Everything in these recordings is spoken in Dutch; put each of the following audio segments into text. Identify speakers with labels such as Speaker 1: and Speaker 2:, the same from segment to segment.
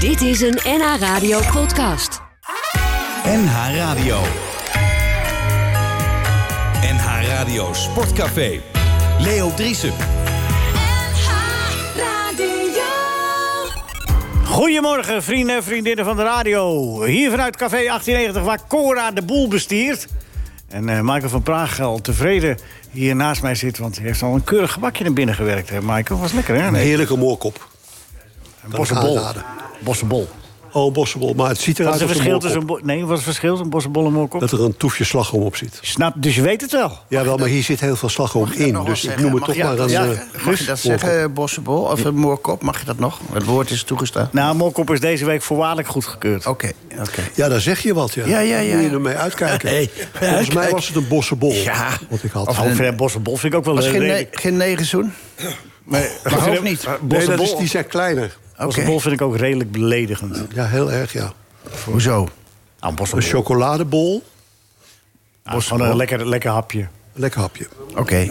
Speaker 1: Dit is een NH Radio podcast.
Speaker 2: NH Radio. NH Radio Sportcafé. Leo Driesen.
Speaker 3: Goedemorgen, vrienden en vriendinnen van de radio. Hier vanuit Café 1890, waar Cora de boel bestiert. En eh, Michael van Praag al tevreden hier naast mij zit... want hij heeft al een keurig gebakje naar binnen gewerkt, hè, Michael? Was lekker, hè?
Speaker 4: Een heerlijke moorkop.
Speaker 3: Een bossenbol.
Speaker 4: aanraden.
Speaker 3: Bossenbol.
Speaker 4: Oh, bossenbol, maar het ziet
Speaker 3: Wat is
Speaker 4: eruit
Speaker 3: het
Speaker 4: als
Speaker 3: verschil
Speaker 4: een
Speaker 3: tussen
Speaker 4: moorkop.
Speaker 3: een... bo- Nee, wat is het verschil tussen een bossenbol en een moorkop?
Speaker 4: Dat er een toefje slagroom op zit.
Speaker 3: Snap, dus je weet het wel.
Speaker 4: Jawel, maar hier zit heel veel slagroom in.
Speaker 5: nog
Speaker 4: Dus
Speaker 5: wel
Speaker 4: ik noem het toch
Speaker 5: zeggen? Mag
Speaker 4: maar een...
Speaker 5: je dat
Speaker 4: eh,
Speaker 5: zeggen?
Speaker 3: Dus-
Speaker 5: Mag je dat zeggen, Bossebol? Of een moorkop, mag je dat nog? Het woord is toegestaan.
Speaker 3: Nou, moorkop is deze week voorwaardelijk goedgekeurd.
Speaker 5: Oké, oké.
Speaker 4: Ja, daar zeg je wat, ja.
Speaker 5: Ja, ja, ja.
Speaker 4: Moet je ermee uitkijken.
Speaker 5: Nee,
Speaker 4: Volgens mij
Speaker 5: uitkijken.
Speaker 4: was het een bossenbol.
Speaker 5: Ja.
Speaker 4: Wat ik had.
Speaker 3: Of een eh, bossenbol vind ik ook wel
Speaker 5: Was
Speaker 3: eh,
Speaker 5: geen, ne
Speaker 3: redelijk.
Speaker 5: geen negenzoen? Nee, dat hoeft niet.
Speaker 4: nee, dat is,
Speaker 3: bossenbol-
Speaker 4: die zijn kleiner.
Speaker 3: Bossenbol vind ik ook redelijk beledigend.
Speaker 4: Ja, heel erg, ja.
Speaker 5: Hoezo?
Speaker 3: Nou, een
Speaker 4: Een
Speaker 3: bossenbol.
Speaker 4: chocoladebol.
Speaker 3: Ah, gewoon een lekker, lekker hapje.
Speaker 4: Lekker hapje.
Speaker 5: Oké.
Speaker 3: Ja?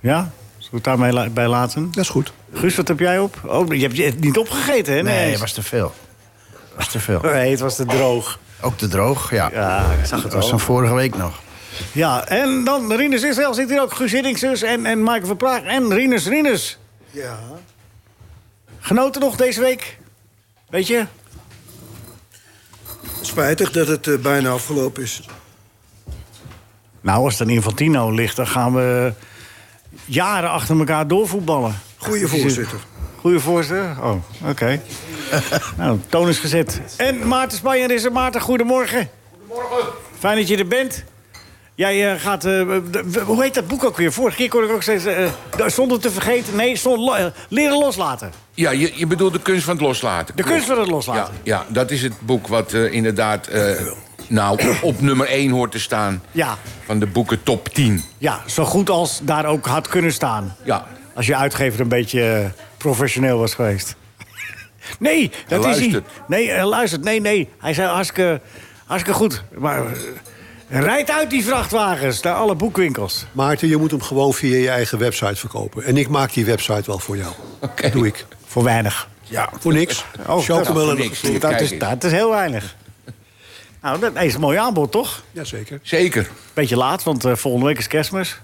Speaker 3: Zullen we het daarmee la- bij laten?
Speaker 4: Dat is goed.
Speaker 3: Guus, wat heb jij op? Oh, je hebt je het niet opgegeten, hè?
Speaker 5: Nee,
Speaker 3: het
Speaker 5: was te veel. Was te veel.
Speaker 3: nee, het was te droog.
Speaker 5: Ook te droog, ja.
Speaker 3: Ja, ik zag
Speaker 5: Dat
Speaker 3: het
Speaker 5: was
Speaker 3: al.
Speaker 5: van vorige week nog.
Speaker 3: Ja, en dan Rinus Israël zit hier ook. Guus Hiddinxus en, en Michael van Praag en Rinus Rinus.
Speaker 4: Ja.
Speaker 3: Genoten nog deze week? Weet je?
Speaker 6: Spijtig dat het eh, bijna afgelopen is.
Speaker 3: Nou, als het aan Infantino ligt, dan gaan we jaren achter elkaar doorvoetballen.
Speaker 6: Goeie voorzitter.
Speaker 3: Goeie voorzitter. Oh, oké. nou, toon is gezet. En Maarten Spanjer is er. Maarten, goedemorgen. Goedemorgen. Fijn dat je er bent. Jij eh, gaat... eh, de- w- hoe heet dat boek ook weer? Vorige keer kon ik ook steeds... eh, de- zonder te vergeten... Nee, zonder, lo- eh, leren loslaten.
Speaker 7: Ja, je, je bedoelt de kunst van het loslaten.
Speaker 3: De kunst van het loslaten.
Speaker 7: Ja, ja dat is het boek wat eh, inderdaad eh, nou, op nummer 1 hoort te staan
Speaker 3: Ja.
Speaker 7: van de boeken top 10.
Speaker 3: Ja, zo goed als daar ook had kunnen staan.
Speaker 7: Ja.
Speaker 3: Als je uitgever een beetje eh, professioneel was geweest. Nee, dat
Speaker 7: Hij
Speaker 3: is hij.
Speaker 7: luistert.
Speaker 3: Nee, hij luistert. Nee, nee. Hij zei hartstikke, hartstikke goed. Maar eh, rijd uit die vrachtwagens naar alle boekwinkels.
Speaker 4: Maarten, je moet hem gewoon via je eigen website verkopen. En ik maak die website wel voor jou.
Speaker 7: Oké.
Speaker 4: Doe ik.
Speaker 3: Voor weinig.
Speaker 4: Ja. Voor niks.
Speaker 3: dat-
Speaker 4: Chocomel
Speaker 7: voor
Speaker 4: en
Speaker 7: Oh, niks.
Speaker 4: een-
Speaker 3: Dat
Speaker 7: Kijk
Speaker 3: is,
Speaker 7: eens.
Speaker 3: dat is heel weinig. Nou, dat is een mooi aanbod, toch?
Speaker 4: Jazeker.
Speaker 7: Zeker.
Speaker 3: Beetje laat, want eh, volgende week is kerstmis.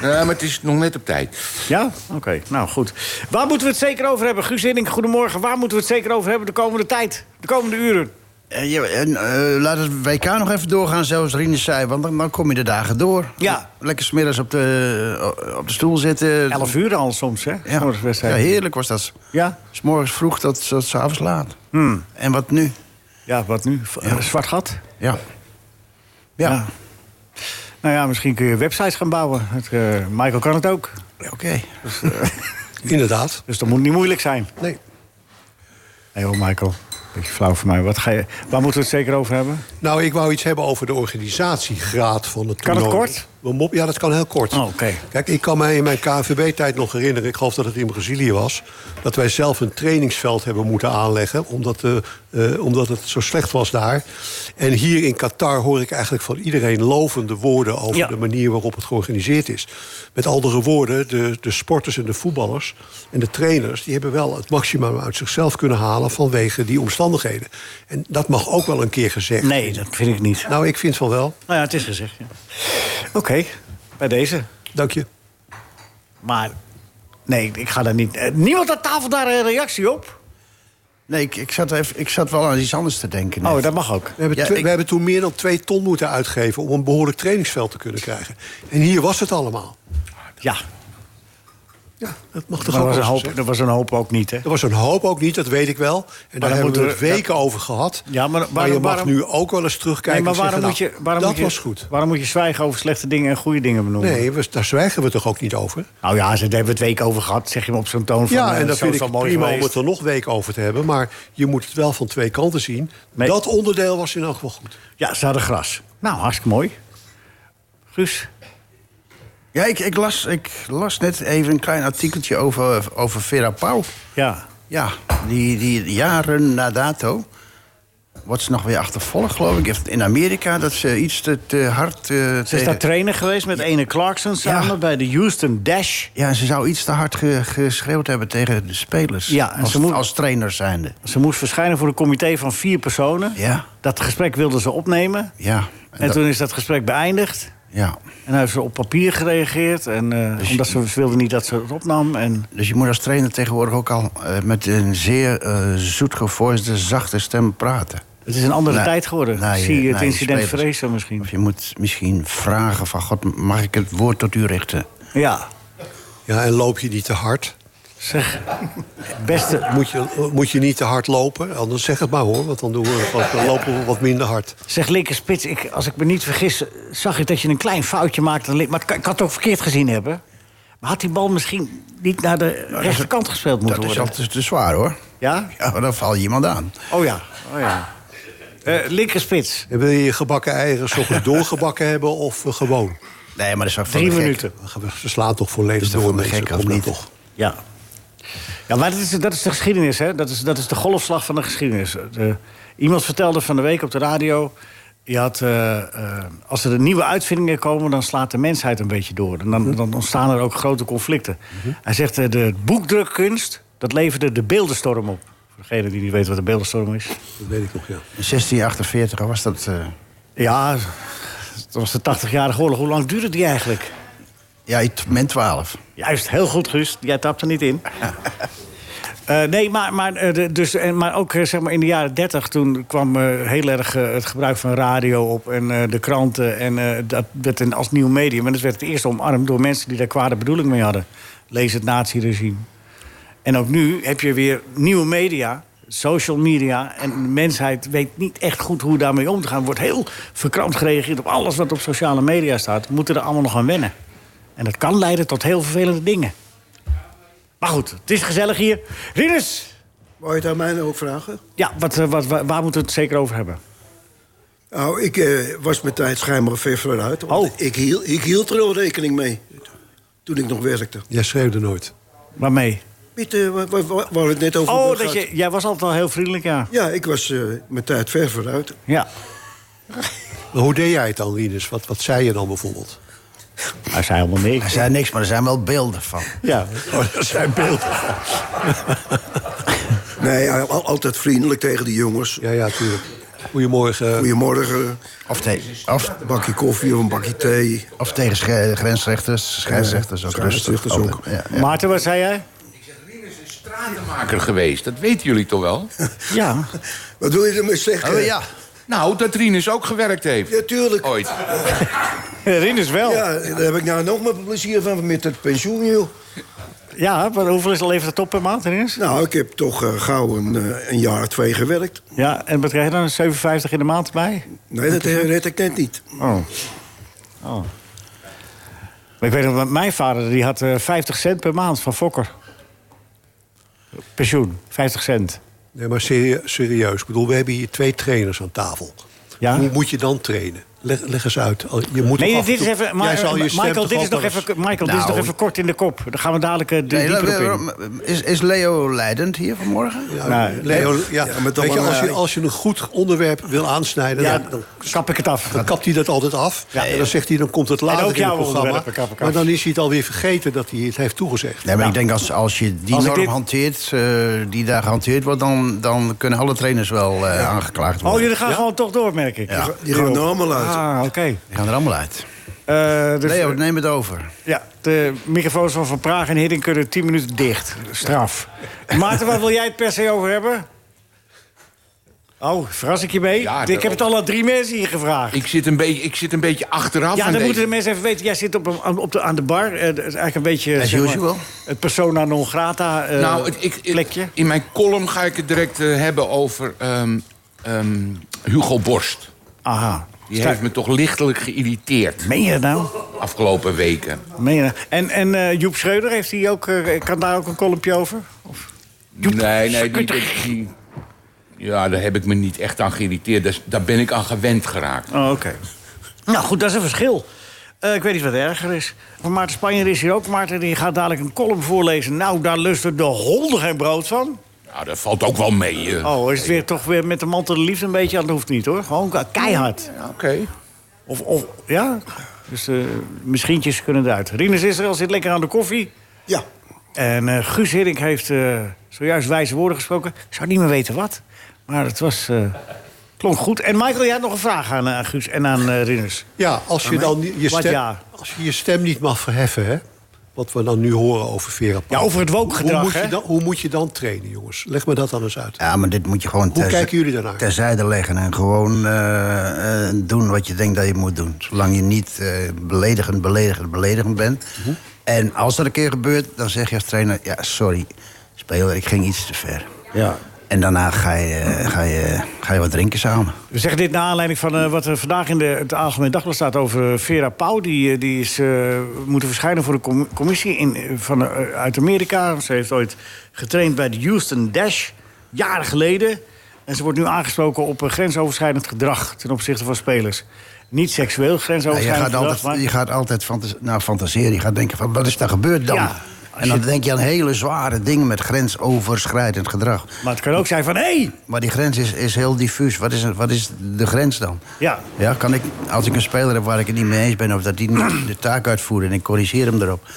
Speaker 7: Ja, maar het is nog net op tijd.
Speaker 3: Ja? Oké, nou goed. Waar moeten we het zeker over hebben? Guus Hiddink, goedemorgen. Waar moeten we het zeker over hebben de komende tijd? De komende uren?
Speaker 5: Eh, ja, en, eh, laat het WK nog even doorgaan, zoals Rinus zei. Want dan, dan kom je de dagen door.
Speaker 3: Ja.
Speaker 5: Lekker smiddags op de, eh, op de stoel zitten.
Speaker 3: 11 uur al soms, hè?
Speaker 5: Ja.
Speaker 3: Voor de
Speaker 5: ja,
Speaker 3: wedstrijd.
Speaker 5: heerlijk was dat.
Speaker 3: Ja?
Speaker 5: S morgens vroeg tot, tot s avonds laat. En wat nu?
Speaker 3: Ja, wat nu? V- eh, Zwart gat?
Speaker 5: Ja. Ja,
Speaker 3: Ja. Nou ja, misschien kun je websites gaan bouwen. Het, eh, Michael kan het ook. eh,
Speaker 5: oké.
Speaker 4: Inderdaad.
Speaker 3: Dus dat moet niet moeilijk zijn.
Speaker 4: Nee.
Speaker 3: Nee hoor, Michael. Beetje flauw voor mij. Wat ga je, waar moeten we het zeker over hebben?
Speaker 4: Nou, ik wou iets hebben over de organisatiegraad van het
Speaker 3: Kan het
Speaker 4: toernooi.
Speaker 3: kort?
Speaker 4: We mop- Ja, dat kan heel kort.
Speaker 3: Oh, oké.
Speaker 4: Kijk, ik kan mij in mijn KNVB-tijd nog herinneren... ik geloof dat het in Brazilië was... dat wij zelf een trainingsveld hebben moeten aanleggen... omdat, eh, eh, omdat het zo slecht was daar. En hier in Qatar hoor ik eigenlijk van iedereen lovende woorden... over
Speaker 3: Ja.
Speaker 4: de manier waarop het georganiseerd is. Met andere woorden, de, de sporters en de voetballers en de trainers... die hebben wel het maximum uit zichzelf kunnen halen... vanwege die omstandigheden. En dat mag ook wel een keer gezegd
Speaker 3: Nee, dat vind ik niet.
Speaker 4: nou, ik vind van wel.
Speaker 3: Nou ja, het is gezegd. ja. Oké, bij deze.
Speaker 4: Dank je.
Speaker 3: Maar nee, ik ga daar niet... eh, niemand aan tafel daar een reactie op?
Speaker 5: Nee, ik, ik, zat even, ik zat wel aan iets anders te denken. net.
Speaker 3: Oh, dat mag ook.
Speaker 4: We hebben,
Speaker 5: Ja,
Speaker 4: twee-
Speaker 5: ik-
Speaker 4: we hebben toen meer dan twee ton moeten uitgeven... om een behoorlijk trainingsveld te kunnen krijgen. En hier was het allemaal.
Speaker 3: Ja,
Speaker 4: Ja, dat mag toch
Speaker 3: maar er
Speaker 4: ook
Speaker 3: was, een
Speaker 4: wel
Speaker 3: hoop,
Speaker 4: gezegd?
Speaker 3: er was een hoop ook niet, hè?
Speaker 4: Er was een hoop ook niet, dat weet ik wel. En daar
Speaker 3: dan
Speaker 4: hebben we
Speaker 3: moeten
Speaker 4: het
Speaker 3: we-
Speaker 4: weken over gehad.
Speaker 3: Ja, maar waarom-
Speaker 4: je mag
Speaker 3: waarom-
Speaker 4: nu ook wel eens terugkijken
Speaker 3: Nee, maar
Speaker 4: en
Speaker 3: waarom
Speaker 4: zeggen,
Speaker 3: moet je...
Speaker 4: nou,
Speaker 3: Waarom
Speaker 4: dat
Speaker 3: moet je,
Speaker 4: was goed.
Speaker 3: Waarom moet je zwijgen over slechte dingen en goede dingen benoemen?
Speaker 4: Nee, we, daar zwijgen we toch ook niet over?
Speaker 3: Nou ja, ze daar hebben we het week over gehad, zeg je me op zo'n toon van...
Speaker 4: Ja,
Speaker 3: eh,
Speaker 4: en dat
Speaker 3: zo is
Speaker 4: vind ik
Speaker 3: wel mooi
Speaker 4: prima om
Speaker 3: geweest.
Speaker 4: het er nog weken over te hebben. Maar je moet het wel van twee kanten zien.
Speaker 3: Nee.
Speaker 4: Dat onderdeel was in elk geval goed.
Speaker 3: Ja, ze hadden gras. Nou, hartstikke mooi. Guus,
Speaker 5: Ja, ik, ik, las, ik las net even een klein artikeltje over, over Vera Pauw.
Speaker 3: ja.
Speaker 5: Ja, die, die jaren na dato Wordt ze nog weer achtervolgd, geloof ik. Heeft In Amerika dat ze iets te, te hard eh,
Speaker 3: Ze is
Speaker 5: tegen-
Speaker 3: daar trainer geweest met Ene Clarkson samen
Speaker 5: Ja.
Speaker 3: bij de Houston Dash.
Speaker 5: Ja, ze zou iets te hard ge- geschreeuwd hebben tegen de spelers.
Speaker 3: Ja, en
Speaker 5: als,
Speaker 3: ze moet-
Speaker 5: als trainer zijnde.
Speaker 3: Ze moest verschijnen voor een comité van vier personen.
Speaker 5: Ja,
Speaker 3: Dat gesprek wilden ze opnemen.
Speaker 5: ja.
Speaker 3: En,
Speaker 5: dat-
Speaker 3: toen is dat gesprek beëindigd.
Speaker 5: ja.
Speaker 3: En hij heeft ze op papier gereageerd. En, eh,
Speaker 5: Dus-
Speaker 3: omdat ze, ze wilden niet dat ze het opnam. En
Speaker 5: Dus je moet als trainer tegenwoordig ook al eh, met een zeer eh zoetgevoiste, zachte stem praten.
Speaker 3: het is een andere
Speaker 5: Nee,
Speaker 3: tijd geworden.
Speaker 5: nee,
Speaker 3: Zie je het
Speaker 5: nee,
Speaker 3: incident
Speaker 5: spelers.
Speaker 3: vrezen misschien.
Speaker 5: Of je moet misschien vragen van... God, mag ik het woord tot u richten?
Speaker 3: Ja,
Speaker 4: Ja, en loop je niet te hard?
Speaker 3: zeg. Beste,
Speaker 4: Moet je, moet je niet te hard lopen? Anders zeg het maar hoor, want dan, doen we, wat- dan lopen we wat minder hard.
Speaker 3: zeg linker spits. Ik, als ik me niet vergis, zag ik dat je een klein foutje maakte. aan link- Maar ik, ik had het ook verkeerd gezien hebben. Maar had die bal misschien niet naar de rechterkant gespeeld moeten
Speaker 5: Nou, Dat is
Speaker 3: worden?
Speaker 5: al te, te zwaar, hoor.
Speaker 3: Ja?
Speaker 5: Ja, maar dan val je iemand aan.
Speaker 3: Oh ja. Oh, ja. Eh, linker spits.
Speaker 4: En wil je je gebakken eieren soms doorgebakken hebben of eh, gewoon?
Speaker 5: Nee, maar dat is wel van
Speaker 3: Drie
Speaker 5: de gek.
Speaker 3: minuten.
Speaker 4: Ze slaan toch volledig
Speaker 5: Is dat
Speaker 4: door
Speaker 5: voor de
Speaker 4: mensen.
Speaker 5: gek
Speaker 4: kom
Speaker 5: of
Speaker 4: nou
Speaker 5: niet?
Speaker 4: toch.
Speaker 3: Ja. Ja, maar dat is, dat is de geschiedenis, hè? Dat is, dat is de golfslag van de geschiedenis. De- iemand vertelde van de week op de radio... Je had, eh, eh, als er nieuwe uitvindingen komen, dan slaat de mensheid een beetje door. En dan, dan ontstaan er ook grote conflicten. Hij zegt, eh, de boekdrukkunst, dat leverde de beeldenstorm op. Voor degene die niet weet wat de beeldenstorm is.
Speaker 4: Dat weet ik nog, ja.
Speaker 5: In 1648 was dat... eh,
Speaker 3: Ja, dat was de 80-jarige oorlog. Hoe lang duurde die eigenlijk?
Speaker 5: ja, iets- min 12.
Speaker 3: Juist, heel goed, Guus. Jij tapt er niet in. Eh, nee, maar, maar, eh, de- dus, en- maar ook eh, zeg maar in de jaren 30 toen kwam eh, heel erg eh, het gebruik van radio op en eh, de kranten. En eh, dat werd een, als nieuw medium. En dat werd het eerst omarmd door mensen die daar kwade bedoeling mee hadden. Lees het naziregime. En ook nu heb je weer nieuwe media, social media. En de mensheid weet niet echt goed hoe daarmee om te gaan. Wordt heel verkrampt gereageerd op alles wat op sociale media staat. We moeten er allemaal nog aan wennen. En dat kan leiden tot heel vervelende dingen. Maar goed, het is gezellig hier. Rinus!
Speaker 6: Wou je het aan mij nou ook vragen?
Speaker 3: Ja, wat, eh, wat, wa- waar moeten we het zeker over hebben?
Speaker 6: Nou, ik eh, was mijn tijd schijnbaar ver vooruit. want
Speaker 3: Oh.
Speaker 6: Ik, hield, ik hield er al rekening mee toen ik nog werkte.
Speaker 4: Jij schreeuwde nooit.
Speaker 3: Waarmee?
Speaker 6: Piet, eh, waar, waar, waar we het net over
Speaker 3: Oh,
Speaker 6: hebben
Speaker 3: dat
Speaker 6: gehad.
Speaker 3: je, jij was altijd al heel vriendelijk, ja.
Speaker 6: Ja, ik was eh, mijn tijd ver vooruit.
Speaker 3: Ja.
Speaker 4: Maar hoe deed jij het dan, Rinus? Wat, wat zei je dan bijvoorbeeld?
Speaker 3: Hij zei helemaal
Speaker 5: Er
Speaker 3: niks.
Speaker 5: zijn niks, maar er zijn wel beelden van.
Speaker 3: Ja.
Speaker 4: Oh, dat zijn beelden.
Speaker 6: Nee, al- al- altijd vriendelijk tegen de jongens.
Speaker 4: Ja, ja, tuurlijk. Goedemorgen.
Speaker 6: Goedemorgen,
Speaker 5: Of, te- of,
Speaker 6: een bakje koffie of een bakje thee.
Speaker 5: of tegen sche- grensrechters, scheidsrechters ook.
Speaker 6: Ja, scheidsrechters
Speaker 5: rustig.
Speaker 6: ook.
Speaker 5: Ja, ja.
Speaker 3: Maarten, wat zei jij?
Speaker 7: Rinus is stratenmaker geweest, dat weten jullie toch wel?
Speaker 3: Oh, Ja.
Speaker 6: Wat wil je ermee zeggen?
Speaker 5: Oh, ja.
Speaker 7: nou, dat Rinus ook gewerkt heeft.
Speaker 6: Ja, tuurlijk.
Speaker 7: Ooit.
Speaker 3: Rinus wel. Ja,
Speaker 6: Ja, daar heb ik nou nog mijn plezier van met het pensioen, joh.
Speaker 3: maar hoeveel is al even de top per maand, Rinus?
Speaker 6: Nou, ik heb toch eh, gauw een, eh, een jaar of twee gewerkt.
Speaker 3: Ja, en wat krijg je dan? 57 in de maand bij?
Speaker 6: Nee, dat eh, red ik net niet.
Speaker 3: Oh. oh. Maar ik weet nog, want mijn vader die had eh, 50 cent per maand van Fokker. Pensioen, 50 cent.
Speaker 4: Nee, maar serie- serieus. Ik bedoel, we hebben hier twee trainers aan tafel.
Speaker 3: Ja.
Speaker 4: Hoe moet je dan trainen? Leg, leg eens uit. Al- Je moet
Speaker 3: Nee,
Speaker 4: toch af en
Speaker 3: dit is
Speaker 4: toe-
Speaker 3: even,
Speaker 4: Jij zal
Speaker 3: maar,
Speaker 4: je stem
Speaker 3: Michael,
Speaker 4: toch
Speaker 3: dit is
Speaker 4: ook
Speaker 3: nog
Speaker 4: wel eens-
Speaker 3: even, Michael dit is nog
Speaker 5: Nou,
Speaker 3: even kort in de kop. Dan gaan we dadelijk eh, de
Speaker 5: Nee,
Speaker 3: dieper op in.
Speaker 5: waarom- is, is Leo leidend hier vanmorgen?
Speaker 4: Ja,
Speaker 3: Nou,
Speaker 4: Leo,
Speaker 6: ja,
Speaker 4: ja,
Speaker 6: maar dan
Speaker 4: weet je,
Speaker 6: maar,
Speaker 4: als, je,
Speaker 6: eh,
Speaker 4: als je een goed onderwerp wil aansnijden...
Speaker 3: Ja,
Speaker 4: dan, dan,
Speaker 3: kap ik het af.
Speaker 4: dan kapt hij dat altijd af. en dan zegt hij, dan komt het later
Speaker 3: ook
Speaker 4: in
Speaker 3: jouw
Speaker 4: het programma.
Speaker 3: onderwerpen kap ik af.
Speaker 4: Maar dan is hij het alweer vergeten dat hij het heeft toegezegd.
Speaker 5: Nee, maar ik denk als, als je die
Speaker 3: Als ik
Speaker 5: norm
Speaker 3: dit-
Speaker 5: hanteert, eh, die daar gehanteerd wordt, dan, dan kunnen alle trainers wel eh, aangeklaagd
Speaker 3: Oh,
Speaker 5: worden.
Speaker 3: jullie gaan gewoon toch door, merk ik.
Speaker 5: Ja.
Speaker 6: Die gaan er allemaal uit.
Speaker 3: Ah, oké.
Speaker 5: Die gaan er allemaal uit.
Speaker 3: Eh, dus,
Speaker 5: Leo, neem het over.
Speaker 3: ja, de microfoons van Van Praag en Hiddink kunnen 10 minuten dicht. Straf. Maarten, waar wil jij het per se over hebben? Oh, verras ik je mee?
Speaker 7: Ja,
Speaker 3: ik heb het al aan drie mensen hier gevraagd.
Speaker 7: Ik zit een beetje, ik zit een beetje achteraf
Speaker 3: Ja, dan
Speaker 7: aan deze-
Speaker 3: moeten de mensen even weten. Jij zit op, een- aan- op de, aan de bar. Eh, dat is eigenlijk een beetje...
Speaker 5: As
Speaker 3: zeg maar,
Speaker 5: usual.
Speaker 3: het persona non grata eh,
Speaker 7: nou, het- ik, ik-
Speaker 3: plekje.
Speaker 7: in mijn column ga ik het direct eh, hebben over ehm, ehm, Hugo Borst.
Speaker 3: Aha.
Speaker 7: Die heeft me toch lichtelijk geïrriteerd
Speaker 3: Meen je dat nou?
Speaker 7: afgelopen weken.
Speaker 3: Meen je dat? En, en eh, Joep Schreuder, heeft hij ook, eh, kan daar ook een kolompje over?
Speaker 7: Nee, nee, die, die- die- ja, daar heb ik me niet echt aan geïrriteerd. Dus daar ben ik aan gewend geraakt.
Speaker 3: Oh, oké. Nou goed, dat is een verschil. Eh, ik weet niet wat erger is. Maar Maarten Spanjer is hier ook. Maarten die gaat dadelijk een column voorlezen. Nou, daar lusten de honden geen brood van.
Speaker 7: Nou, dat valt ook wel mee. eh.
Speaker 3: Oh, is het weer toch weer met de mantel de liefde een beetje? Dat hoeft niet hoor. Gewoon ke- keihard.
Speaker 7: Ja, Oké.
Speaker 3: Of, of ja. Dus eh misschientjes kunnen eruit. Rinus Israël zit lekker aan de koffie.
Speaker 6: Ja,
Speaker 3: En eh, Guus Hiddink heeft eh, zojuist wijze woorden gesproken. Ik zou niet meer weten wat. Maar het was, eh, klonk goed. En Michael, jij had nog een vraag aan eh, Guus en aan eh, Rinus.
Speaker 4: Ja, als je dan niet- je
Speaker 3: Wat
Speaker 4: stem,
Speaker 3: ja?
Speaker 4: als je, je stem niet mag verheffen, hè? wat we dan nu horen over Vera Pauw.
Speaker 3: Ja, over het
Speaker 4: hoe,
Speaker 3: wookgedrag,
Speaker 4: moet
Speaker 3: hè?
Speaker 4: je dan, hoe moet je dan trainen, jongens? Leg me dat dan eens uit.
Speaker 5: Ja, maar dit moet je gewoon
Speaker 4: Hoe
Speaker 5: terzi-
Speaker 4: kijken jullie daarnaar?
Speaker 5: terzijde leggen. En gewoon eh, eh, doen wat je denkt dat je moet doen. Zolang je niet eh, beledigend, beledigend, beledigend bent. En als dat een keer gebeurt, dan zeg je als trainer... ja, sorry, speler, ik ging iets te ver.
Speaker 6: Ja.
Speaker 5: En daarna ga je, eh, ga je, ga je wat drinken samen.
Speaker 3: We zeggen dit naar aanleiding van eh, wat er vandaag in de, het Algemeen Dagblad staat over eh, Vera Pauw. Die, eh, die is eh, moeten verschijnen voor de com- commissie in, eh, van, eh, uit Amerika. Ze heeft ooit getraind bij de Houston Dash, jaren geleden. En ze wordt nu aangesproken op eh, grensoverschrijdend gedrag ten opzichte van spelers. Niet seksueel
Speaker 5: Ja, je,
Speaker 3: grensoverschrijdend
Speaker 5: gaat
Speaker 3: gedrag, maar...
Speaker 5: altijd, je gaat altijd fantas nou, fantaseren. Je gaat denken van, wat is daar gebeurd dan?
Speaker 3: Ja, als
Speaker 5: en dan denk je aan hele zware dingen met grensoverschrijdend gedrag.
Speaker 3: Maar het kan ook zijn van, hé! Hey!
Speaker 5: Maar die grens is, is heel diffuus. Wat is, wat is de grens dan?
Speaker 3: Ja.
Speaker 5: ja kan ik, als ik een speler heb waar ik het niet mee eens ben... of dat die niet de taak uitvoert en ik corrigeer hem erop...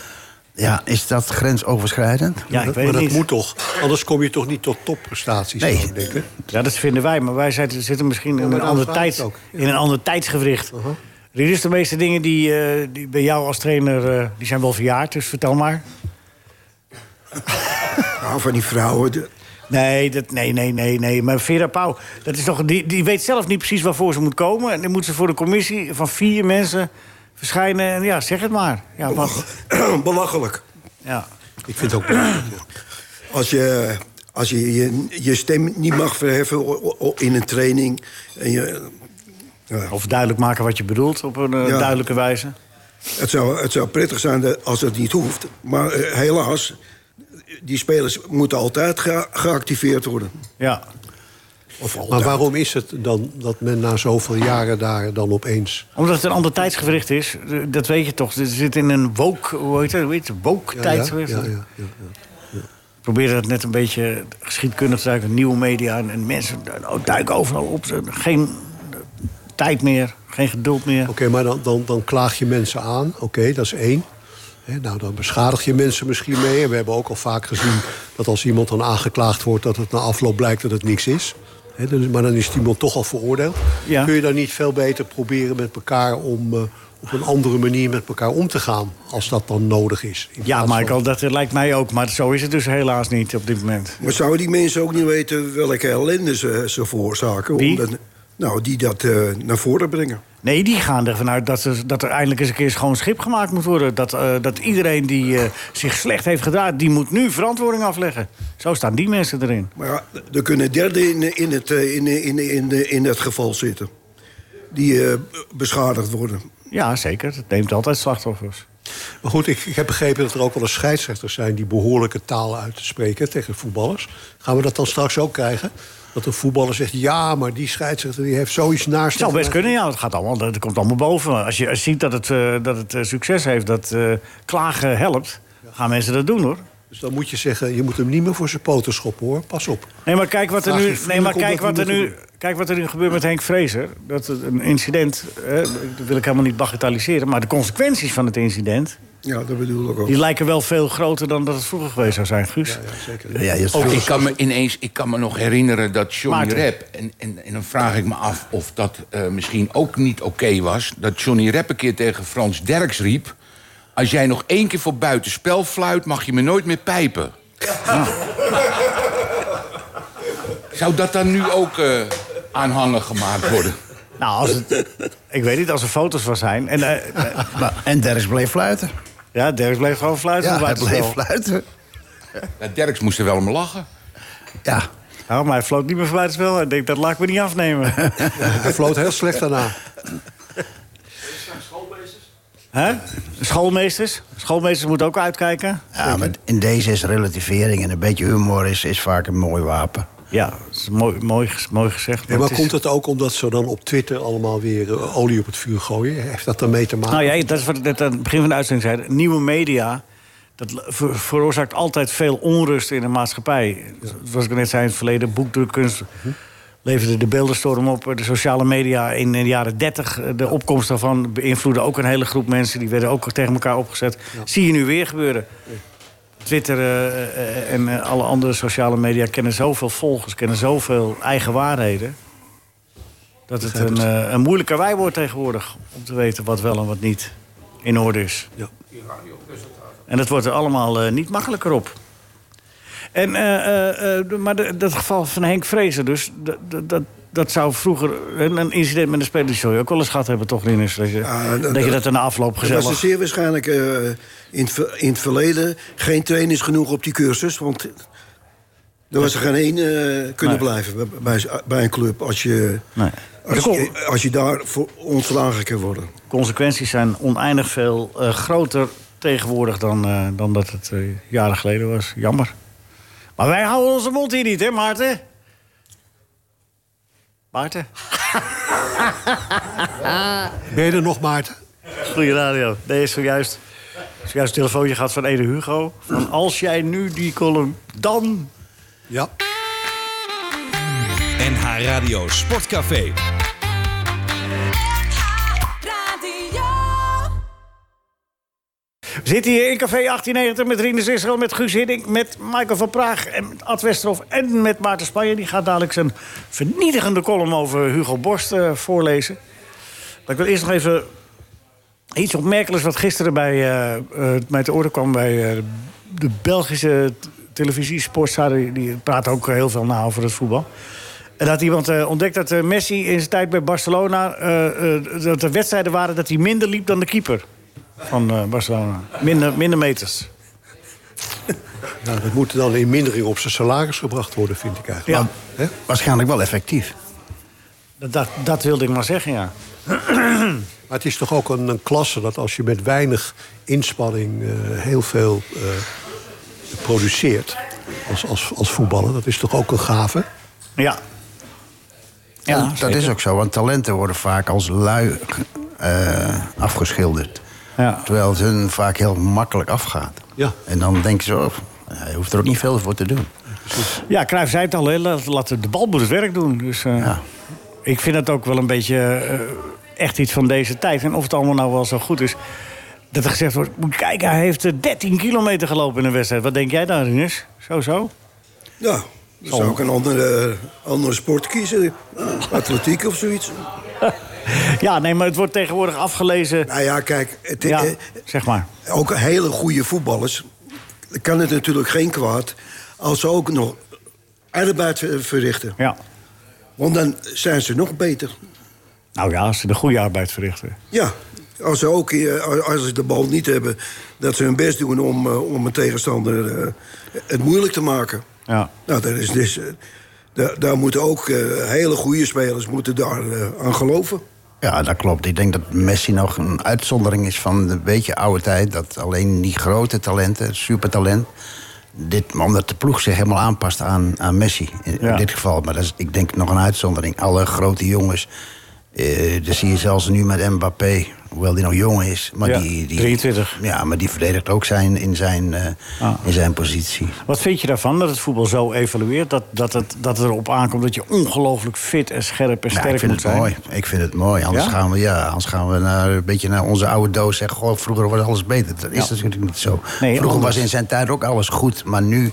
Speaker 5: ja, is dat grensoverschrijdend?
Speaker 3: Ja, ik
Speaker 4: maar
Speaker 3: weet
Speaker 4: maar
Speaker 3: het
Speaker 4: dat
Speaker 3: niet.
Speaker 4: moet toch? Anders kom je toch niet tot topprestaties?
Speaker 5: Nee.
Speaker 4: zou ik denken.
Speaker 3: Ja, dat vinden wij, maar wij zitten, zitten misschien in,
Speaker 4: maar
Speaker 3: een
Speaker 4: dan
Speaker 3: ander
Speaker 4: vraag ik het
Speaker 3: tijds,
Speaker 4: ook. Uh-huh. Ja.
Speaker 3: in een ander tijdsgewricht. Rinus, de meeste dingen die, eh, die bij jou als trainer, eh, die zijn wel verjaard, dus vertel maar.
Speaker 6: nou, van die vrouwen. de-
Speaker 3: Nee, dat, nee, nee, nee, nee. Maar Vera Pauw, dat is toch, die, die weet zelf niet precies waarvoor ze moet komen. En dan moet ze voor de commissie van vier mensen verschijnen. En ja, zeg het maar. Ja, wat,
Speaker 6: Belachelijk.
Speaker 3: ja.
Speaker 4: Ik vind het ook belangrijk. ja.
Speaker 6: Als je, als je, je je stem niet mag verheffen o- o- in een training. En je,
Speaker 3: Of duidelijk maken wat je bedoelt op een eh,
Speaker 6: Ja.
Speaker 3: duidelijke wijze.
Speaker 6: het, zou, het zou prettig zijn dat- als dat niet hoeft. Maar eh, helaas, die spelers moeten altijd ge- geactiveerd worden.
Speaker 3: Ja.
Speaker 6: Of altijd.
Speaker 4: Maar waarom is het dan dat men na zoveel jaren daar dan opeens...
Speaker 3: Omdat het een ander tijdsgewricht is, eh, dat weet je toch. Ze zit in een woke, hoe heet dat? Hoe heet het? Woke
Speaker 4: Ja,
Speaker 3: tijdsgewricht.
Speaker 4: ja, ja, ja, ja.
Speaker 3: Ik probeerde het net een beetje geschiedkundig te duiken. Nieuwe media en, en mensen nou, duiken overal op. Ze- Geen eh, tijd meer, geen geduld meer.
Speaker 4: Oké, maar dan, dan, dan klaag je mensen aan. Oké, dat is één. Hè, nou, dan beschadig je mensen misschien mee. En we hebben ook al vaak gezien dat als iemand dan aangeklaagd wordt... dat het na afloop blijkt dat het niks is. Hè, dan- maar dan is iemand toch al veroordeeld.
Speaker 3: Ja.
Speaker 4: Kun je dan niet veel beter proberen met elkaar om... eh, op een andere manier met elkaar om te gaan, als dat dan nodig is. In
Speaker 3: Ja,
Speaker 4: plaats van-
Speaker 3: Michael, dat eh, lijkt mij ook. Maar zo is het dus helaas niet op dit moment.
Speaker 6: Maar zouden die mensen ook niet weten welke ellende ze, ze veroorzaken?
Speaker 3: Wie?
Speaker 6: Omdat- nou, die dat eh, naar voren brengen.
Speaker 3: Nee, die gaan ervan uit dat, er- dat er eindelijk eens een keer schoon schip gemaakt moet worden. Dat, eh, dat iedereen die eh, zich slecht heeft gedaan, die moet nu verantwoording afleggen. Zo staan die mensen erin.
Speaker 6: Maar ja, er kunnen derden in, in, het, eh, in, in, in, in dat geval zitten. Die eh, beschadigd worden.
Speaker 3: Ja, zeker. Het neemt altijd slachtoffers.
Speaker 4: Maar goed, ik, ik heb begrepen dat er ook wel eens scheidsrechters zijn... die behoorlijke taal uitspreken tegen voetballers. Gaan we dat dan straks ook krijgen? Dat een voetballer zegt, ja, maar die scheidsrechter die heeft zoiets naast...
Speaker 3: Het zou best kunnen, ja. Het, gaat allemaal, dat komt allemaal boven. Als je als je ziet dat het, eh, dat het eh, succes heeft, dat eh, klagen helpt... gaan mensen dat doen, hoor.
Speaker 4: Dus dan moet je zeggen, je moet hem niet meer voor zijn poten schoppen, hoor. Pas op.
Speaker 3: Nee, maar kijk wat er
Speaker 4: Vraag je
Speaker 3: nu, nee, maar
Speaker 4: vriendelijk
Speaker 3: kijk
Speaker 4: om dat
Speaker 3: wat er
Speaker 4: niet
Speaker 3: nu,
Speaker 4: te
Speaker 3: kijk wat er nu gebeurt met Henk Vrezer. Dat het een incident, hè, dat wil ik helemaal niet bagatelliseren... maar de consequenties van het incident...
Speaker 6: Ja, dat bedoel ik ook.
Speaker 3: die lijken wel veel groter dan dat het vroeger geweest zou zijn, Guus.
Speaker 5: Ja, je
Speaker 7: Ook ik kan me ineens, ik kan me nog herinneren dat Johnny
Speaker 3: Maarten.
Speaker 7: Rep... En, en, en dan vraag ik me af of dat eh, misschien ook niet oké was... dat Johnny Rep een keer tegen Frans Derks riep... als jij nog één keer voor buitenspel fluit, mag je me nooit meer pijpen. Nou. Zou dat dan nu ook eh aanhangig gemaakt worden?
Speaker 3: Nou, als het, ik weet niet, als er foto's van zijn... En, eh, eh,
Speaker 5: Maar, en Derks bleef fluiten.
Speaker 3: ja, Derks bleef gewoon fluiten.
Speaker 5: Ja,
Speaker 3: op
Speaker 5: hij
Speaker 3: het
Speaker 5: bleef
Speaker 3: buitenspel.
Speaker 5: fluiten.
Speaker 7: Ja, Derks moest er wel om lachen.
Speaker 5: Ja,
Speaker 3: Ja, Nou, maar hij floot niet meer van buitenspel. Hij denkt, dat laat ik me niet afnemen.
Speaker 4: Hij floot heel slecht daarna.
Speaker 3: Hè? Schoolmeesters? Schoolmeesters moeten ook uitkijken.
Speaker 5: ja maar in deze is relativering en een beetje humor is, is vaak een mooi wapen.
Speaker 3: Ja, dat is mooi, mooi, ges- mooi gezegd.
Speaker 4: En maar
Speaker 3: het
Speaker 4: komt
Speaker 3: is-
Speaker 4: het ook omdat ze dan op Twitter allemaal weer eh, olie op het vuur gooien? Heeft dat daarmee te maken?
Speaker 3: Nou ja, dat is wat ik net aan het begin van de uitzending zei. Nieuwe media, dat le- ver- veroorzaakt altijd veel onrust in de maatschappij. Zoals ik net zei in het verleden, boekdrukkunst leverde de beeldenstorm op. De sociale media in de jaren 30, eh, de opkomst daarvan beïnvloedde ook een hele groep mensen. Die werden ook tegen elkaar opgezet. Zie je nu weer gebeuren. Twitter eh, eh, en eh, alle andere sociale media kennen zoveel volgers, kennen zoveel eigen waarheden. Dat het een, eh, een moeilijker wij wordt tegenwoordig om te weten wat wel en wat niet in orde is.
Speaker 4: Ja.
Speaker 3: En dat wordt er allemaal eh, niet makkelijker op. En, eh, eh, eh, de- maar de- dat geval van Henk Vrezen, dus dat- dat- dat, dat zou vroeger een, een incident met een speler, die zou je ook wel eens gehad hebben, toch, Rinus? Dat je,
Speaker 6: Ja,
Speaker 3: dat,
Speaker 6: dat-
Speaker 3: je dat in de afloop
Speaker 6: Er was er
Speaker 3: gezellig.
Speaker 6: zeer waarschijnlijk eh, in, het ver- in het verleden geen trainers genoeg op die cursus. Want er was er geen één eh, kunnen
Speaker 3: Nee.
Speaker 6: blijven bij- bij, bij een club als je,
Speaker 3: Nee.
Speaker 6: als,
Speaker 3: Kom.
Speaker 6: je, als je daar voor ontslagen kan worden.
Speaker 3: consequenties zijn oneindig veel eh, groter tegenwoordig dan, eh, dan dat het eh, jaren geleden was. Jammer. Maar wij houden onze mond hier niet, hè, Maarten? Maarten?
Speaker 4: Ben je er nog, Maarten?
Speaker 3: Goeie radio. Nee, zojuist, zojuist een telefoontje gaat van Ede Hugo. Van als jij nu die column... Dan...
Speaker 4: Ja.
Speaker 2: NH Radio Sportcafé.
Speaker 3: We zitten hier in Café 1890 met Rinus Israël, met Guus Hiddink... met Michael van Praag en met Ad Westerhof en met Maarten Spanje. Die gaat dadelijk zijn vernietigende column over Hugo Borst eh, voorlezen. Maar ik wil eerst nog even iets opmerkelijks... wat gisteren bij, eh, eh, mij te oren kwam bij eh, de Belgische t- televisie, Sportzadio. Die praat ook heel veel na over het voetbal. En dat iemand eh, ontdekt dat eh, Messi in zijn tijd bij Barcelona... eh, eh, dat er wedstrijden waren dat hij minder liep dan de keeper van eh, Barcelona. Minder, minder meters.
Speaker 4: Nou, dat moet dan in mindering op zijn salaris gebracht worden, vind ik eigenlijk.
Speaker 3: Ja.
Speaker 4: Hè?
Speaker 5: Waarschijnlijk wel effectief.
Speaker 3: Dat, dat, dat wilde ik maar zeggen, ja.
Speaker 4: Maar het is toch ook een, een klasse dat als je met weinig inspanning eh, heel veel eh, produceert als, als, als voetballer, dat is toch ook een gave?
Speaker 3: Ja.
Speaker 5: Ja, dat is ook zo. Want talenten worden vaak als lui eh, afgeschilderd.
Speaker 3: Ja.
Speaker 5: Terwijl het hun vaak heel makkelijk afgaat.
Speaker 4: Ja.
Speaker 5: En dan denken ze, oh, hij hoeft er ook niet veel voor te doen.
Speaker 3: Ja, Cruijff zei het al, hè, laat, laat de bal moet het werk doen. Dus eh,
Speaker 5: Ja.
Speaker 3: ik vind dat ook wel een beetje eh, echt iets van deze tijd. En of het allemaal nou wel zo goed is. Dat er gezegd wordt, moet je kijken, hij heeft eh, 13 kilometer gelopen in een wedstrijd. Wat denk jij daar, Rinus? Zo, zo?
Speaker 6: Ja, dan
Speaker 3: Oh.
Speaker 6: zou ik een andere, andere sport kiezen. Atletiek of zoiets.
Speaker 3: Ja, nee, maar het wordt tegenwoordig afgelezen.
Speaker 6: Nou ja, kijk, het,
Speaker 3: Ja,
Speaker 6: eh,
Speaker 3: zeg maar.
Speaker 6: ook hele goede voetballers... kan het natuurlijk geen kwaad als ze ook nog arbeid ver- verrichten.
Speaker 3: Ja.
Speaker 6: Want dan zijn ze nog beter.
Speaker 3: Nou ja, als ze de goede arbeid verrichten.
Speaker 6: Ja, als ze, ook, eh, als ze de bal niet hebben, dat ze hun best doen om, eh, om een tegenstander eh, het moeilijk te maken.
Speaker 3: Ja.
Speaker 6: Nou, dat is dus, eh, daar, daar moeten ook eh, hele goede spelers moeten daar eh, aan geloven.
Speaker 5: Ja, dat klopt. Ik denk dat Messi nog een uitzondering is van een beetje oude tijd. Dat alleen die grote talenten, supertalent. Dit, omdat de ploeg zich helemaal aanpast aan, aan Messi. In, in
Speaker 3: Ja.
Speaker 5: dit geval. Maar dat is, ik denk, nog een uitzondering. Alle grote jongens. eh dat zie je zelfs nu met Mbappé. Hoewel die nog jong is. Maar
Speaker 3: Ja,
Speaker 5: die, die,
Speaker 3: 23.
Speaker 5: Ja, maar die verdedigt ook zijn, in, zijn, eh,
Speaker 3: Ah.
Speaker 5: in zijn positie.
Speaker 3: Wat vind je daarvan dat het voetbal zo evolueert? Dat, dat, het, dat het erop aankomt dat je ongelooflijk fit en scherp en
Speaker 5: Ja,
Speaker 3: sterk
Speaker 5: Nou, ik vind
Speaker 3: moet
Speaker 5: het
Speaker 3: zijn?
Speaker 5: mooi. Ik vind het mooi. Anders
Speaker 3: Ja?
Speaker 5: gaan we, ja, anders gaan we naar, een beetje naar onze oude doos zeggen... Goh, vroeger was alles beter. Dat is natuurlijk niet zo. vroeger
Speaker 3: anders.
Speaker 5: was in zijn tijd ook alles goed. Maar nu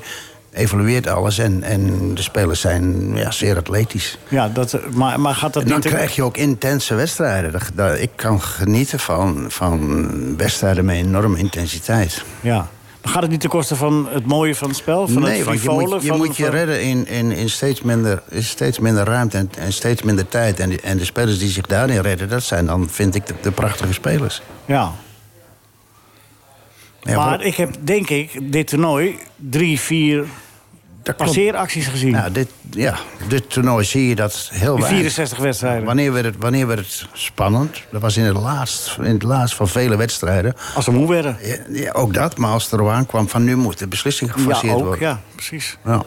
Speaker 5: evolueert alles en, en de spelers zijn ja, zeer atletisch.
Speaker 3: Ja, dat, eh, maar, maar gaat dat
Speaker 5: En dan
Speaker 3: niet...
Speaker 5: krijg je ook intense wedstrijden. Dat- dat- Ik kan genieten van, van wedstrijden met enorme intensiteit.
Speaker 3: Ja. Maar gaat het niet ten koste van het mooie van het spel? Van het
Speaker 5: nee, want je
Speaker 3: frivole,
Speaker 5: moet je,
Speaker 3: van-
Speaker 5: moet je
Speaker 3: van-
Speaker 5: redden in, in, in steeds, minder, in steeds minder ruimte en, en steeds minder tijd. En, die- en de spelers die zich daarin redden, dat zijn dan, vind ik, de, de prachtige spelers.
Speaker 3: Ja.
Speaker 5: Ja,
Speaker 3: maar
Speaker 5: voor-
Speaker 3: ik heb, denk ik, dit toernooi drie, vier
Speaker 5: dat klopt.
Speaker 3: passeeracties gezien.
Speaker 5: Ja, dit, ja, dit toernooi zie je dat heel
Speaker 3: in
Speaker 5: weinig.
Speaker 3: 64 wedstrijden.
Speaker 5: Wanneer werd, het, wanneer werd het spannend? Dat was in het laatst, in het laatst van vele wedstrijden.
Speaker 3: Als ze moe werden.
Speaker 5: Ja, ja, ook dat, maar als het erop aankwam van nu moet de beslissing
Speaker 3: Ja,
Speaker 5: geforceerd
Speaker 3: ook.
Speaker 5: worden.
Speaker 3: Ja, precies.
Speaker 5: Ja.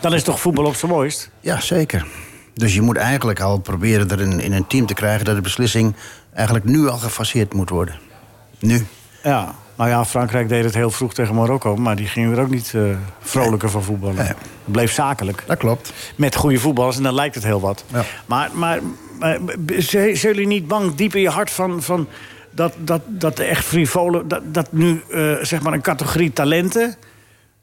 Speaker 3: Dan is toch voetbal op zijn mooist?
Speaker 5: Ja, zeker. Dus je moet eigenlijk al proberen er in, in een team te krijgen dat de beslissing eigenlijk nu al gefaseerd moet worden. Nu.
Speaker 3: Ja. Nou ja, Frankrijk deed het heel vroeg tegen Marokko. Maar die gingen er ook niet eh, vrolijker van voetballen.
Speaker 5: Nee.
Speaker 3: Bleef zakelijk.
Speaker 5: Dat klopt.
Speaker 3: Met goede voetballers en dan lijkt het heel wat.
Speaker 5: Ja.
Speaker 3: Maar, maar, maar b- zijn zijn jullie niet bang diep in je hart van, van dat, dat, dat de echt frivole... dat, dat nu eh, zeg maar een categorie talenten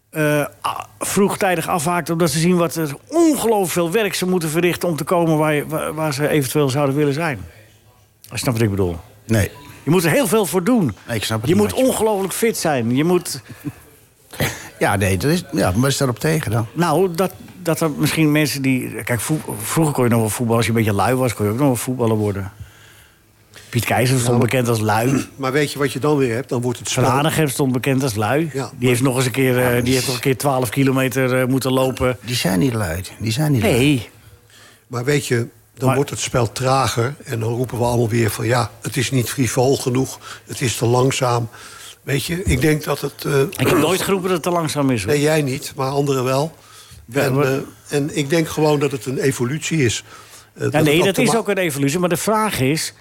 Speaker 3: eh, a- vroegtijdig afhaakt... omdat ze zien wat er ongelooflijk veel werk ze moeten verrichten... om te komen waar, je- waar, waar ze eventueel zouden willen zijn? Als je snapt wat ik bedoel.
Speaker 5: Nee.
Speaker 3: Je moet er heel veel voor doen.
Speaker 5: Nee, ik snap het
Speaker 3: je
Speaker 5: niet
Speaker 3: moet
Speaker 5: wat je-
Speaker 3: ongelooflijk fit zijn. Je moet...
Speaker 5: Ja, nee, dat is, ja, maar is daarop tegen dan?
Speaker 3: Nou, dat, dat er misschien mensen die... Kijk, vo- vroeger kon je nog wel voetballen. Als je een beetje lui was, kon je ook nog wel voetballer worden. Piet Keizer stond bekend als lui.
Speaker 4: Maar weet je wat je dan weer hebt? Dan wordt het spel...
Speaker 3: Ranegem stond bekend als lui.
Speaker 4: Ja.
Speaker 3: Die heeft nog eens een keer, eh, die heeft nog een keer 12 kilometer eh, moeten lopen.
Speaker 5: Die zijn niet lui. Die zijn niet lui.
Speaker 3: Nee,
Speaker 4: Maar weet je, dan
Speaker 3: Maar-
Speaker 4: wordt het spel trager. En dan roepen we allemaal weer van ja, het is niet frivol genoeg. Het is te langzaam. Weet je, ik denk dat het... eh,
Speaker 3: ik heb nooit geroepen dat het te langzaam is. hoor.
Speaker 4: Nee, jij niet, maar anderen wel. en,
Speaker 3: maar-
Speaker 4: eh, en ik denk gewoon dat het een evolutie is. Eh,
Speaker 3: Ja,
Speaker 4: het
Speaker 3: nee, dat
Speaker 4: te
Speaker 3: is
Speaker 4: ma-
Speaker 3: ook een evolutie. Maar de vraag is,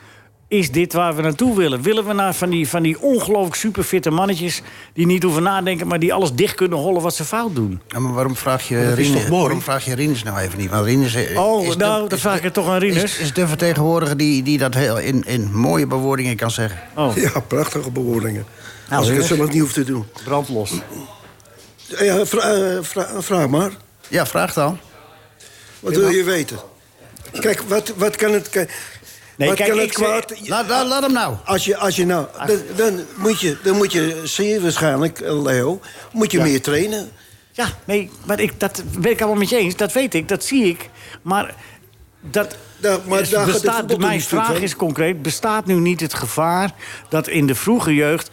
Speaker 3: is dit waar we naartoe willen? Willen we naar van die, van die ongelooflijk superfitte mannetjes... die niet hoeven nadenken, maar die alles dicht kunnen hollen wat ze fout doen?
Speaker 5: Ja, maar waarom vraag je
Speaker 4: dat is
Speaker 5: Rinus-
Speaker 4: toch mooi?
Speaker 5: Waarom vraag je Rinus nou even niet? Want Rinus eh,
Speaker 3: Oh,
Speaker 5: is
Speaker 3: nou,
Speaker 5: de-
Speaker 3: dan
Speaker 5: is
Speaker 3: vraag
Speaker 5: de-
Speaker 3: ik het toch aan Rinus.
Speaker 5: Is, is de vertegenwoordiger die, die dat heel in, in mooie bewoordingen kan zeggen.
Speaker 3: Oh, Nou,
Speaker 6: Ja, prachtige bewoordingen. Als ik
Speaker 3: Rinus.
Speaker 6: het zelf niet hoef te doen.
Speaker 3: brandlos.
Speaker 6: Ja, vra- eh, vra- vraag maar.
Speaker 5: Ja, vraag dan.
Speaker 6: Wat wil je weten? Kijk, wat, wat kan het, kan,
Speaker 3: Nee,
Speaker 6: wat
Speaker 3: kijk,
Speaker 6: kan het
Speaker 3: ik eh, zeg-
Speaker 6: kwaad?
Speaker 5: Laat, laat, laat hem nou.
Speaker 6: Als je, als je nou, dan, dan moet je, dan moet je, zie je waarschijnlijk, eh, Leo, moet je meer trainen.
Speaker 3: Ja, nee, maar ik, dat ben ik allemaal met je eens. Dat weet ik, dat zie ik. Maar dat
Speaker 6: Da- maar
Speaker 3: is-
Speaker 6: daar gaat het
Speaker 3: bestaat,
Speaker 6: voetbal
Speaker 3: mijn
Speaker 6: niet stuk
Speaker 3: vraag
Speaker 6: van.
Speaker 3: is concreet... bestaat nu niet het gevaar dat in de vroege jeugd...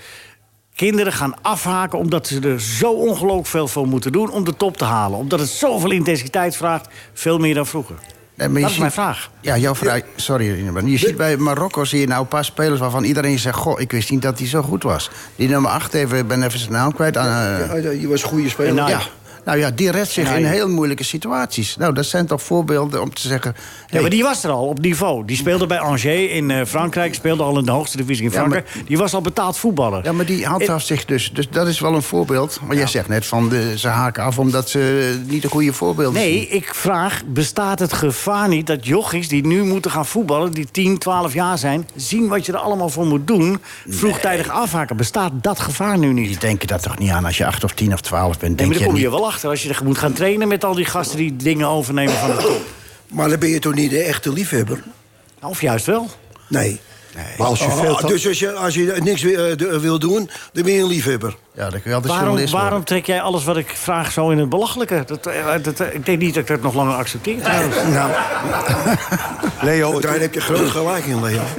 Speaker 3: kinderen gaan afhaken omdat ze er zo ongelooflijk veel voor moeten doen... om de top te halen? Omdat het zoveel intensiteit vraagt, veel meer dan vroeger.
Speaker 5: Nee, Eh, maar je
Speaker 3: Dat is
Speaker 5: ziet-
Speaker 3: mijn vraag.
Speaker 5: Ja, jouw vraag. Sorry, Rinus, je ziet bij Marokko zie je nou een paar spelers waarvan iedereen zegt: Goh, ik wist niet dat hij zo goed was. Die nummer 8 even, ik ben even zijn naam kwijt. aan, eh,
Speaker 6: Ja, je was een goede speler.
Speaker 3: Nou,
Speaker 5: ja. Nou ja, die redt zich
Speaker 3: Nee.
Speaker 5: in heel moeilijke situaties. Nou, dat zijn toch voorbeelden om te zeggen.
Speaker 3: Ja,
Speaker 5: hey,
Speaker 3: maar die was er al op niveau. Die speelde bij Angers in eh, Frankrijk, speelde al in de hoogste divisie in
Speaker 5: Ja, maar-
Speaker 3: Frankrijk. Die was al betaald voetballer.
Speaker 5: Ja, maar die handhaaft zich dus. Dus dat is wel een voorbeeld. Maar jij zegt net van de, ze haken af omdat ze niet de goede voorbeelden
Speaker 3: Nee,
Speaker 5: zien.
Speaker 3: ik vraag, bestaat het gevaar niet dat jochies die nu moeten gaan voetballen... die 10, 12 jaar zijn, zien wat je er allemaal voor moet doen... vroegtijdig afhaken. Bestaat dat gevaar nu niet?
Speaker 5: Die denken dat toch niet aan als je 8 of 10 of 12 bent.
Speaker 3: Nee,
Speaker 5: Denk
Speaker 3: maar daar
Speaker 5: je
Speaker 3: kom je
Speaker 5: niet-
Speaker 3: wel achter als je er moet gaan trainen... met al die gasten die dingen overnemen van de top.
Speaker 6: Maar dan ben je toch niet de echte liefhebber?
Speaker 3: Of juist wel.
Speaker 6: Nee.
Speaker 4: Maar als je
Speaker 3: Oh,
Speaker 6: Ah,
Speaker 4: veel...
Speaker 6: dus als je, als je niks wi- eh, de- wil doen, dan ben je een liefhebber.
Speaker 5: Ja, dan kun je altijd
Speaker 3: Waarom,
Speaker 5: journalist
Speaker 3: waarom
Speaker 5: worden.
Speaker 3: trek jij alles wat ik vraag zo in het belachelijke? Dat, eh, dat, eh, ik denk niet dat ik dat nog langer accepteer.
Speaker 6: Nou,
Speaker 4: Leo, het-
Speaker 6: daar heb je groot gelijk in, Leo.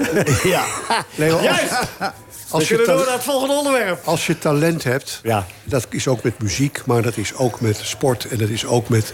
Speaker 4: Leo, als-
Speaker 3: We
Speaker 4: als, je
Speaker 3: kunnen door
Speaker 4: ta-
Speaker 3: naar het volgende onderwerp.
Speaker 4: als je talent hebt,
Speaker 3: Ja.
Speaker 4: dat is ook met muziek, maar dat is ook met sport en dat is ook met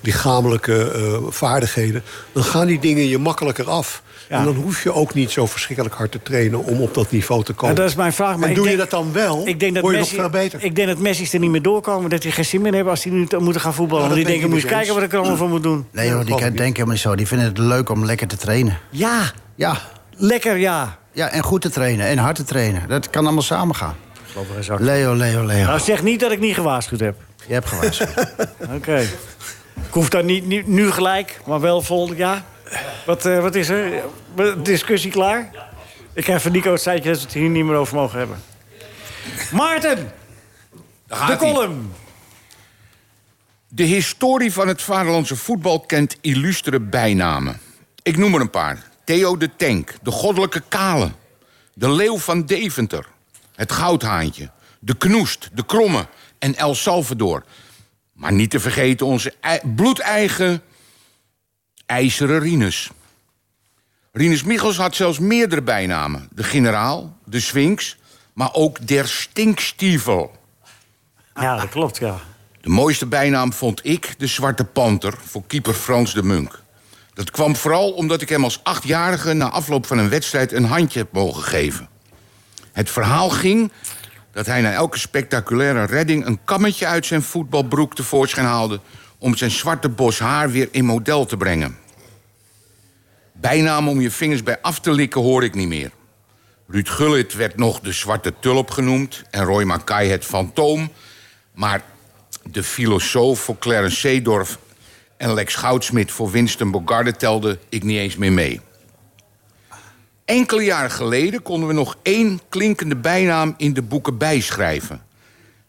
Speaker 4: lichamelijke eh, vaardigheden, dan gaan die dingen je makkelijker af.
Speaker 3: Ja.
Speaker 4: En dan hoef je ook niet zo verschrikkelijk hard te trainen om op dat niveau te komen.
Speaker 3: Ja, dat is mijn vraag. Maar
Speaker 4: en
Speaker 3: ik
Speaker 4: doe je
Speaker 3: denk-
Speaker 4: dat dan wel,
Speaker 3: Ik denk dat
Speaker 4: word je
Speaker 3: Messi,
Speaker 4: nog veel beter.
Speaker 3: Ik denk dat Messi's er niet meer doorkomen. Dat die geen zin meer hebben als die nu te- moeten gaan voetballen.
Speaker 4: Nou,
Speaker 3: Want
Speaker 4: dat
Speaker 3: die denken,
Speaker 4: ben
Speaker 3: moet
Speaker 4: ik
Speaker 3: je
Speaker 4: niet
Speaker 3: kijken
Speaker 4: met
Speaker 3: wat ik er allemaal voor moet doen.
Speaker 5: Nee hoor, die
Speaker 4: geloof ik
Speaker 5: denken helemaal niet zo. Die vinden het leuk om lekker te trainen.
Speaker 3: Ja,
Speaker 5: Ja,
Speaker 3: lekker ja.
Speaker 5: ja en goed te trainen en hard te trainen. Dat kan allemaal samen gaan. Leo, Leo, Leo.
Speaker 3: Nou, zeg niet dat ik niet gewaarschuwd heb.
Speaker 5: Je hebt gewaarschuwd.
Speaker 3: Oké. Ik hoef daar niet nu, nu gelijk, maar wel volgend jaar. Wat, eh, wat is er? Discussie klaar? Ik heb van Nico het seintje dat we het hier niet meer over mogen hebben. Maarten,
Speaker 7: Daar
Speaker 3: de
Speaker 7: gaat-ie.
Speaker 3: column.
Speaker 7: De historie van het vaderlandse voetbal kent illustere bijnamen. Ik noem er een paar. Theo de Tank, de goddelijke kale, de leeuw van Deventer, het goudhaantje, de knoest, de kromme en El Salvador. Maar niet te vergeten onze ei- bloedeigen IJzeren Rinus. Rinus Michels had zelfs meerdere bijnamen. De generaal, de Sphinx, maar ook der Stinkstiefel.
Speaker 3: Ja, dat klopt, ja.
Speaker 7: De mooiste bijnaam vond ik de Zwarte Panter voor keeper Frans de Munk. Dat kwam vooral omdat ik hem als achtjarige na afloop van een wedstrijd een handje heb mogen geven. Het verhaal ging dat hij na elke spectaculaire redding een kammetje uit zijn voetbalbroek tevoorschijn haalde om zijn zwarte bos haar weer in model te brengen. Bijnaam om je vingers bij af te likken hoor ik niet meer. Ruud Gullit werd nog de zwarte tulp genoemd en Roy Mackay het fantoom. Maar de filosoof voor Clarence Seedorf en Lex Goudsmit voor Winston Bogarde telde ik niet eens meer mee. Enkele jaren geleden konden we nog één klinkende bijnaam in de boeken bijschrijven.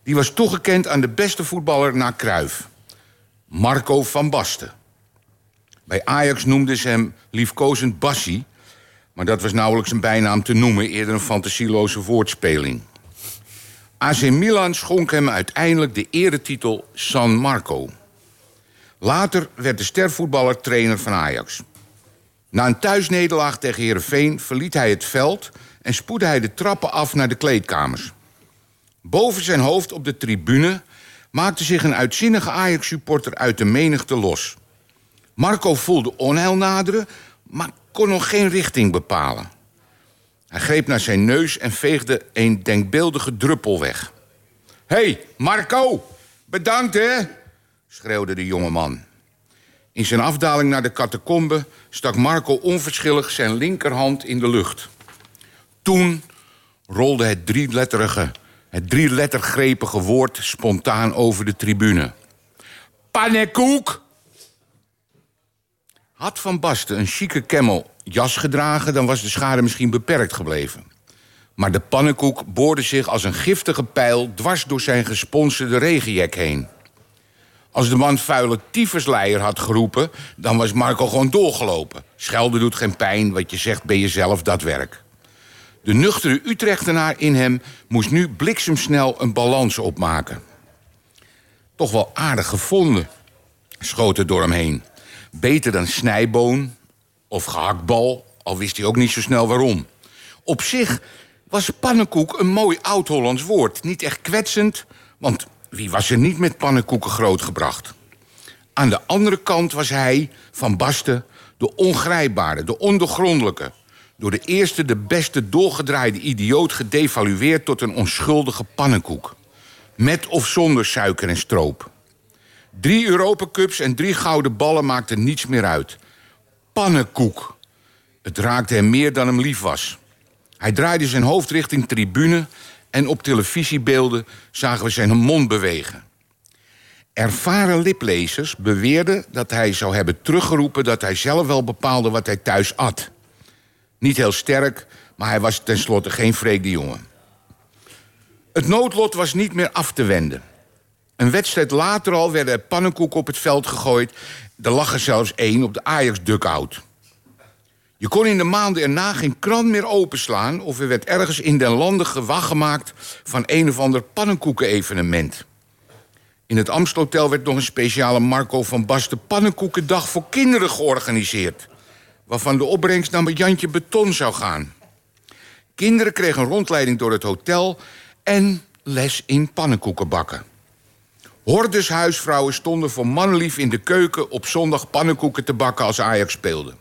Speaker 7: Die was toegekend aan de beste voetballer na Cruijff. Marco van Basten. Bij Ajax noemden ze hem liefkozend Bassie... maar dat was nauwelijks een bijnaam te noemen... eerder een fantasieloze woordspeling. AC Milan schonk hem uiteindelijk de eretitel San Marco. Later werd de stervoetballer trainer van Ajax. Na een thuisnederlaag tegen Heerenveen verliet hij het veld... en spoedde hij de trappen af naar de kleedkamers. Boven zijn hoofd op de tribune maakte zich een uitzinnige Ajax-supporter uit de menigte los. Marco voelde onheil naderen, maar kon nog geen richting bepalen. Hij greep naar zijn neus en veegde een denkbeeldige druppel weg. Hé, hey, Marco! Bedankt, hè? schreeuwde de jongeman. In zijn afdaling naar de catacombe stak Marco onverschillig zijn linkerhand in de lucht. Toen rolde het drieletterige, het drielettergrepige woord spontaan over de tribune. Pannenkoek! Had Van Basten een chique camel jas gedragen... dan was de schade misschien beperkt gebleven. Maar de pannenkoek boorde zich als een giftige pijl... dwars door zijn gesponsorde regenjek heen. Als de man vuile tyfusleier had geroepen... dan was Marco gewoon doorgelopen. Schelden doet geen pijn, wat je zegt ben je zelf dat werk. De nuchtere Utrechtenaar in hem moest nu bliksemsnel een balans opmaken. Toch wel aardig gevonden, schoot het door hem heen. Beter dan snijboon of gehaktbal, al wist hij ook niet zo snel waarom. Op zich was pannenkoek een mooi oud-Hollands woord. Niet echt kwetsend, want wie was er niet met pannenkoeken grootgebracht? Aan de andere kant was hij, Van Basten, de ongrijpbare, de ondoorgrondelijke. Door de eerste, de beste, doorgedraaide idioot gedevalueerd tot een onschuldige pannenkoek. Met of zonder suiker en stroop. Drie Europacups en drie gouden ballen maakten niets meer uit. Pannenkoek. Het raakte hem meer dan hem lief was. Hij draaide zijn hoofd richting tribune en op televisiebeelden zagen we zijn mond bewegen. Ervaren liplezers beweerden dat hij zou hebben teruggeroepen dat hij zelf wel bepaalde wat hij thuis at. Niet heel sterk, maar hij was tenslotte geen vreemde jongen. Het noodlot was niet meer af te wenden. Een wedstrijd later al werden er pannenkoeken op het veld gegooid. Er lag er zelfs één op de Ajax-duckout. Je kon in de maanden erna geen krant meer openslaan... of er werd ergens in den landen gewacht gemaakt... van een of ander pannenkoeken-evenement. In het Amstelhotel werd nog een speciale Marco van Basten... pannenkoekendag voor kinderen georganiseerd... waarvan de opbrengst naar Jantje Beton zou gaan. Kinderen kregen een rondleiding door het hotel... en les in pannenkoeken bakken. Hordes huisvrouwen stonden voor manlief in de keuken... op zondag pannenkoeken te bakken als Ajax speelde.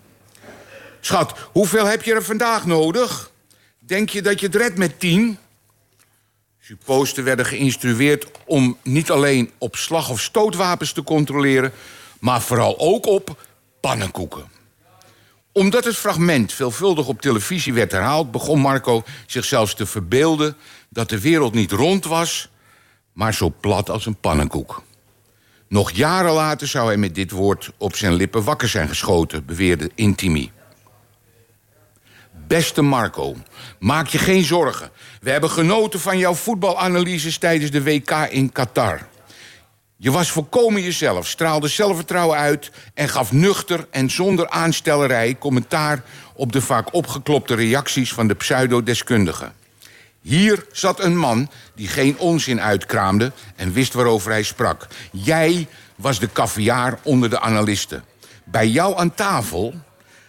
Speaker 7: Schat, hoeveel heb je er vandaag nodig? Denk je dat je het redt met tien? Supposten werden geïnstrueerd om niet alleen op slag- of stootwapens te controleren... maar vooral ook op pannenkoeken. Omdat het fragment veelvuldig op televisie werd herhaald... begon Marco zich zelfs te verbeelden dat de wereld niet rond was... maar zo plat als een pannenkoek. Nog jaren later zou hij met dit woord op zijn lippen wakker zijn geschoten... beweerde Intimi. Beste Marco, maak je geen zorgen. We hebben genoten van jouw voetbalanalyses tijdens de WK in Qatar. Je was volkomen jezelf, straalde zelfvertrouwen uit... en gaf nuchter en zonder aanstellerij commentaar... op de vaak opgeklopte reacties van de pseudodeskundigen. Hier zat een man die geen onzin uitkraamde en wist waarover hij sprak. Jij was de kaviaar onder de analisten. Bij jou aan tafel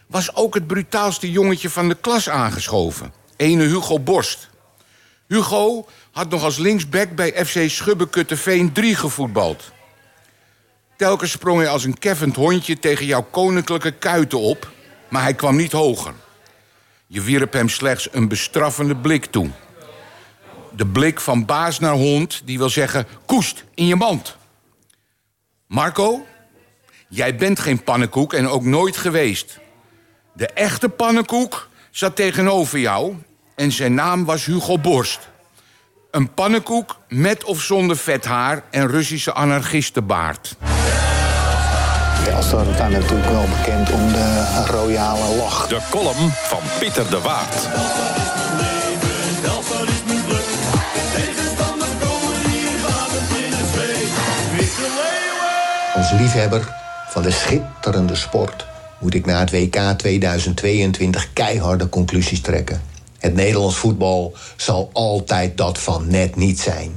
Speaker 7: was ook het brutaalste jongetje van de klas aangeschoven. Ene Hugo Borst. Hugo had nog als linksback bij FC Schubbekutteveen 3 gevoetbald. Telkens sprong hij als een keffend hondje tegen jouw koninklijke kuiten op... maar hij kwam niet hoger. Je wierp hem slechts een bestraffende blik toe. De blik van baas naar hond, die wil zeggen... koest, in je mand. Marco, jij bent geen pannenkoek en ook nooit geweest. De echte pannenkoek zat tegenover jou en zijn naam was Hugo Borst. Een pannenkoek met of zonder vet haar en Russische anarchistenbaard.
Speaker 4: Telstar staat natuurlijk wel bekend om de royale lach.
Speaker 8: De column van Pieter de Waard.
Speaker 4: Als liefhebber van de schitterende sport moet ik na het WK 2022 keiharde conclusies trekken. Het Nederlands voetbal zal altijd dat van net niet zijn.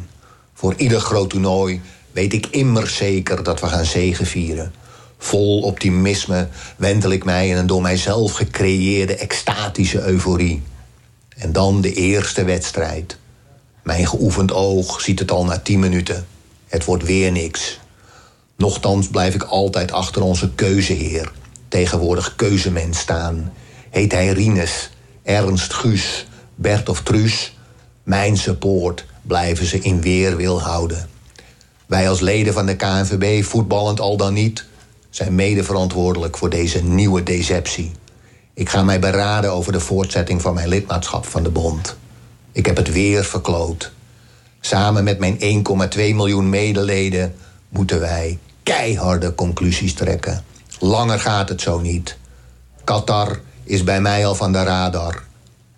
Speaker 4: Voor ieder groot toernooi weet ik immer zeker dat we gaan zegevieren. Vol optimisme wendel ik mij in een door mijzelf gecreëerde extatische euforie. En dan de eerste wedstrijd. Mijn geoefend oog ziet het al na 10 minuten. Het wordt weer niks. Nochtans blijf ik altijd achter onze keuzeheer, tegenwoordig keuzemens staan. Heet hij Rinus, Ernst Guus, Bert of Truus? Mijn support blijven ze in weerwil houden. Wij als leden van de KNVB, voetballend al dan niet, zijn medeverantwoordelijk voor deze nieuwe deceptie. Ik ga mij beraden over de voortzetting van mijn lidmaatschap van de bond. Ik heb het weer verkloot. Samen met mijn 1,2 miljoen medeleden moeten wij keiharde conclusies trekken. Langer gaat het zo niet. Qatar is bij mij al van de radar.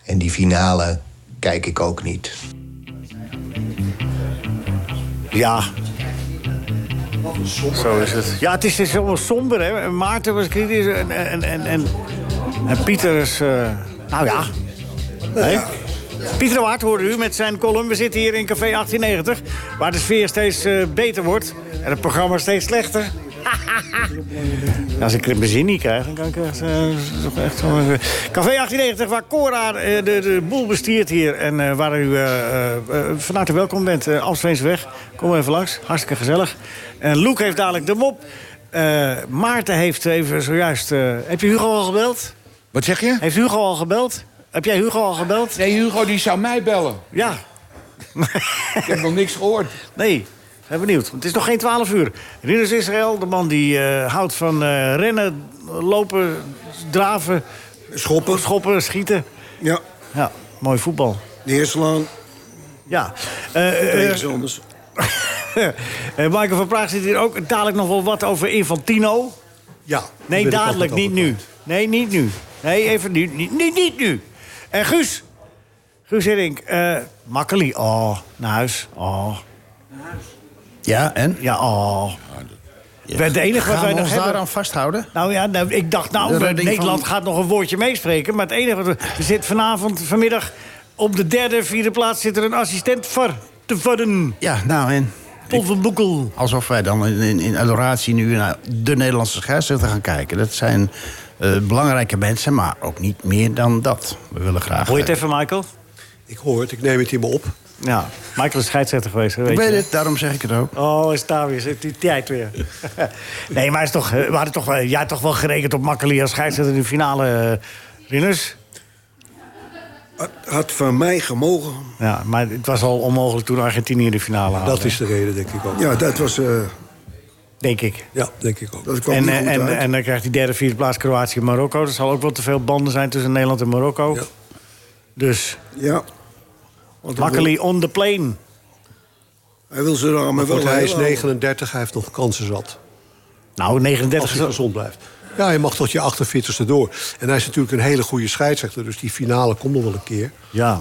Speaker 4: En die finale kijk ik ook niet.
Speaker 3: Ja. Zo is het. Ja, het is, het is allemaal somber, hè. En Maarten was kritisch en, en, en, en, en Pieter is... eh, nou ja. Hè? Pieter de Waard hoorde u met zijn column. We zitten hier in Café 1890, waar de sfeer steeds eh, beter wordt. En het programma steeds slechter. Nou, Als ik er mijn zin niet krijg, dan kan ik echt, eh, toch echt wel even- Café 1890, waar Cora eh, de, de boel bestiert hier. En eh, waar u eh eh, eh, van harte welkom bent. eh Amsterdamsweg, kom even langs. Hartstikke gezellig. En Loek heeft dadelijk de mop. Eh, Maarten heeft even zojuist... eh, heb je Hugo al gebeld?
Speaker 7: Wat zeg je?
Speaker 3: Heeft Hugo al gebeld? Heb jij Hugo al gebeld?
Speaker 7: Nee, Hugo die zou mij bellen.
Speaker 3: Ja.
Speaker 7: Ik heb nog niks gehoord.
Speaker 3: Nee, ik ben benieuwd. Het is nog geen 12 uur. Rinus Israël, de man die eh, houdt van eh, rennen, lopen, draven,
Speaker 9: Schoppen,
Speaker 3: schoppen, schieten.
Speaker 9: ja,
Speaker 3: Ja, mooi voetbal.
Speaker 9: neerslaan,
Speaker 3: Ja. Eh, eh,
Speaker 9: tegenstanders.
Speaker 3: eh, Michael van Praag zit hier ook. Dadelijk nog wel wat over Infantino.
Speaker 10: Ja,
Speaker 3: Nee, dadelijk, niet nu. Nee, niet nu. Nee, even nu. Niet, niet, niet nu. En Guus. Guus Hiddink. eh Makkeli. Oh, naar huis. Oh.
Speaker 5: Ja, en?
Speaker 3: Ja, oh. We- De enige wat wij
Speaker 5: Gaan we
Speaker 3: nog
Speaker 5: ons
Speaker 3: hebben...
Speaker 5: daaraan vasthouden?
Speaker 3: Nou ja, nou, ik dacht
Speaker 5: De
Speaker 3: nou,
Speaker 5: redding
Speaker 3: Nederland
Speaker 5: van-
Speaker 3: gaat nog een woordje meespreken. Maar het enige wat... we- Er zit vanavond, vanmiddag... op de derde, vierde plaats zit er een assistent var te varren.
Speaker 5: Ja, nou en?
Speaker 3: Paul van Boekel.
Speaker 5: Alsof wij dan in, in, in adoratie nu naar de Nederlandse scheidsrechter gaan kijken. Dat zijn eh, belangrijke mensen, maar ook niet meer dan dat. We willen graag...
Speaker 3: Hoor je het
Speaker 5: eh,
Speaker 3: even, Michael?
Speaker 10: Ik hoor het, ik neem het in me op.
Speaker 3: Ja, Michael is scheidsrechter geweest, hè, weet
Speaker 5: Ik
Speaker 3: je.
Speaker 5: weet het, daarom zeg ik het ook.
Speaker 3: Oh, is het daar weer. Zit die tijd weer. nee, maar is toch, eh, we hadden toch, eh, jij had toch wel gerekend op Makkeli als scheidsrechter in de finale, eh, Rinus?
Speaker 9: Had, had van mij gemogen.
Speaker 3: Ja, maar het was al onmogelijk toen Argentinië de finale haalde.
Speaker 10: Dat is de reden, denk ik ook.
Speaker 9: Ja, dat was... eh,
Speaker 3: Denk ik.
Speaker 10: Ja, denk ik ook.
Speaker 9: dat kwam
Speaker 3: En,
Speaker 9: niet
Speaker 3: eh,
Speaker 9: goed
Speaker 3: en,
Speaker 9: uit.
Speaker 3: en dan krijgt die derde, vierde plaats Kroatië en Marokko. Er zal ook wel te veel banden zijn tussen Nederland en Marokko.
Speaker 10: Ja.
Speaker 3: Dus
Speaker 9: ja. Want hij
Speaker 3: Makkeli on the plane.
Speaker 9: wil- Hij wil ze ramen wel...
Speaker 10: Want hij is
Speaker 9: heel houden.
Speaker 10: 39, hij heeft nog kansen zat.
Speaker 3: Nou,
Speaker 10: Als
Speaker 3: 39
Speaker 10: hij gezond blijft. Ja, je mag tot je 48ste door. En hij is natuurlijk een hele goede scheidsrechter. Dus die finale komt nog wel een keer.
Speaker 3: Ja.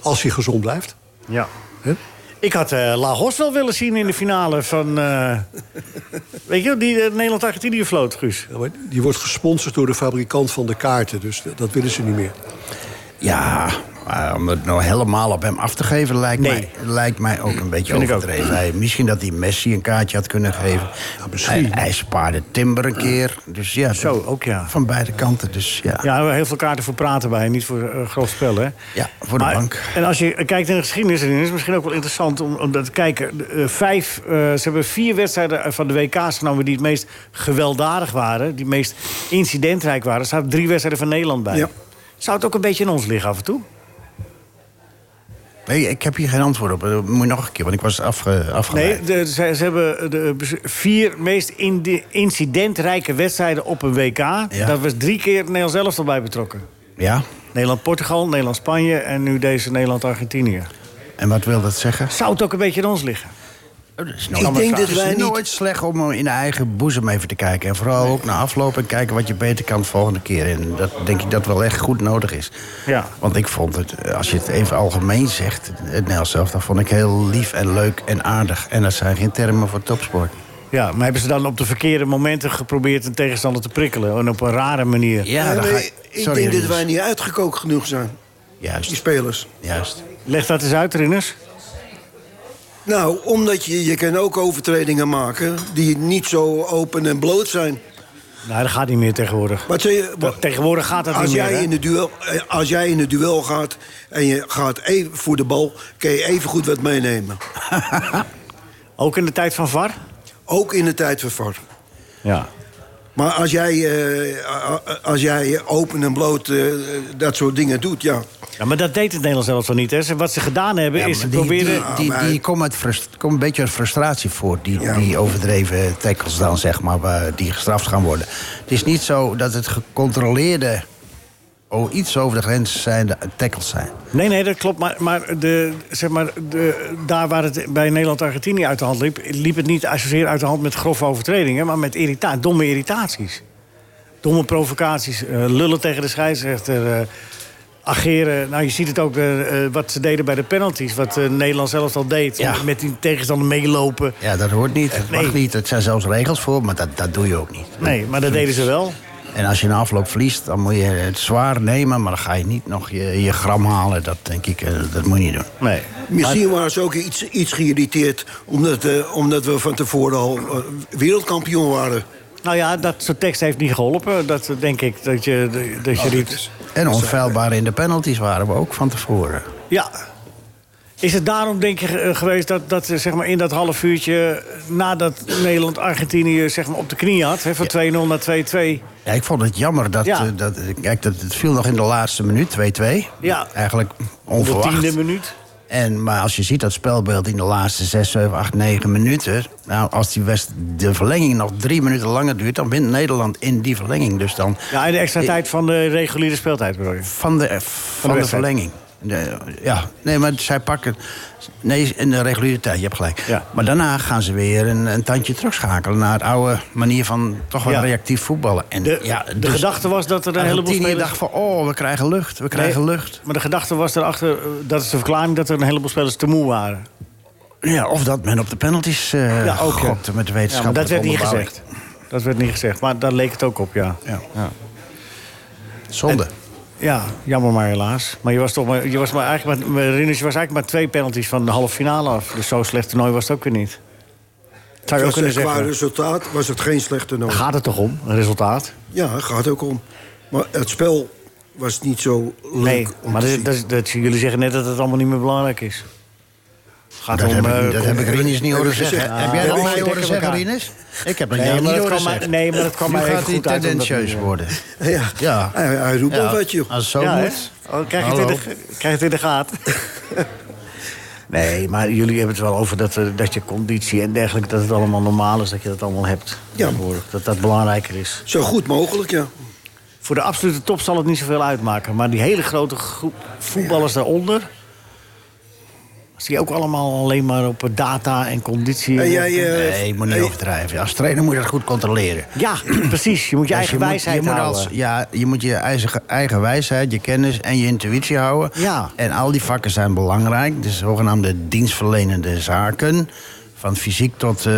Speaker 10: Als hij gezond blijft.
Speaker 3: ja.
Speaker 10: Hè?
Speaker 3: Ik had eh Lagos wel willen zien in de finale van... eh, weet je, wel, die eh, Nederland-Argentinië vloot, Guus.
Speaker 10: Ja, maar Die wordt gesponsord door de fabrikant van de kaarten. Dus d- dat willen ze niet meer.
Speaker 5: Ja, maar om het nou helemaal op hem af te geven lijkt,
Speaker 3: Nee.
Speaker 5: mij, lijkt mij ook een beetje
Speaker 3: Vind ik ook. Ah,
Speaker 5: overdreven. Hij, misschien dat hij Messi een kaartje had kunnen geven.
Speaker 3: nou,
Speaker 10: misschien.
Speaker 5: Hij, hij spaarde Timber een keer. Dus ja,
Speaker 3: Zo,
Speaker 5: dat-
Speaker 3: ook ja.
Speaker 5: Van beide kanten, dus ja.
Speaker 3: Ja, we hebben heel veel kaarten voor praten bij, niet voor eh, groot spel, hè?
Speaker 5: Ja, voor de bank.
Speaker 3: En als je kijkt in de geschiedenis, dan is het misschien ook wel interessant om, om dat te kijken. De, eh, vijf, eh, ze hebben vier wedstrijden eh, van de WK's genomen die het meest gewelddadig waren, die het meest incidentrijk waren. Er staan drie wedstrijden van Nederland bij.
Speaker 9: Ja.
Speaker 3: Zou het ook een beetje in ons liggen af en toe?
Speaker 5: Nee, ik heb hier geen antwoord op. Dat Moet je nog een keer, want ik was afge, afgeleid.
Speaker 3: Nee, de- ze, ze hebben de vier meest indi- incidentrijke wedstrijden op een WK. Daar was drie keer Nederland zelf al bij betrokken.
Speaker 5: Ja?
Speaker 3: Nederland-Portugal, Nederland-Spanje en nu deze Nederland-Argentinië.
Speaker 5: En wat wil dat zeggen?
Speaker 3: Zou het ook een beetje aan ons liggen?
Speaker 5: Oh, dat is
Speaker 6: Ik denk dat wij
Speaker 5: Het is
Speaker 6: niet...
Speaker 5: nooit slecht om eh, in de eigen boezem even te kijken. En vooral ook naar afloop en kijken wat je beter kan de volgende keer. En dat denk ik dat wel echt goed nodig is.
Speaker 3: Ja.
Speaker 5: Want ik vond het, eh, als je het even algemeen zegt, het Nederlands zelf, dat vond ik heel lief en leuk en aardig. En dat zijn geen termen voor topsport.
Speaker 3: Ja, maar hebben ze dan op de verkeerde momenten geprobeerd een tegenstander te prikkelen? En op een rare manier.
Speaker 5: Ja, dan
Speaker 6: Nee,
Speaker 5: ga-
Speaker 6: nee, ik
Speaker 5: Sorry,
Speaker 6: denk dat
Speaker 5: Rinus.
Speaker 6: wij niet uitgekookt genoeg zijn, die
Speaker 5: Juist,
Speaker 6: spelers.
Speaker 5: juist.
Speaker 3: Leg dat eens uit, Rinus.
Speaker 6: Nou, omdat je, je kan ook overtredingen maken die niet zo open en bloot zijn.
Speaker 3: Nou, dat gaat niet meer tegenwoordig.
Speaker 6: Wat zeg je,
Speaker 3: Dat- tegenwoordig gaat dat
Speaker 6: als
Speaker 3: niet
Speaker 6: jij
Speaker 3: meer, hè?
Speaker 6: in de duel, eh, Als jij in het duel gaat en je gaat even voor de bal... kun je even goed wat meenemen.
Speaker 3: Ook in de tijd van VAR?
Speaker 6: Ook in de tijd van VAR.
Speaker 3: Ja.
Speaker 6: Maar als jij, eh, a- a- als jij open en bloot eh, dat soort dingen doet, ja.
Speaker 3: ja. Maar dat deed het Nederlands zelfs wel niet, hè? Ze- Wat ze gedaan hebben,
Speaker 5: Ja,
Speaker 3: is ze
Speaker 5: maar die-
Speaker 3: proberen...
Speaker 5: Die, die, die, komen uit frust- komen een beetje uit frustratie voort. Die,
Speaker 6: Ja.
Speaker 5: die overdreven tackles dan, zeg maar, waar die gestraft gaan worden. Het is niet zo dat het gecontroleerde... Oh, iets over de grens zijn de tackles zijn.
Speaker 3: Nee, nee, dat klopt. Maar, maar, de, zeg maar de, daar waar het bij Nederland-Argentinië uit de hand liep... liep het niet zozeer uit de hand met grove overtredingen... maar met irrita domme irritaties. Domme provocaties. eh, lullen tegen de scheidsrechter. eh, ageren. Nou, je ziet het ook eh, eh, wat ze deden bij de penalties. Wat eh, Nederland zelfs al deed.
Speaker 5: Ja.
Speaker 3: Met die tegenstander meelopen.
Speaker 5: Ja, dat hoort niet. Dat
Speaker 3: Nee.
Speaker 5: mag niet. Er zijn zelfs regels voor, maar dat, dat doe je ook niet.
Speaker 3: Nee, maar dat deden ze wel.
Speaker 5: En als je een afloop verliest, dan moet je het zwaar nemen... maar dan ga je niet nog je, je gram halen. Dat denk ik, eh, dat moet je niet doen.
Speaker 3: Nee.
Speaker 6: Misschien waren ze ook iets, iets geïrriteerd... Omdat, eh, omdat we van tevoren al eh, wereldkampioen waren.
Speaker 3: Nou ja, dat soort tekst heeft niet geholpen. Dat eh, denk ik. Dat je, dat je niet...
Speaker 5: En onfeilbaar in de penalties waren we ook van tevoren.
Speaker 3: Ja. Is het daarom, denk je, eh, geweest dat, dat eh, zeg maar in dat half uurtje... eh, nadat Nederland Argentinië zeg maar, op de knie had, hè, van 2-0 naar 2-2...
Speaker 5: Ja, ik vond het jammer dat,
Speaker 3: Ja.
Speaker 5: eh, dat, kijk, dat het viel nog in de laatste minuut, 2-2.
Speaker 3: Ja.
Speaker 5: Eigenlijk
Speaker 3: op de
Speaker 5: onverwacht.
Speaker 3: tiende minuut...
Speaker 5: En, maar als je ziet dat spelbeeld in de laatste 6, 7, 8, 9 minuten. Nou, als die West, de verlenging nog drie minuten langer duurt, dan wint Nederland in die verlenging. Dus dan
Speaker 3: Ja, en de extra tijd van de reguliere speeltijd, bedoel je?
Speaker 5: van de, eh, van de,
Speaker 3: wedstrijd.
Speaker 5: verlenging. De- ja, nee, maar zij pakken. Nee, in de reguliere tijd, je hebt gelijk.
Speaker 3: Ja.
Speaker 5: Maar daarna gaan ze weer een, een tandje terugschakelen naar het oude manier van toch wel
Speaker 3: Ja.
Speaker 5: reactief voetballen. En,
Speaker 3: De,
Speaker 5: ja,
Speaker 3: de
Speaker 5: dus-
Speaker 3: gedachte was dat er een heleboel
Speaker 5: Argentinië
Speaker 3: spelers...
Speaker 5: dacht van, oh, we krijgen lucht, we krijgen
Speaker 3: Nee,
Speaker 5: lucht.
Speaker 3: Maar de gedachte was erachter, eh, dat is de verklaring... dat er een heleboel spelers te moe waren.
Speaker 5: Ja, of dat men op de penalties eh
Speaker 3: Ja, ook, ja.
Speaker 5: gokte met de
Speaker 3: Ja, maar
Speaker 5: wetenschap.
Speaker 3: dat werd niet gezegd. Dat werd niet gezegd, maar daar leek het ook op, ja.
Speaker 5: Ja. Zonde.
Speaker 3: Ja, jammer maar helaas. Maar je was toch maar, je was maar eigenlijk maar, maar Rinus, je was eigenlijk maar twee penalties van de halve finale af. Dus zo slecht toernooi was het ook weer niet. Zou je ook
Speaker 6: Was
Speaker 3: kunnen
Speaker 6: het qua
Speaker 3: zeggen.
Speaker 6: resultaat was het geen slechte
Speaker 5: dus-
Speaker 6: noot.
Speaker 3: Gaat het toch om, een resultaat?
Speaker 6: Ja, gaat ook om. Maar het spel was niet zo leuk
Speaker 3: Nee,
Speaker 6: om
Speaker 3: maar
Speaker 6: te
Speaker 3: dat,
Speaker 6: zien.
Speaker 3: dat, dat- jullie zeggen net dat het allemaal niet meer belangrijk is. Gaat
Speaker 5: Dat,
Speaker 3: om,
Speaker 5: heb,
Speaker 3: eh,
Speaker 5: ik, dat
Speaker 3: kom-
Speaker 5: heb ik Rinus niet horen
Speaker 6: gezegd.
Speaker 5: zeggen. Ah. heb jij
Speaker 3: Ja,
Speaker 5: dat
Speaker 3: wij
Speaker 5: niet horen
Speaker 3: dekken
Speaker 5: zeggen,
Speaker 3: elkaar.
Speaker 5: Rinus? Ik heb dat
Speaker 3: Nee, maar
Speaker 5: nee, niet
Speaker 3: dat
Speaker 5: horen
Speaker 3: kwam maar-
Speaker 5: zeggen.
Speaker 3: nee, maar dat kwam
Speaker 5: Nu
Speaker 3: maar even
Speaker 5: gaat hij
Speaker 3: goed uit, omdat
Speaker 5: tendentieus
Speaker 3: hij, eh,
Speaker 5: worden.
Speaker 6: Ja,
Speaker 5: Ja.
Speaker 6: Hij, hij roept
Speaker 5: Ja,
Speaker 6: wel wat, joh.
Speaker 5: Als het zo
Speaker 3: Ja, hè?
Speaker 5: moet.
Speaker 3: Oh, krijg, je het in de,
Speaker 5: Hallo.
Speaker 3: krijg je het in de gaten. nee, maar jullie hebben het wel over dat, eh, dat je conditie en dergelijke... dat het allemaal normaal is dat je dat allemaal hebt.
Speaker 6: Ja.
Speaker 3: tegenwoordig. Dat dat belangrijker is.
Speaker 6: Zo goed mogelijk, ja.
Speaker 3: Voor de absolute top zal het niet zoveel uitmaken. Maar die hele grote groep voetballers daaronder. Als die ook allemaal alleen maar op data en conditie.
Speaker 6: En jij, eh,
Speaker 5: Nee, je moet niet
Speaker 6: eh,
Speaker 5: overdrijven. Als trainer moet je dat goed controleren.
Speaker 3: Ja, precies. Je moet je
Speaker 5: Dus
Speaker 3: eigen
Speaker 5: moet-
Speaker 3: wijsheid
Speaker 5: je moet
Speaker 3: houden.
Speaker 5: als- ja, je moet je eigen, eigen wijsheid, je kennis en je intuïtie houden.
Speaker 3: Ja.
Speaker 5: En al die vakken zijn belangrijk. De zogenaamde dienstverlenende zaken. Van fysiek tot, eh,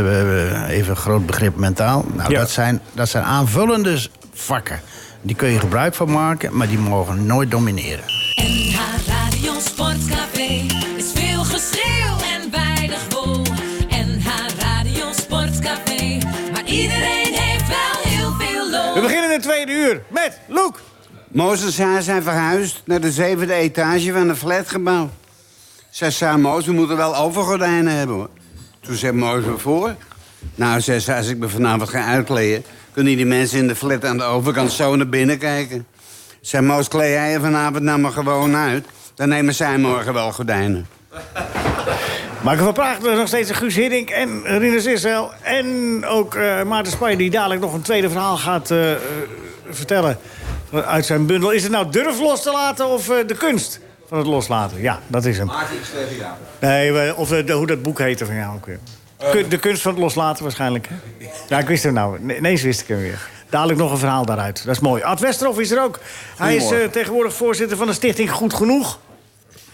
Speaker 5: even een groot begrip, mentaal. Nou,
Speaker 3: Ja.
Speaker 5: dat, zijn, dat zijn aanvullende s- vakken. Die kun je gebruik van maken, maar die mogen nooit domineren.
Speaker 11: NH Radio Sportcafé is veel geschreeuw en weinig wol. NH Radio Sportcafé, maar iedereen heeft wel heel veel
Speaker 3: We
Speaker 11: lol.
Speaker 3: beginnen de tweede uur met Loek.
Speaker 12: Mozes en haar zijn verhuisd naar de zevende etage van een flatgebouw. Zei Saar Mozes, we moeten wel overgordijnen hebben hoor. Toen zei Mozes "Wat voor. Nou, zei ze, als ik me vanavond ga uitkleden... kunnen die mensen in de flat aan de overkant zo naar binnen kijken. Zei Mozes, kleed jij je vanavond nou maar gewoon uit. Dan nemen zij morgen wel gordijnen.
Speaker 3: Marco van Praag, er is nog steeds Guus Hiddink en Rinus Israël. En ook eh Maarten Spanje, die dadelijk nog een tweede verhaal gaat eh, eh, vertellen. uit zijn bundel. Is het nou durf los te laten of eh, de kunst van het loslaten? Ja, dat is hem. Nee, we- of eh, de- hoe dat boek heette van jou ook weer.
Speaker 7: Eh.
Speaker 3: Kun- De kunst van het loslaten waarschijnlijk. hè? Ja, ik wist hem nou. Nee, ineens wist ik hem weer. Dadelijk nog een verhaal daaruit. Dat is mooi. Ad Westerhof is er ook. Hij is eh,
Speaker 7: Goedemorgen.
Speaker 3: tegenwoordig voorzitter van de stichting Goed Genoeg.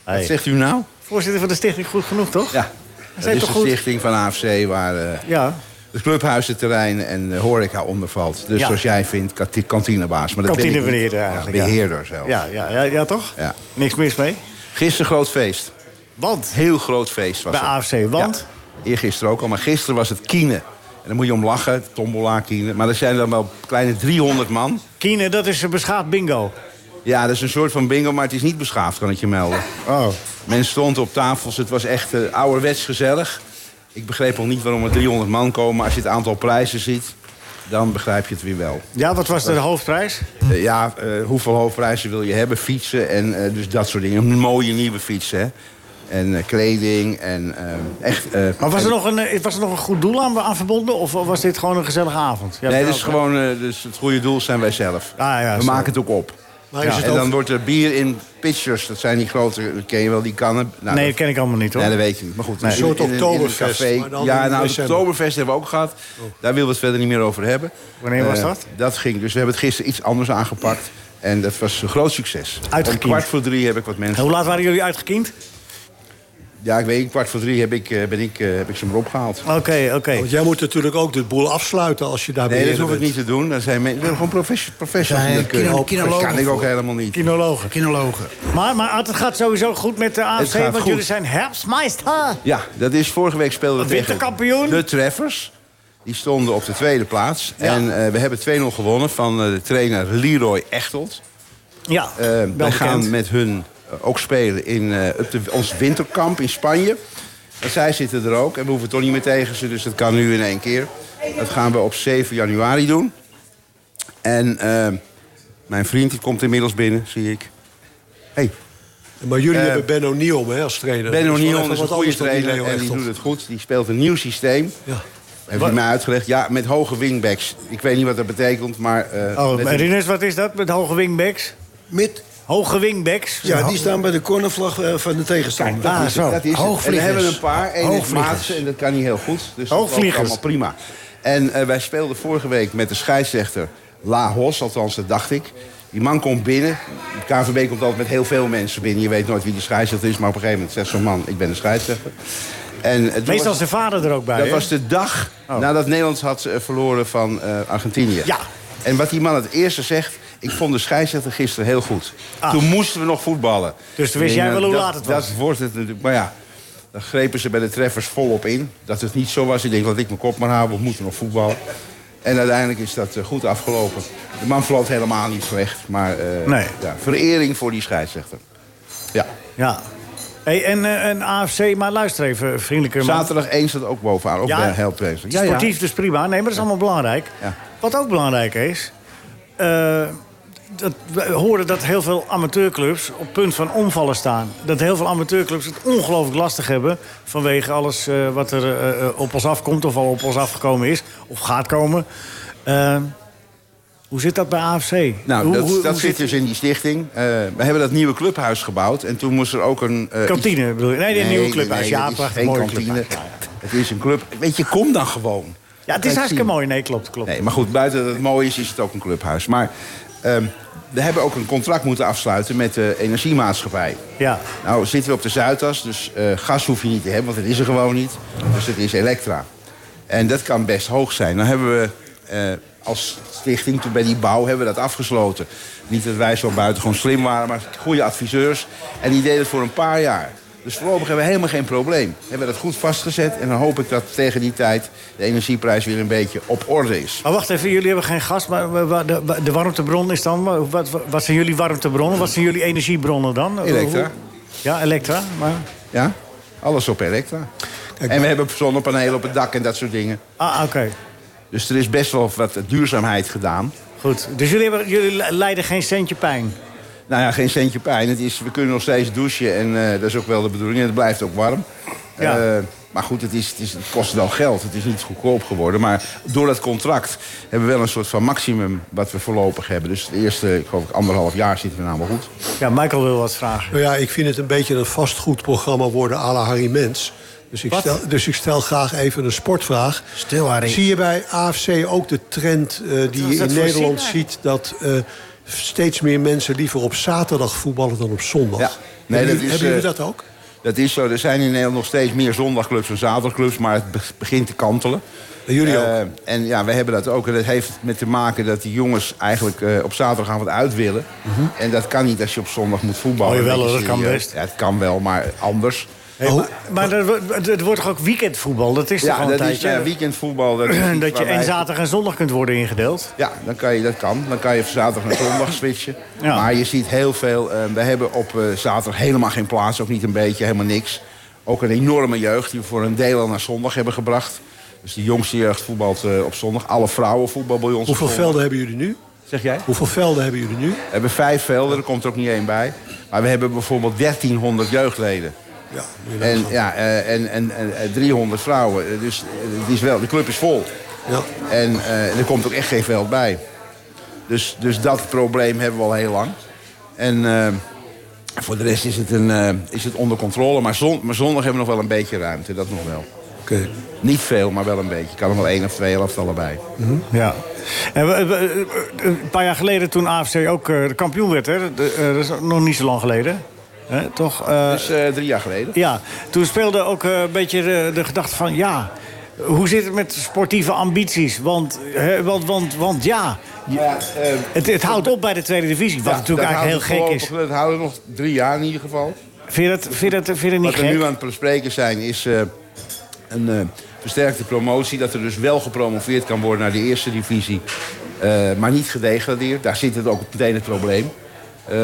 Speaker 3: Hey.
Speaker 7: Wat zegt u nou?
Speaker 3: Voorzitter van de stichting Goed Genoeg, toch?
Speaker 7: Ja.
Speaker 3: Hij
Speaker 7: Dat
Speaker 3: zei
Speaker 7: is de
Speaker 3: toch goed?
Speaker 7: stichting van AFC waar eh,
Speaker 3: Ja.
Speaker 7: het clubhuizenterrein en de horeca onder valt. Dus
Speaker 3: Ja.
Speaker 7: zoals jij vindt, kati- kantinebaas. Maar dat ben ik niet.
Speaker 3: Kantinebeheerder
Speaker 7: Ja,
Speaker 3: eigenlijk. ja.
Speaker 7: Beheerder zelfs.
Speaker 3: Ja, ja, ja, ja, toch?
Speaker 7: Ja.
Speaker 3: Niks mis mee.
Speaker 7: Gisteren groot feest.
Speaker 3: Want?
Speaker 7: Heel groot feest was
Speaker 3: Bij
Speaker 7: het.
Speaker 3: AFC, want?
Speaker 7: Ja, eergisteren ook al, maar gisteren was het kienen. En dan moet je om lachen, tombola kienen. Maar er zijn dan wel kleine 300 man.
Speaker 3: Kienen, dat is een beschaafd bingo.
Speaker 7: Ja, dat is een soort van bingo, maar het is niet beschaafd, kan ik je melden.
Speaker 3: Oh.
Speaker 7: Men stond op tafels, het was echt eh, ouderwets gezellig. Ik begreep al niet waarom er 300 man komen. maar Als je het aantal prijzen ziet, dan begrijp je het weer wel.
Speaker 3: Ja, wat was de hoofdprijs?
Speaker 7: Eh, ja, eh, hoeveel hoofdprijzen wil je hebben? Fietsen en eh, dus dat soort dingen. Een mooie nieuwe fiets, hè. En eh, kleding en eh, echt... eh,
Speaker 3: Maar was
Speaker 7: en-
Speaker 3: er, nog een, eh, was er nog een goed doel aan, aan verbonden? Of was dit gewoon een gezellige avond? Ja,
Speaker 7: nee,
Speaker 3: dat
Speaker 7: dat is
Speaker 3: ook,
Speaker 7: gewoon eh, dus het goede doel zijn wij zelf.
Speaker 3: Ah, ja,
Speaker 7: We
Speaker 3: zo.
Speaker 7: maken het ook op.
Speaker 4: Maar is
Speaker 7: en
Speaker 4: het
Speaker 7: dan
Speaker 4: ook-
Speaker 7: wordt er bier in pitchers. Dat zijn die grote, dat ken je wel, die kannen. Nou,
Speaker 3: Nee, dat
Speaker 7: dat-
Speaker 3: ken ik allemaal niet, hoor.
Speaker 7: Nee, dat weet je niet. Maar goed,
Speaker 3: Nee.
Speaker 7: in-
Speaker 4: soort
Speaker 7: in- in- in een
Speaker 4: Oktoberfest,
Speaker 7: café.
Speaker 4: maar dan
Speaker 7: Ja,
Speaker 4: in
Speaker 7: nou, het
Speaker 4: december. Oh.
Speaker 7: Oktoberfest hebben we ook gehad. Daar willen we het verder niet meer over hebben.
Speaker 3: Wanneer was
Speaker 7: Eh,
Speaker 3: dat?
Speaker 7: Dat ging. Dus we hebben het gisteren iets anders aangepakt. En dat was een groot succes.
Speaker 3: Uitgekiend.
Speaker 7: Om kwart voor drie heb ik wat
Speaker 3: En
Speaker 7: mensen...
Speaker 3: hoe laat waren jullie uitgekiend?
Speaker 7: Ja, ik weet niet, kwart voor drie heb ik, eh, ben ik, eh, heb ik ze maar opgehaald.
Speaker 3: Oké, oké.
Speaker 7: Oh,
Speaker 4: Want jij moet natuurlijk ook de boel afsluiten als je daar
Speaker 7: Nee, dat
Speaker 4: beheerder
Speaker 7: hoef ik
Speaker 4: bent.
Speaker 7: niet te doen. Dat zijn men- ik ben gewoon professionals. professionals
Speaker 13: Zijn
Speaker 7: die dat kunnen.
Speaker 13: kino-
Speaker 7: dat
Speaker 13: kinologen
Speaker 7: kan ik ook
Speaker 13: voor.
Speaker 7: helemaal niet.
Speaker 3: Kinologen.
Speaker 13: Kinologen.
Speaker 3: Maar, maar Ad, het gaat sowieso goed met de AFC,
Speaker 7: Het gaat
Speaker 3: want
Speaker 7: goed.
Speaker 3: jullie zijn herfstmeister.
Speaker 7: Ja, dat is vorige week speelden we
Speaker 3: De
Speaker 7: tegen
Speaker 3: winterkampioen.
Speaker 7: de Treffers. Die stonden op de tweede plaats.
Speaker 3: Ja.
Speaker 7: En eh, we hebben 2-0 gewonnen van eh, de trainer Leroy Echtelt.
Speaker 3: Ja,
Speaker 7: Eh,
Speaker 3: wel
Speaker 7: wij
Speaker 3: bekend.
Speaker 7: gaan met hun eh, ook spelen in eh, op de- ons winterkamp in Spanje. En zij zitten er ook. En we hoeven toch niet meer tegen ze, dus dat kan nu in één keer. Dat gaan we op 7 januari doen. En eh, mijn vriend die komt inmiddels binnen, zie ik. hey,
Speaker 4: Maar jullie
Speaker 7: Eh,
Speaker 4: hebben Ben O'Neill hè, als trainer.
Speaker 7: Ben
Speaker 4: Dat wel
Speaker 7: O'Neill
Speaker 4: even
Speaker 7: is een
Speaker 4: wat
Speaker 7: goede
Speaker 4: anders dan die Leo
Speaker 7: trainer en die
Speaker 4: Echtelt.
Speaker 7: doet het goed. Die speelt een nieuw systeem.
Speaker 4: Ja.
Speaker 7: Heeft hij mij uitgelegd? Ja, met hoge wingbacks. Ik weet niet wat dat betekent, maar... eh,
Speaker 3: Oh,
Speaker 7: met
Speaker 3: maar
Speaker 7: een-
Speaker 3: Rinus, wat is dat met hoge wingbacks?
Speaker 9: Mid,
Speaker 3: Hoge wingbacks?
Speaker 9: ja, die staan bij de cornervlag eh, van de tegenstander.
Speaker 3: Ah, zo.
Speaker 7: dat is het. En we
Speaker 13: Hoogvliegers.
Speaker 7: hebben een paar. Eén is
Speaker 13: Hoogvliegers.
Speaker 7: Maatsen en dat kan hij heel goed. Dus dat loopt
Speaker 3: Hoogvliegers.
Speaker 7: allemaal prima. En eh, wij speelden vorige week met de scheidsrechter La Hos, althans dat dacht ik. Die man komt binnen. De KVB komt altijd met heel veel mensen binnen. Je weet nooit wie de scheidsrechter is, maar op een gegeven moment zegt zo'n man... ik ben de scheidsrechter. En, eh, toen
Speaker 3: Meestal
Speaker 7: was-
Speaker 3: is zijn vader er ook bij.
Speaker 7: Dat
Speaker 3: hè?
Speaker 7: was de dag nadat Nederland had eh, verloren van eh, Argentinië.
Speaker 3: Oh. Ja.
Speaker 7: En wat die man het eerste zegt... Ik vond de scheidsrechter gisteren heel goed.
Speaker 3: Ah.
Speaker 7: Toen moesten we nog voetballen.
Speaker 3: Dus toen wist
Speaker 7: Ik
Speaker 3: jij
Speaker 7: denk,
Speaker 3: wel hoe
Speaker 7: dat-
Speaker 3: laat het was.
Speaker 7: Dat wordt het natuurlijk. Maar ja, dan grepen ze bij de treffers volop in. Dat het niet zo was. Ik denk, laat ik mijn kop maar houden. We moeten nog voetballen. En uiteindelijk is dat eh, goed afgelopen. De man vloot helemaal niet slecht. Maar eh,
Speaker 3: Nee.
Speaker 7: ja, verering voor die scheidsrechter. Ja.
Speaker 3: Ja. Hey, en eh, een AFC, maar luister even, vriendelijke man.
Speaker 7: Zaterdag 1 staat ook bovenaan. Ook bij Helprezen. eh, Ja, ja.
Speaker 3: sportief dus prima. Nee, maar dat is allemaal belangrijk.
Speaker 7: Ja.
Speaker 3: Wat ook belangrijk is... eh, dat, we horen dat heel veel amateurclubs op punt van omvallen staan. Dat heel veel amateurclubs het ongelooflijk lastig hebben... vanwege alles eh, wat er eh, eh, op ons afkomt of al op ons afgekomen is... of gaat komen. Eh, hoe zit dat bij AFC?
Speaker 7: Nou,
Speaker 3: hoe,
Speaker 7: dat,
Speaker 3: hoe-
Speaker 7: dat
Speaker 3: hoe
Speaker 7: zit dus in die stichting. Eh, we hebben dat nieuwe clubhuis gebouwd. En toen moest er ook een... eh,
Speaker 3: Kantine
Speaker 7: iets-
Speaker 3: bedoel je? Nee, die nieuwe clubhuis. Ja,
Speaker 7: dat is
Speaker 3: prachtig,
Speaker 7: geen
Speaker 3: mooie
Speaker 7: kantine.
Speaker 3: clubhuis.
Speaker 7: Het is een club. Weet je, kom dan gewoon.
Speaker 3: Ja, het is
Speaker 7: Kijk,
Speaker 3: hartstikke
Speaker 7: zie.
Speaker 3: mooi. Nee, klopt, klopt.
Speaker 7: Nee, maar goed, buiten dat het mooi is, is het ook een clubhuis. Maar ehm, we hebben ook een contract moeten afsluiten met de energiemaatschappij.
Speaker 3: Ja.
Speaker 7: Nou zitten we op de Zuidas, dus eh, gas hoef je niet te hebben, want dat is er gewoon niet. Dus het is elektra. En dat kan best hoog zijn. Dan hebben we eh, als stichting, toen bij die bouw, hebben we dat afgesloten. Niet dat wij zo buitengewoon slim waren, maar goede adviseurs. En die deden het voor een paar jaar. Dus voorlopig hebben we helemaal geen probleem. We hebben dat goed vastgezet en dan hoop ik dat tegen die tijd... de energieprijs weer een beetje op orde is.
Speaker 3: Maar wacht even, jullie hebben geen gas, maar wa- wa- de, wa- de warmtebron is dan... wa- Wat, wa- wat zijn jullie warmtebronnen? Wat zijn jullie energiebronnen dan?
Speaker 7: Elektra.
Speaker 3: Hoe- Ja, Elektra, maar...
Speaker 7: Ja? Alles op elektra. En we hebben zonnepanelen op het dak en dat soort dingen.
Speaker 3: Ah, oké.
Speaker 7: Dus er is best wel wat duurzaamheid gedaan.
Speaker 3: Goed. Dus jullie, hebben, jullie le- lijden geen centje pijn?
Speaker 7: Nou ja, geen centje pijn. Het is, we kunnen nog steeds douchen en eh, dat is ook wel de bedoeling. En het blijft ook warm.
Speaker 3: Ja.
Speaker 7: Eh, Maar goed, het, is, het, is, het kost wel geld. Het is niet goedkoop geworden. Maar door dat contract hebben we wel een soort van maximum wat we voorlopig hebben. Dus de eerste, ik geloof ik, anderhalf jaar zitten we namelijk goed.
Speaker 3: Ja, Michael wil wat vragen.
Speaker 4: Nou ja, ik vind het een beetje een vastgoedprogramma worden à la Harry Mens. Dus ik, stel, dus ik stel graag even een sportvraag.
Speaker 14: Stil, Harry.
Speaker 4: Zie je bij AFC ook de trend eh, die
Speaker 3: was
Speaker 4: je
Speaker 3: dat
Speaker 4: in
Speaker 3: voor
Speaker 4: Nederland
Speaker 3: ziek?
Speaker 4: ziet... dat eh, steeds meer mensen liever op zaterdag voetballen dan op zondag?
Speaker 7: Ja. Nee,
Speaker 4: hebben,
Speaker 7: dat
Speaker 4: jullie-
Speaker 7: is,
Speaker 4: hebben jullie
Speaker 7: eh,
Speaker 4: dat ook?
Speaker 7: Dat is zo. Er zijn in Nederland nog steeds meer zondagclubs dan zaterdagclubs. Maar het be- begint te kantelen. jullie ook? En ja, we hebben dat ook. En dat heeft met te maken dat die jongens eigenlijk eh, op zaterdagavond uit willen. En dat kan niet als je op zondag moet voetballen.
Speaker 3: Oh, jawel,
Speaker 7: Dan ben je
Speaker 3: Mhm. hoor, dat kan
Speaker 7: serieus.
Speaker 3: best.
Speaker 7: Ja, het kan wel, maar anders.
Speaker 3: Hey, maar maar er wo- het- het wordt toch ook weekendvoetbal? Dat is toch
Speaker 7: Oh. ja,
Speaker 3: al een
Speaker 7: dat is
Speaker 3: tijdje?
Speaker 7: eh, weekendvoetbal. Dat, is iets
Speaker 3: dat je
Speaker 7: waar wij-
Speaker 3: en zaterdag en zondag kunt worden ingedeeld.
Speaker 7: Ja, dan kan je, dat kan. Dan kan je van zaterdag naar zondag switchen.
Speaker 3: Ja.
Speaker 7: Maar je ziet heel veel. eh, we hebben op eh, zaterdag helemaal geen plaats, ook niet een beetje, helemaal niks. Ook een enorme jeugd die we voor een deel al naar zondag hebben gebracht. Dus de jongste jeugd voetbalt eh, op zondag. Alle vrouwen voetbal bij ons.
Speaker 4: Hoeveel
Speaker 7: op zondag.
Speaker 4: velden hebben jullie nu?
Speaker 7: Zeg jij?
Speaker 4: Hoeveel velden hebben jullie nu?
Speaker 7: We hebben vijf velden, er komt er ook niet één bij. Maar we hebben bijvoorbeeld 1300 jeugdleden.
Speaker 4: Ja,
Speaker 7: En, ja, eh, en, en, en, eh, 300 vrouwen. Eh, Dus eh, het is wel, de club is vol.
Speaker 4: Ja.
Speaker 7: En eh, er komt ook echt geen veld bij. Dus, dus dat probleem hebben we al heel lang. En eh, voor de rest is het, een, eh, is het onder controle. Maar, zon, maar zondag hebben we nog wel een beetje ruimte, dat nog wel.
Speaker 4: Oké.
Speaker 7: Niet veel, maar wel een beetje. Kan er wel één of twee helften allebei.
Speaker 3: Ja. En we- we- een paar jaar geleden toen AFC ook eh, de kampioen werd, hè? de- eh, dat is nog niet zo lang geleden. Hè, toch? Eh,
Speaker 7: Dus eh, drie jaar geleden.
Speaker 3: ja, toen speelde ook eh, een beetje de, de gedachte van ja. Hoe zit het met sportieve ambities? Want, hè, want, want, want ja, je-
Speaker 7: Maar ja, eh,
Speaker 3: het, het houdt op bij de tweede divisie. Wat
Speaker 7: ja,
Speaker 3: natuurlijk
Speaker 7: dat
Speaker 3: eigenlijk heel
Speaker 7: houdt
Speaker 3: gek
Speaker 7: het
Speaker 3: is.
Speaker 7: voorlopig- Dat houden we nog drie jaar in ieder geval.
Speaker 3: Vind je dat, vind je dat, vind je dat niet
Speaker 7: Wat we
Speaker 3: gek?
Speaker 7: nu aan het bespreken zijn is eh, een eh, versterkte promotie. Dat er dus wel gepromoveerd kan worden naar de eerste divisie. eh, maar niet gedegradeerd. Daar zit het ook meteen het probleem. Eh,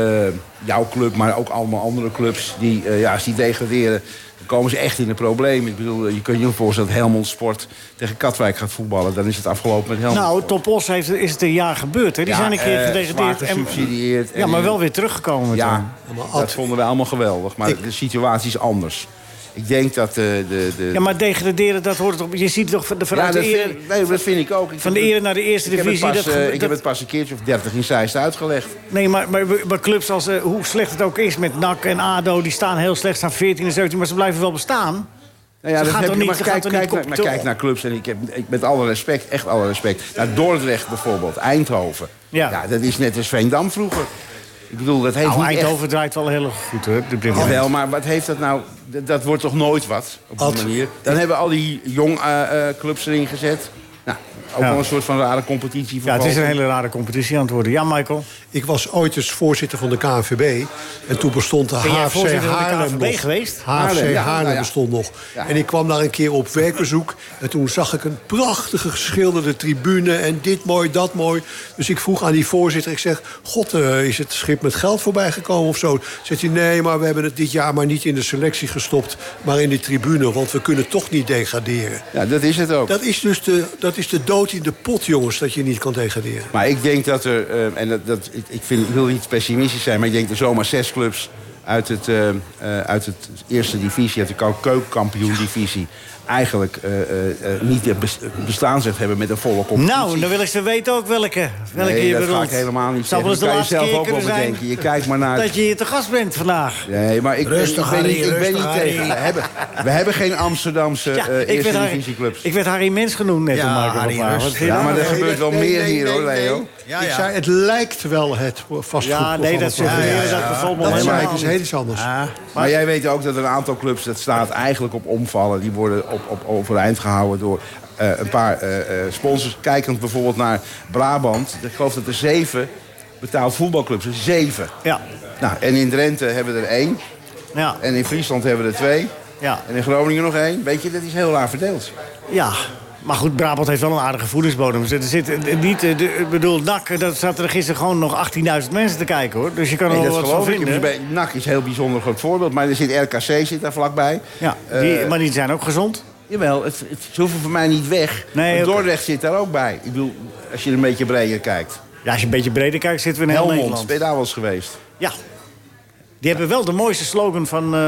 Speaker 7: jouw club, maar ook allemaal andere clubs die, eh, ja, als die degraderen... dan komen ze echt in de probleem. Ik bedoel, eh, je kunt je ook voorstellen dat Helmond Sport tegen Katwijk gaat voetballen. Dan is het afgelopen met Helmond
Speaker 3: Nou, Topos heeft, is het een jaar gebeurd. Hè? Die
Speaker 7: Ja,
Speaker 3: zijn een keer
Speaker 7: eh,
Speaker 3: gedegradeerd.
Speaker 7: zwaar
Speaker 3: en-
Speaker 7: gesubsidieerd en-
Speaker 3: ja, maar wel weer teruggekomen.
Speaker 7: Ja,
Speaker 3: Ja.
Speaker 7: dat vonden we allemaal geweldig. Maar de situatie is anders. Ik denk dat eh, de... de
Speaker 3: ja, maar degraderen, dat hoort toch... Je ziet toch van de, vanuit
Speaker 7: Ja, dat
Speaker 3: de ere...
Speaker 7: vind, ik- nee, maar dat vind ik ook. Ik
Speaker 3: Van
Speaker 7: heb
Speaker 3: de
Speaker 7: het-
Speaker 3: ere naar de eerste
Speaker 7: ik heb het
Speaker 3: divisie,
Speaker 7: pas,
Speaker 3: dat
Speaker 7: eh,
Speaker 3: ge-
Speaker 7: ik
Speaker 3: dat-
Speaker 7: heb het pas een keertje of 30 in Zeist uitgelegd. Nou
Speaker 3: Nee, maar, maar, maar clubs als... eh, hoe slecht het ook is met NAC en ADO... die staan heel slecht, staan 14 en 17... maar ze blijven wel bestaan.
Speaker 7: Nou ja,
Speaker 3: Ze
Speaker 7: dat
Speaker 3: gaan
Speaker 7: heb
Speaker 3: toch
Speaker 7: je-
Speaker 3: niet-
Speaker 7: maar
Speaker 3: ze
Speaker 7: kijk,
Speaker 3: gaan toch niet
Speaker 7: kijk, naar, maar
Speaker 3: competeren?
Speaker 7: kijk naar clubs. En ik heb ik, met alle respect, echt alle respect. Naar Dordrecht bijvoorbeeld, Eindhoven.
Speaker 3: Ja.
Speaker 7: dat is net als Veendam vroeger. Ik bedoel, dat heeft
Speaker 3: Nou,
Speaker 7: niet echt-
Speaker 3: Eindhoven draait wel heel erg goed, hè? op dit moment.
Speaker 7: Jawel, maar wat heeft dat nou... Dat, dat wordt toch nooit wat, op die
Speaker 4: Ad.
Speaker 7: manier? Dan hebben we al die jong eh, eh, clubs erin gezet. Nou, ook
Speaker 3: Ja.
Speaker 7: wel een soort van rare competitie.
Speaker 3: Ja, het is een
Speaker 7: vervalsen.
Speaker 3: hele rare competitie aan het worden. Ja, Michael?
Speaker 4: Ik was ooit eens voorzitter van de KNVB. En toen bestond de
Speaker 3: Ben jij
Speaker 4: HFC
Speaker 3: voorzitter van de
Speaker 4: Haarlem
Speaker 3: KNVB
Speaker 4: nog.
Speaker 3: geweest?
Speaker 4: HFC
Speaker 7: Haarlem, ja.
Speaker 4: Haarlem
Speaker 7: Nou ja.
Speaker 4: bestond nog.
Speaker 7: Ja.
Speaker 4: En ik kwam daar een keer op werkbezoek. En toen zag ik een prachtige geschilderde tribune. En dit mooi, dat mooi. Dus ik vroeg aan die voorzitter. Ik zeg, god, eh, is het schip met geld voorbij gekomen of zo? Zegt hij, nee, maar we hebben het dit jaar maar niet in de selectie gestopt. Maar in de tribune, want we kunnen toch niet degraderen.
Speaker 7: Ja, dat is het ook.
Speaker 4: Dat is dus de, dat is de dood in de pot, jongens, dat je niet kan degraderen.
Speaker 7: Maar ik denk dat er, eh, en dat, dat, ik, ik, vind, ik wil niet pessimistisch zijn, maar ik denk er zomaar zes clubs uit het, eh, eh, uit het eerste divisie, uit de keu- keukenkampioen divisie, eigenlijk eh, eh, eh, niet het bes- bestaansrecht hebben met een volle competitie.
Speaker 3: Nou, dan wil ik ze weten ook welke, welke
Speaker 7: nee,
Speaker 3: je
Speaker 7: dat
Speaker 3: bedoelt.
Speaker 7: ga ik helemaal niet
Speaker 3: Zou
Speaker 7: zeggen.
Speaker 3: wel eens de
Speaker 7: Dat kan
Speaker 3: laatste
Speaker 7: je zelf
Speaker 3: keer
Speaker 7: ook wel
Speaker 3: kunnen zijn
Speaker 7: bedenken. Je kijkt maar naar...
Speaker 3: dat je hier te gast bent vandaag.
Speaker 7: Nee, maar ik,
Speaker 14: Rustig,
Speaker 7: ik ben
Speaker 14: Harry,
Speaker 7: niet, ik ben
Speaker 14: rustig,
Speaker 7: niet
Speaker 14: Harry.
Speaker 7: tegen. We hebben, we hebben geen Amsterdamse
Speaker 3: Ja,
Speaker 7: eh,
Speaker 3: ik, werd
Speaker 7: eerste
Speaker 3: Harry,
Speaker 7: divisieclubs.
Speaker 3: ik werd Harry Mens genoemd net.
Speaker 14: Ja,
Speaker 3: door Michael
Speaker 14: Harry,
Speaker 3: Hofma. Wat
Speaker 14: rustig.
Speaker 3: vind je
Speaker 7: Ja, maar
Speaker 3: nou?
Speaker 7: er gebeurt wel meer hier, hoor, Leo.
Speaker 14: Ja,
Speaker 4: Ik
Speaker 14: ja.
Speaker 4: zei, het lijkt wel het vastgoed.
Speaker 3: Ja, nee, dat
Speaker 4: ja,
Speaker 3: suggereren
Speaker 4: ja, ja.
Speaker 3: dat bijvoorbeeld
Speaker 4: Dat
Speaker 3: helemaal
Speaker 4: zei ik, is heel iets anders.
Speaker 7: Maar jij weet ook dat er een aantal clubs, dat staat eigenlijk op omvallen. Die worden op, op overeind gehouden door eh, een paar eh, eh, sponsors. Kijkend bijvoorbeeld naar Brabant. Ik geloof dat er zeven betaald voetbalclubs zijn. Zeven.
Speaker 3: Ja,
Speaker 7: Nou, en in Drenthe hebben we er één.
Speaker 3: ja,
Speaker 7: En in Friesland hebben we er twee.
Speaker 3: ja,
Speaker 7: En in Groningen nog één. Weet je, dat is heel raar verdeeld.
Speaker 3: ja. Maar goed, Brabant heeft wel een aardige voedingsbodem. Er zit eh, niet, eh, de- ik bedoel, NAC, eh, dat zaten er gisteren gewoon nog 18.000 mensen te kijken, hoor. Dus je kan er
Speaker 7: Nee,
Speaker 3: wel
Speaker 7: dat
Speaker 3: wat van
Speaker 7: geloof ik.
Speaker 3: vinden.
Speaker 7: Dus bij NAC is een heel bijzonder groot voorbeeld. Maar er zit RKC zit daar vlakbij.
Speaker 3: Ja, die,
Speaker 7: Eh,
Speaker 3: maar die zijn ook gezond.
Speaker 7: Jawel, het, het, ze hoeven voor mij niet weg.
Speaker 3: Nee,
Speaker 7: Want
Speaker 3: oké.
Speaker 7: Dordrecht zit daar ook bij. Ik bedoel, als je een beetje breder kijkt.
Speaker 3: Ja, als je een beetje breder kijkt, zitten we in heel
Speaker 7: Helmond, ben
Speaker 3: Nederland.
Speaker 7: je daar wel eens geweest?
Speaker 3: Ja. Die hebben wel de mooiste slogan van, eh,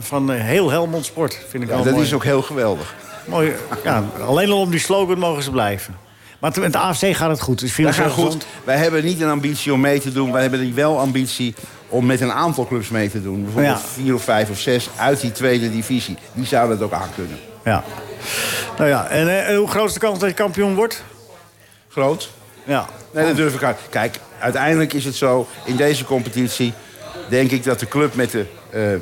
Speaker 3: van eh, heel Helmond Sport, vind ik
Speaker 7: Ja,
Speaker 3: wel
Speaker 7: dat
Speaker 3: mooi.
Speaker 7: is ook heel geweldig.
Speaker 3: Mooi, ja, alleen al om die slogan mogen ze blijven. Maar met de AFC gaat het goed. Dus
Speaker 7: Wij,
Speaker 3: financieel
Speaker 7: gaan
Speaker 3: gezond.
Speaker 7: goed. wij hebben niet een ambitie om mee te doen. Wij hebben die wel ambitie om met een aantal clubs mee te doen. Bijvoorbeeld
Speaker 3: Ja.
Speaker 7: vier of vijf of zes uit die tweede divisie. Die zouden dat ook aankunnen.
Speaker 3: Ja. Nou ja, en eh, hoe groot is de kans dat je kampioen wordt?
Speaker 7: Groot.
Speaker 3: Ja.
Speaker 7: Nee, dat durf ik aan. Kijk, uiteindelijk is het zo, in deze competitie... denk ik dat de club met de, eh, eh,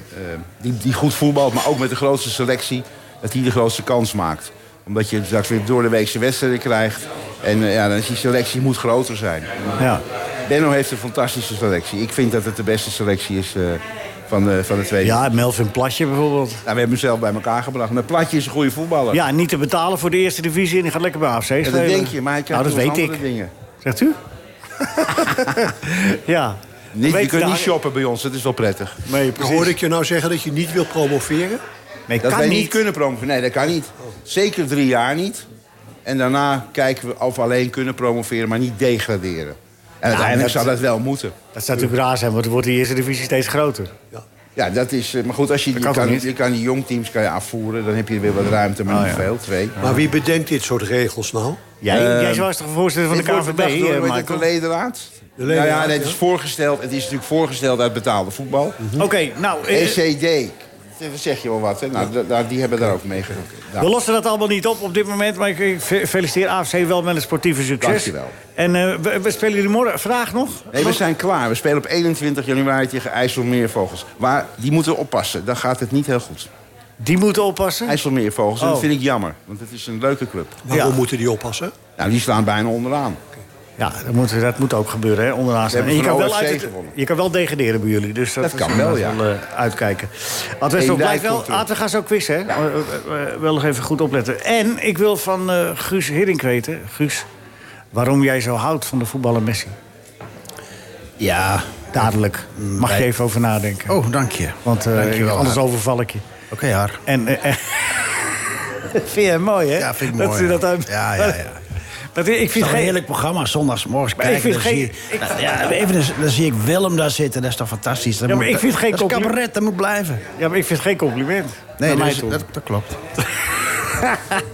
Speaker 7: die, die goed voetbalt, maar ook met de grootste selectie... dat die de grootste kans maakt. Omdat je straks weer door de weekse wedstrijden krijgt. En eh, ja, dan is die selectie moet groter zijn.
Speaker 3: Ja.
Speaker 7: Benno heeft een fantastische selectie. Ik vind dat het de beste selectie is eh, van, de, van de tweede.
Speaker 3: Ja, Melvin Platje bijvoorbeeld.
Speaker 7: Nou, we hebben hem zelf bij elkaar gebracht. Maar Platje is een goede voetballer.
Speaker 3: Ja, niet te betalen voor de eerste divisie en die gaat lekker bij AFC
Speaker 7: Ja,
Speaker 3: spelen.
Speaker 7: dat denk je, maar hij
Speaker 3: nou,
Speaker 7: krijgt
Speaker 3: dat
Speaker 7: nog
Speaker 3: weet ik.
Speaker 7: andere dingen.
Speaker 3: Zegt u? ja.
Speaker 7: Niet,
Speaker 3: Weet
Speaker 7: je kunt
Speaker 3: daar-
Speaker 7: niet shoppen bij ons, dat is wel prettig.
Speaker 3: Nee,
Speaker 4: Hoorde ik je nou zeggen dat je niet wil promoveren?
Speaker 3: Nee,
Speaker 7: Dat
Speaker 3: kan
Speaker 7: wij
Speaker 3: niet.
Speaker 7: niet. kunnen promoveren. Nee, dat kan niet. Zeker drie jaar niet. En daarna kijken we of we alleen kunnen promoveren, maar niet degraderen. En uiteindelijk
Speaker 3: dat-
Speaker 7: zou dat wel moeten.
Speaker 3: Dat zou natuurlijk raar zijn, want dan wordt die eerste divisie steeds groter.
Speaker 7: Ja, dat is... eh, Maar goed, als je, je,
Speaker 3: kan
Speaker 7: kan,
Speaker 3: toch niet?
Speaker 7: je kan die jongteams kan je afvoeren. Dan heb je weer wat ruimte, maar
Speaker 3: Ah,
Speaker 7: niet
Speaker 3: ja.
Speaker 7: veel. Twee.
Speaker 4: Maar wie bedenkt dit soort regels nou?
Speaker 3: Jij,
Speaker 7: Eh,
Speaker 3: jij was toch voorzitter van de KVB,
Speaker 7: Dit wordt bedacht door,
Speaker 3: eh,
Speaker 7: hoe heet het,
Speaker 3: Michael?
Speaker 7: de ledenraad?
Speaker 4: De ledenraad,
Speaker 7: nou ja, nee, het
Speaker 4: ja.
Speaker 7: is voorgesteld. Het is natuurlijk voorgesteld uit betaalde voetbal. E
Speaker 3: Oké, nou, eh,
Speaker 7: ECD. Dat zeg je wel wat, hè? Nou, da- daar- die hebben daar ook mee gedaan.
Speaker 3: we lossen dat allemaal niet op op dit moment. Maar ik, ik fe- feliciteer AFC wel met het sportieve succes.
Speaker 7: Dankjewel.
Speaker 3: En eh, we, we spelen jullie morgen, vandaag nog?
Speaker 7: Nee, we zijn klaar. We spelen op 21 januari tegen IJsselmeervogels. Maar die moeten oppassen. Dan gaat het niet heel goed.
Speaker 3: Die moeten oppassen.
Speaker 7: IJsselmeervogels, en dat
Speaker 3: Oh.
Speaker 7: vind ik jammer. Want het is een leuke club.
Speaker 4: Waarom
Speaker 3: Ja.
Speaker 4: moeten die oppassen?
Speaker 7: Nou, die staan bijna onderaan.
Speaker 3: Ja, dat moet, dat moet ook gebeuren, hè, onderaan staan.
Speaker 7: hebben
Speaker 3: En je,
Speaker 7: van
Speaker 3: kan wel
Speaker 7: OSC
Speaker 3: uit het-
Speaker 7: gewonnen.
Speaker 3: je kan wel degraderen bij jullie. Dus dat,
Speaker 7: Dat
Speaker 3: is
Speaker 7: kan wel,
Speaker 3: inderdaad
Speaker 7: ja.
Speaker 3: eh, uitkijken. Adwesthof
Speaker 7: Eén
Speaker 3: blijft
Speaker 7: dijk
Speaker 3: wel.
Speaker 7: komt terug.
Speaker 3: Laten we gaan zo quizzen, hè? Eh, eh, eh, wel nog even goed opletten. En ik wil van eh, Guus Hiddink weten, Guus... waarom jij zo houdt van de voetballer Messi.
Speaker 5: Ja.
Speaker 3: Dadelijk. Mag je
Speaker 5: wij-
Speaker 3: even over nadenken.
Speaker 5: Oh, dank je.
Speaker 3: Want eh,
Speaker 5: Dankjewel,
Speaker 3: anders
Speaker 5: Haar.
Speaker 3: overval ik je.
Speaker 5: Oké, Har.
Speaker 3: En, eh, eh, vind je hem mooi, hè?
Speaker 5: Ja, vind ik
Speaker 3: Dat
Speaker 5: mooi,
Speaker 3: ze Dat,
Speaker 5: ja.
Speaker 3: aan-
Speaker 5: Ja, ja, ja.
Speaker 3: Dat, ik
Speaker 5: Het
Speaker 3: vind
Speaker 5: is toch een
Speaker 3: geen...
Speaker 5: heerlijk programma, zondagsmorgens
Speaker 3: Maar ik
Speaker 5: kijken.
Speaker 3: vind
Speaker 5: dan,
Speaker 3: geen-
Speaker 5: zie
Speaker 3: ik-
Speaker 5: ik, nou, ja, even, eens- dan zie ik Willem daar zitten, dat is toch fantastisch. Dat
Speaker 3: Ja, maar
Speaker 5: moet-
Speaker 3: ik vind geen
Speaker 5: dat is
Speaker 3: compliment.
Speaker 5: cabaret, dat moet blijven.
Speaker 3: Ja, maar ik vind het geen compliment. Naar
Speaker 5: Nee,
Speaker 3: mij
Speaker 5: dat, is-
Speaker 3: toe.
Speaker 5: dat, dat klopt.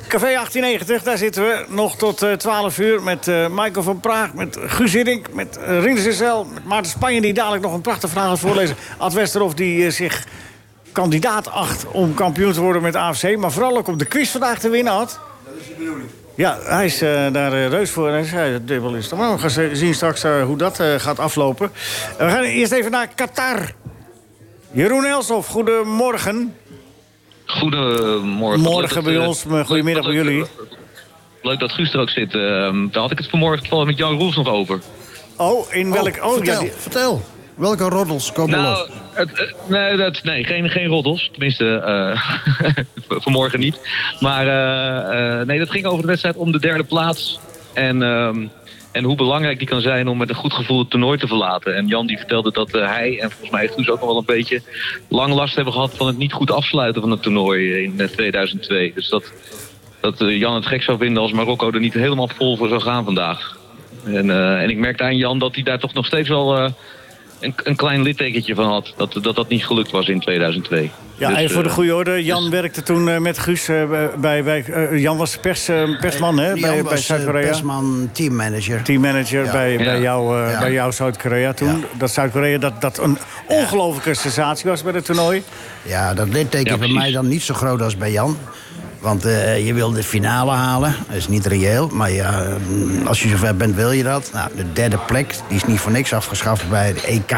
Speaker 3: Café 1890, daar zitten we nog tot eh, 12 uur met eh, Michael van Praag, met Guus Hiddink, met uh, Rien Zissel, met Maarten Spanje, die dadelijk nog een prachtig verhaal gaat voorlezen. Ad Westerhof, die eh, zich kandidaat acht om kampioen te worden met AFC, maar vooral ook om de quiz vandaag te winnen had. Ja, hij is eh, daar eh, reus voor. En hij zei, de dubbel is normaal. We gaan ze- zien straks eh, hoe dat eh, gaat aflopen. En we gaan eerst even naar Qatar. Jeroen Elshoff, goedemorgen.
Speaker 9: Goedemorgen.
Speaker 3: Morgen
Speaker 9: Leuk dat,
Speaker 3: bij
Speaker 9: eh,
Speaker 3: ons, maar goedemiddag bij
Speaker 9: leuk-
Speaker 3: jullie.
Speaker 9: Leuk dat Guus er ook zit. Ehm, daar had ik het vanmorgen toevallig met Jan Roels nog over.
Speaker 3: Oh, in welk... Oh,
Speaker 5: vertel,
Speaker 3: ja, die-
Speaker 5: vertel. Welke roddels komen los?
Speaker 9: Nou, het, eh, nee, dat, nee geen, geen roddels. Tenminste, eh, vanmorgen niet. Maar eh, eh, nee, dat ging over de wedstrijd om de derde plaats. En, ehm, en hoe belangrijk die kan zijn om met een goed gevoel het toernooi te verlaten. En Jan die vertelde dat eh, hij en volgens mij Guus ook nog wel een beetje lang last hebben gehad van het niet goed afsluiten van het toernooi in eh, 2002. Dus dat, dat eh, Jan het gek zou vinden als Marokko er niet helemaal vol voor zou gaan vandaag. En, eh, en ik merkte aan Jan dat hij daar toch nog steeds wel eh, een, een klein littekentje van had. Dat, dat dat niet gelukt was in 2002.
Speaker 3: Ja,
Speaker 9: Dus,
Speaker 3: even voor de
Speaker 9: eh,
Speaker 3: goede orde. Jan werkte toen eh, met Guus eh, bij... bij eh, Jan was pers, eh, persman, hè?
Speaker 5: Jan
Speaker 3: bij
Speaker 5: was,
Speaker 3: bij
Speaker 5: eh,
Speaker 3: Zuid-Korea.
Speaker 5: Persman, teammanager.
Speaker 3: Teammanager bij,
Speaker 9: Ja.
Speaker 3: bij jou, eh,
Speaker 5: Ja.
Speaker 3: bij jou Zuid-Korea toen. Dat Zuid-Korea dat, dat een ongelofelijke sensatie was bij het toernooi.
Speaker 5: Ja, dat litteken
Speaker 9: Ja,
Speaker 5: is bij
Speaker 9: precies.
Speaker 5: mij dan niet zo groot als bij Jan. Want eh, je wil de finale halen. Dat is niet reëel. Maar ja, mm, als je zover bent, wil je dat. Nou, de derde plek, die is niet voor niks afgeschaft bij de EK.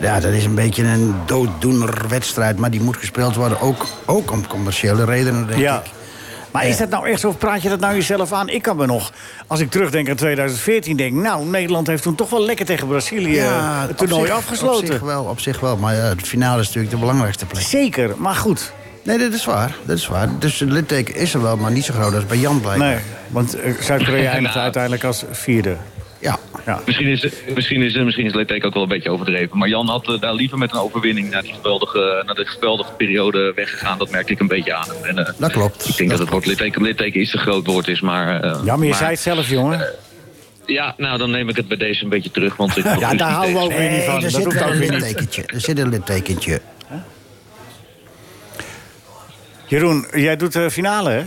Speaker 5: Ja, dat is een beetje een dooddoener wedstrijd. Maar die moet gespeeld worden, ook, ook om commerciële redenen, denk
Speaker 3: Ja.
Speaker 5: ik.
Speaker 3: Maar is dat nou echt zo, of praat je dat nou jezelf aan? Ik kan me nog, als ik terugdenk aan 2014, denk nou, Nederland heeft toen toch wel lekker tegen Brazilië eh, het
Speaker 5: op
Speaker 3: toernooi
Speaker 5: zich-
Speaker 3: afgesloten.
Speaker 5: Op zich wel, op zich wel. Maar ja, de finale is natuurlijk de belangrijkste plek.
Speaker 3: Zeker, maar goed.
Speaker 5: Nee, dat is waar. Dat is waar. Dus het litteken is er wel, maar niet zo groot als bij Jan blijkbaar.
Speaker 3: Nee, want eh, Zuid-Korea eindigde
Speaker 9: Nou.
Speaker 3: uiteindelijk als vierde.
Speaker 5: Ja.
Speaker 3: Ja.
Speaker 9: Misschien is, misschien is, misschien is Letek ook wel een beetje overdreven. Maar Jan had eh, daar liever met een overwinning naar die geweldige, naar de geweldige periode weggegaan. Dat merkte ik een beetje aan. hem. En, eh,
Speaker 5: Dat klopt.
Speaker 9: Ik denk dat het woord litteken, litteken is een groot woord is, maar... eh,
Speaker 3: Ja, maar je
Speaker 9: maar-
Speaker 3: zei het zelf, jongen.
Speaker 9: Ja, nou dan neem ik het bij deze een beetje terug. Want ik
Speaker 5: Ja, daar houden we ook weer niet van.
Speaker 9: Dat
Speaker 5: Er zit
Speaker 9: hoeft
Speaker 5: wel
Speaker 9: ook
Speaker 5: een
Speaker 9: weer niet.
Speaker 5: littekentje. Er zit een littekentje.
Speaker 3: Jeroen, jij doet de finale, hè?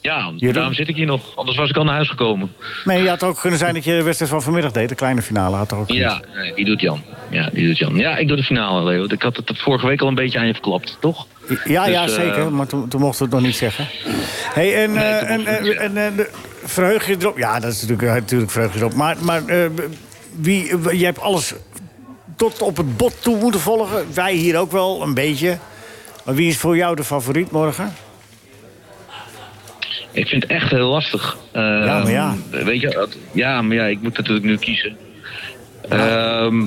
Speaker 9: Ja, daarom zit ik hier nog. Anders was ik al naar huis gekomen.
Speaker 3: Nee, je had ook kunnen zijn dat je de wedstrijd van vanmiddag deed. De kleine finale had er ook.
Speaker 9: Ja, nee, die doet Jan. Ja, die doet Jan. Ja, ik doe de finale, Leo. Ik had het vorige week al een beetje aan je verklapt, toch?
Speaker 3: Ja, ja,
Speaker 9: Dus, eh,
Speaker 3: zeker. Maar toen, toen mochten we het nog niet zeggen. Hey, en, eh, en, en, en, eh, de- verheug je erop? Ja, dat is natuurlijk, eh, natuurlijk verheug je erop. Maar, maar eh, wie, eh, jij hebt alles tot op het bot toe moeten volgen. Wij hier ook wel, een beetje. Maar wie is voor jou de favoriet morgen?
Speaker 9: Ik vind het echt heel lastig. eh, ja,
Speaker 3: maar ja.
Speaker 9: Weet je, dat- ja, maar ja, ik moet natuurlijk nu kiezen. Ehm,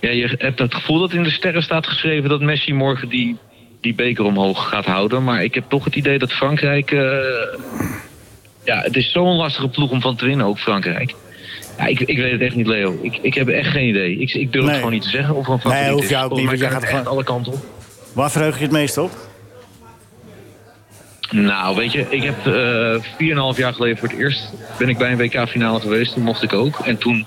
Speaker 9: ja, je hebt het gevoel dat in de sterren staat geschreven dat Messi morgen die, die beker omhoog gaat houden. Maar ik heb toch het idee dat Frankrijk. eh, ja, het is zo'n lastige ploeg om van te winnen, ook Frankrijk. Ja, ik, ik weet het echt niet, Leo. Ik, ik heb echt geen idee. Ik, ik durf
Speaker 3: Nee.
Speaker 9: het gewoon niet te zeggen of er een
Speaker 3: Nee,
Speaker 9: favoriet
Speaker 3: hoef
Speaker 9: is.
Speaker 3: je ook niet,
Speaker 9: Volgens mij
Speaker 3: want jij
Speaker 9: kan
Speaker 3: gaat
Speaker 9: het echt alle kanten op.
Speaker 3: Waar verheug je het meest op?
Speaker 9: Nou, weet je, ik heb eh 4,5 jaar geleden voor het eerst ben ik bij een WK-finale geweest. Toen mocht ik ook. En toen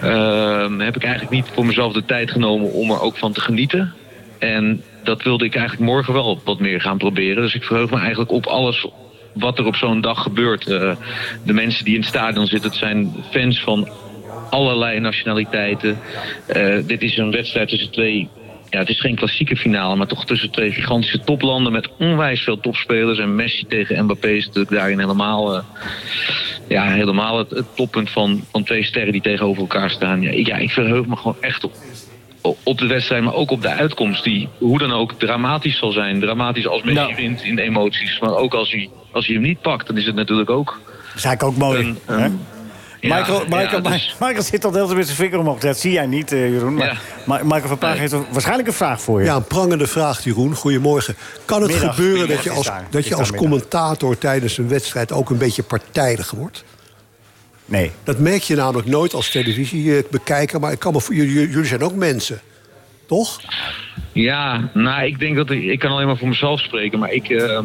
Speaker 9: ehm, heb ik eigenlijk niet voor mezelf de tijd genomen om er ook van te genieten. En dat wilde ik eigenlijk morgen wel wat meer gaan proberen. Dus ik verheug me eigenlijk op alles wat er op zo'n dag gebeurt. Eh, de mensen die in het stadion zitten, het zijn fans van allerlei nationaliteiten. Eh, dit is een wedstrijd tussen twee. Ja, het is geen klassieke finale, maar toch tussen twee gigantische toplanden met onwijs veel topspelers. En Messi tegen Mbappé is natuurlijk daarin helemaal, eh, ja, helemaal het, het toppunt van, van twee sterren die tegenover elkaar staan. Ja, ik- ja, ik verheug me gewoon echt op, op de wedstrijd, maar ook op de uitkomst. Die hoe dan ook dramatisch zal zijn. Dramatisch als Messi wint in de emoties, maar ook als hij, als hij hem niet pakt, dan is het natuurlijk ook.
Speaker 3: Dat is eigenlijk ook mooi. hè?
Speaker 9: ja,
Speaker 3: Michael, Michael,
Speaker 9: ja, dus-
Speaker 3: Mi- Michael zit al de hele tijd met zijn vinger omhoog. Dat zie jij niet, eh, Jeroen. Maar, maar Michael van Praag heeft waarschijnlijk een vraag voor je.
Speaker 4: Ja, een prangende vraag, Jeroen. Goedemorgen. Kan het
Speaker 3: Middag.
Speaker 4: gebeuren dat
Speaker 3: Middag
Speaker 4: je
Speaker 3: is
Speaker 4: als,
Speaker 3: daar.
Speaker 4: dat
Speaker 3: Is
Speaker 4: je
Speaker 3: daar
Speaker 4: als
Speaker 3: middag.
Speaker 4: commentator tijdens een wedstrijd ook een beetje partijdig wordt?
Speaker 3: Nee.
Speaker 4: Dat merk je namelijk nooit als televisiebekijker, maar ik kan me, voor- jullie, jullie zijn ook mensen, toch?
Speaker 9: Ja, nou, ik denk dat ik, ik kan alleen maar voor mezelf spreken, maar ik. eh,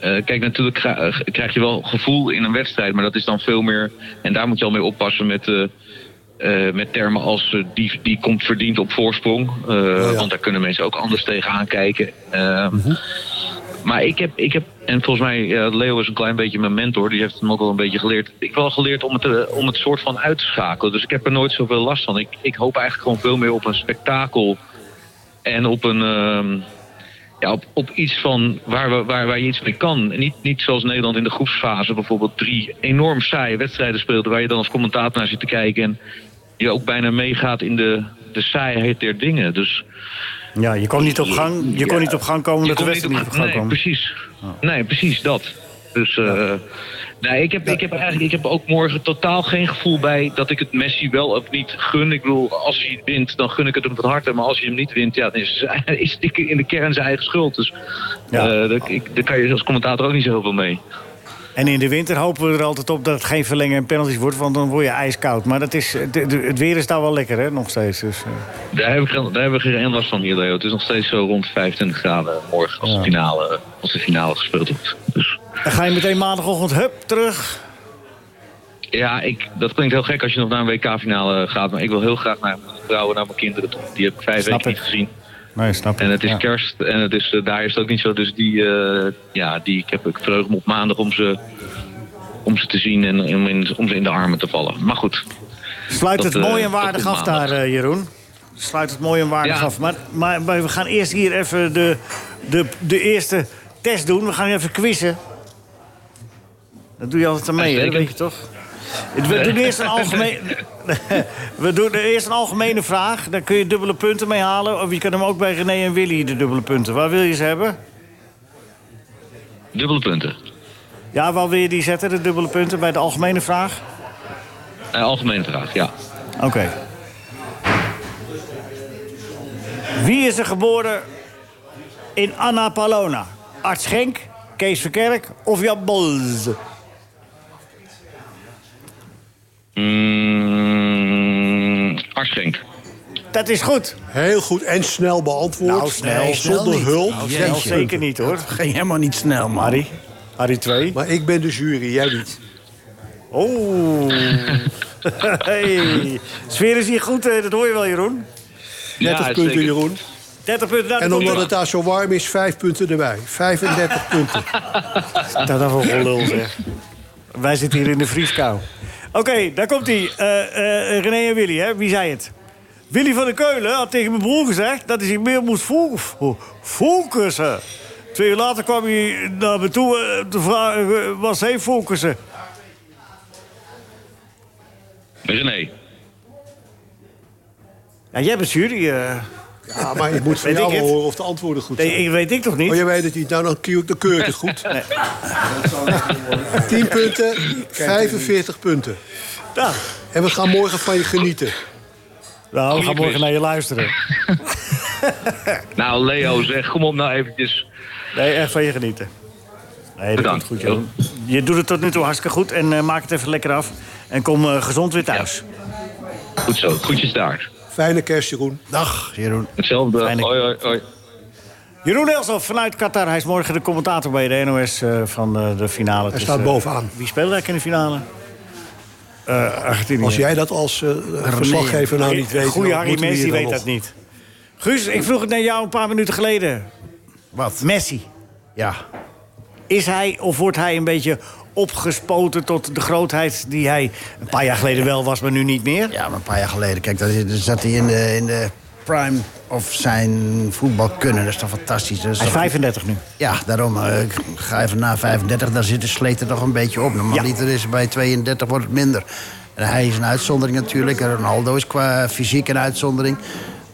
Speaker 9: eh, kijk, natuurlijk kra- eh, krijg je wel gevoel in een wedstrijd, maar dat is dan veel meer. En daar moet je al mee oppassen met, eh, eh, met termen als eh, die, die komt verdiend op voorsprong. eh, Want daar kunnen mensen ook anders tegenaan kijken. Eh, Maar ik heb, ik heb, en volgens mij, eh, Leo is een klein beetje mijn mentor, die heeft hem ook wel een beetje geleerd. Ik heb wel geleerd om het, eh, om het soort van uit te schakelen. Dus ik heb er nooit zoveel last van. Ik, ik hoop eigenlijk gewoon veel meer op een spektakel. En op een. ehm, ja, op, op iets van waar, we, waar, waar je iets mee kan. En Niet, niet zoals Nederland in de groepsfase bijvoorbeeld drie enorm saaie wedstrijden speelde. waar je dan als commentator naar zit te kijken. en je ook bijna meegaat in de, de saaiheid der dingen. Dus,
Speaker 3: Ja, je kon niet op gang, je kon
Speaker 9: Ja.
Speaker 3: niet op gang komen
Speaker 9: Je
Speaker 3: dat de
Speaker 9: kon
Speaker 3: wedstrijd niet op gang
Speaker 9: nee,
Speaker 3: kwam. Oh.
Speaker 9: Precies. Nee, precies dat. Dus eh, nee, ik, heb, ik, heb eigenlijk, ik heb ook morgen totaal geen gevoel bij dat ik het Messi wel of niet gun. Ik bedoel, als hij het wint, dan gun ik het hem van harte. Maar als hij hem niet wint, ja, dan is, is het in de kern zijn eigen schuld. Dus eh, daar, ik, daar kan je als commentator ook niet zo heel veel mee.
Speaker 3: En in de winter hopen we er altijd op dat het geen verlengen en penalties wordt, want dan word je ijskoud. Maar dat is, het, het- het weer is daar wel lekker, hè, nog steeds. Dus, eh.
Speaker 9: Daar hebben we, geen- daar hebben we geen last van hier, Leo. Het is nog steeds zo rond 25 graden morgen als, de, finale, als de finale gespeeld wordt. Dus-
Speaker 3: Dan ga je meteen maandagochtend, hup, terug.
Speaker 9: Ja, ik, dat klinkt heel gek als je nog naar een WK-finale gaat. Maar ik wil heel graag naar mijn vrouwen, naar mijn kinderen toe. Die heb ik vijf
Speaker 3: Snap
Speaker 9: weken
Speaker 3: ik.
Speaker 9: niet gezien.
Speaker 3: Nee, snap
Speaker 9: En het is
Speaker 3: Ja.
Speaker 9: kerst en het is, eh, daar is het ook niet zo. Dus die, eh, ja, die, ik, heb, ik verheug me op maandag om ze, om ze te zien en om, in, om ze in de armen te vallen. Maar goed.
Speaker 3: Sluit
Speaker 9: dat,
Speaker 3: het mooi
Speaker 9: eh,
Speaker 3: en waardig
Speaker 9: dat
Speaker 3: af
Speaker 9: komt maandag.
Speaker 3: daar, eh, Jeroen. Sluit het mooi en waardig af. Maar, maar, maar we gaan eerst hier even de, de, de eerste test doen. We gaan even quizzen. Dat doe je altijd aan mee, hè? Dat weet je toch? We doen eerst een algemeen... We doen eerst een algemene vraag. Daar kun je dubbele punten mee halen. Of je kan hem ook bij René en Willy, de dubbele punten. Waar wil je ze hebben?
Speaker 9: Dubbele punten.
Speaker 3: Ja, waar wil je die zetten, de dubbele punten, bij de algemene vraag?
Speaker 9: Eh, algemene vraag, ja.
Speaker 3: Oké. Wie is er geboren in Annapolona? Art Schenk, Kees Verkerk of Jan Bols?
Speaker 9: Mm, Arschenk.
Speaker 3: Dat is goed.
Speaker 4: Heel goed en snel beantwoord.
Speaker 5: Nou, snel.
Speaker 4: Nee,
Speaker 5: snel
Speaker 4: Zonder
Speaker 5: niet.
Speaker 4: hulp.
Speaker 5: Nou, snel
Speaker 4: Jeetje.
Speaker 5: zeker
Speaker 3: niet, hoor.
Speaker 5: Dat ging helemaal niet snel, man.
Speaker 3: Harry. Harry 2.
Speaker 4: Maar ik ben de jury, jij niet.
Speaker 3: Oh. hey. Sfeer is hier goed, eh, dat hoor je wel, Jeroen.
Speaker 4: 30 punten, Jeroen.
Speaker 3: 30 punten. nou,
Speaker 4: en
Speaker 3: dat
Speaker 4: omdat
Speaker 3: komt-
Speaker 4: het daar zo warm is, 5 punten erbij. 35 punten.
Speaker 3: Dat is voor gelul, zeg. Wij zitten hier in de vrieskou. Oké, daar komt hij. Eh, René en Willy, hè? Wie zei het? Willy van der Keulen had tegen mijn broer gezegd dat hij zich meer moest fo- fo- focussen. Twee uur later kwam hij naar me toe eh, te vragen, was hij focussen?
Speaker 9: René.
Speaker 3: Ja, jij bent jury. eh.
Speaker 4: Ja, Nou, maar ik moet van
Speaker 3: Weet
Speaker 4: jou
Speaker 3: ik
Speaker 4: wel
Speaker 3: het?
Speaker 4: horen of de antwoorden goed zijn.
Speaker 3: Nee, ik weet ik toch niet?
Speaker 4: Oh, jij weet het niet. Nou, dan keur ik, dan keur ik het goed. 10 punten, 45 punten.
Speaker 3: Ja.
Speaker 4: En we gaan morgen van je genieten.
Speaker 3: Nou,
Speaker 9: we gaan morgen naar
Speaker 3: je luisteren.
Speaker 9: Nou, Leo, zeg, kom op nou eventjes.
Speaker 3: Nee, echt van je genieten. Nee, dat komt goed, Jeroen. Je doet het tot nu toe hartstikke goed en eh, maak het even lekker af. En kom eh, gezond weer thuis.
Speaker 9: Goed zo, goedjes daar.
Speaker 4: Fijne kerst, Jeroen.
Speaker 3: Dag, Jeroen.
Speaker 9: Hetzelfde. Hoi, hoi, hoi.
Speaker 3: Jeroen Elsof vanuit Qatar. Hij is morgen de commentator bij de NOS eh, van eh, de finale.
Speaker 4: Hij
Speaker 3: tussen-
Speaker 4: staat bovenaan. Eh,
Speaker 3: Wie speelt eigenlijk in de finale? Argentinië.
Speaker 4: Als jij dat als eh, verslaggever nou niet weet...
Speaker 3: Goeie
Speaker 4: dan
Speaker 3: Harry
Speaker 4: moeten we
Speaker 3: Messi
Speaker 4: hier dan
Speaker 3: weet
Speaker 4: nog-
Speaker 3: dat niet. Guus, ik vroeg het naar jou een paar minuten geleden. Wat? Messi.
Speaker 5: Ja.
Speaker 3: Is hij of wordt hij een beetje opgespoten tot de grootheid die hij een paar jaar geleden wel was, maar nu niet meer?
Speaker 5: Ja, maar een paar jaar geleden. Kijk, dat is- dan zat hij in de, in de prime of zijn voetbalkunnen. Dat is toch fantastisch. Dat
Speaker 3: Hij is
Speaker 5: toch-
Speaker 3: 35 nu.
Speaker 5: Ja, daarom eh, ik ga even na 35. Daar zit de sleet er nog een beetje op. Normaliter is het bij 32 wordt het minder. En hij is een uitzondering natuurlijk. En Ronaldo is qua fysiek een uitzondering.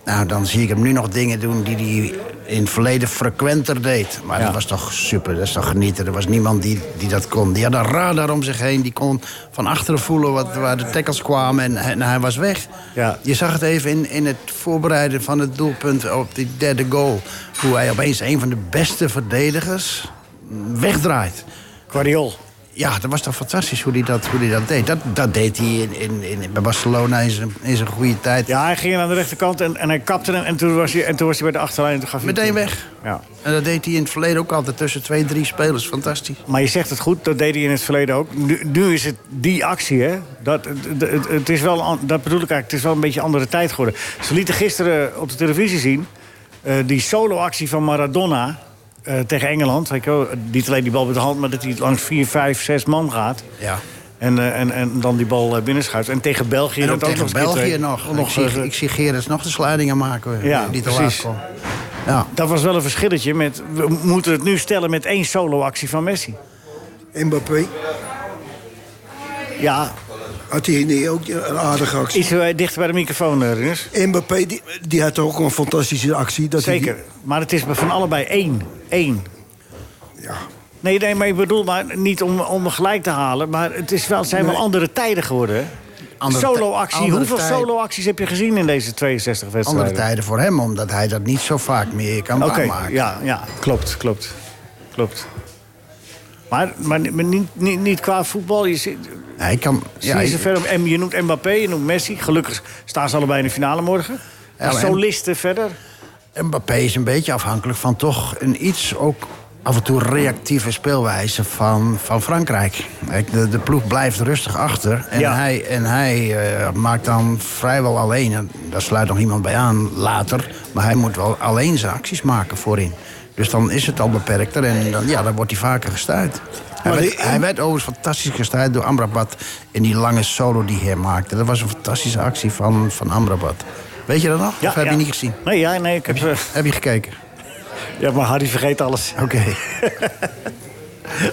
Speaker 5: Nou, dan zie ik hem nu nog dingen doen die hij in het verleden frequenter deed. Maar dat was toch super, dat is toch genieten. Er was niemand die, die dat kon. Die had een radar om zich heen. Die kon van achteren voelen wat, waar de tackles kwamen. En, en hij was weg.
Speaker 3: Ja.
Speaker 5: Je zag het even in, in het voorbereiden van het doelpunt op die derde goal. Hoe hij opeens een van de beste verdedigers wegdraait.
Speaker 3: Guardiol.
Speaker 5: Ja, dat was toch fantastisch hoe hij dat, hoe die dat deed. Dat, dat deed hij in, in, in, bij Barcelona in zijn, in zijn goede tijd.
Speaker 3: Ja, hij ging aan de rechterkant en, en hij kapte hem en toen was hij, en toen was hij bij de achterlijn. En toen gaf hij
Speaker 5: Meteen
Speaker 3: het toe.
Speaker 5: weg.
Speaker 3: Ja.
Speaker 5: En dat deed hij in het verleden ook altijd tussen twee, drie spelers. Fantastisch.
Speaker 3: Maar je zegt het goed, dat deed hij in het verleden ook. Nu, nu is het die actie, hè? Dat, het, het- het is wel, an- dat bedoel ik eigenlijk, het is wel een beetje een andere tijd geworden. Ze lieten gisteren op de televisie zien... eh, die solo-actie van Maradona eh, tegen Engeland. Weet je wel, niet alleen die bal met de hand, maar dat hij langs vier, vijf, zes man gaat.
Speaker 5: Ja.
Speaker 3: En, eh, en, en dan die bal eh, binnenschuift. En tegen België...
Speaker 5: En ook
Speaker 3: dat
Speaker 5: tegen
Speaker 3: nog eens een keer
Speaker 5: België
Speaker 3: twee-
Speaker 5: nog.
Speaker 3: nog,
Speaker 5: ik, zie,
Speaker 3: eh,
Speaker 5: ik zie Gerrits nog de sluitingen maken. eh,
Speaker 3: Ja,
Speaker 5: die te
Speaker 3: precies.
Speaker 5: laat kwam. Ja.
Speaker 3: Dat was wel een verschilletje. Met, we moeten het nu stellen met één solo-actie van Messi.
Speaker 6: Mbappé,
Speaker 3: Ja,
Speaker 6: had hij niet ook een aardige actie?
Speaker 3: iets eh, dichter bij de microfoon, eh, Rinus.
Speaker 6: Mbappé, die, die had ook een fantastische actie. Dat hij die-
Speaker 3: Zeker, Dus maar het is van allebei één. Eén. Ja. Nee, nee, maar ik bedoel, maar niet om, om me gelijk te halen... maar het is wel, het zijn wel andere tijden geworden, hè?
Speaker 5: Andere tij-
Speaker 3: Solo-actie.
Speaker 5: andere
Speaker 3: Hoeveel
Speaker 5: tijd.
Speaker 3: solo-acties heb je gezien in deze 62 wedstrijden?
Speaker 5: Andere tijden voor hem, omdat hij dat niet zo vaak meer kan
Speaker 3: Oké,
Speaker 5: waarmaken.
Speaker 3: ja, ja, klopt, klopt. Klopt. Maar, maar, ni- maar niet, niet, niet qua voetbal. Je zit,
Speaker 5: Hij kan...
Speaker 3: zie je, ze verder, en je noemt Mbappé, je noemt Messi. Gelukkig staan ze allebei in de finale morgen. Maar
Speaker 5: maar en-
Speaker 3: solisten verder?
Speaker 5: Mbappé is een beetje afhankelijk van toch een iets ook af en toe reactieve speelwijze van, van Frankrijk. Kijk, De, de ploeg blijft rustig achter en
Speaker 3: Ja.
Speaker 5: hij, en hij eh, maakt dan vrijwel alleen. En daar sluit nog iemand bij aan later, maar hij moet wel alleen zijn acties maken voorin. Dus dan is het al beperkter en dan, ja, dan wordt hij vaker gestuurd. Hij
Speaker 6: Maar
Speaker 5: werd,
Speaker 6: die-
Speaker 5: hij werd overigens fantastisch gestuurd door Amrabat in die lange solo die hij maakte. Dat was een fantastische actie van, van Amrabat. Weet je dat nog? of heb je niet gezien?
Speaker 3: Nee, ja, nee, ik heb... eh,
Speaker 5: Heb je gekeken?
Speaker 3: Ja, maar Harry vergeet alles.
Speaker 5: Oké.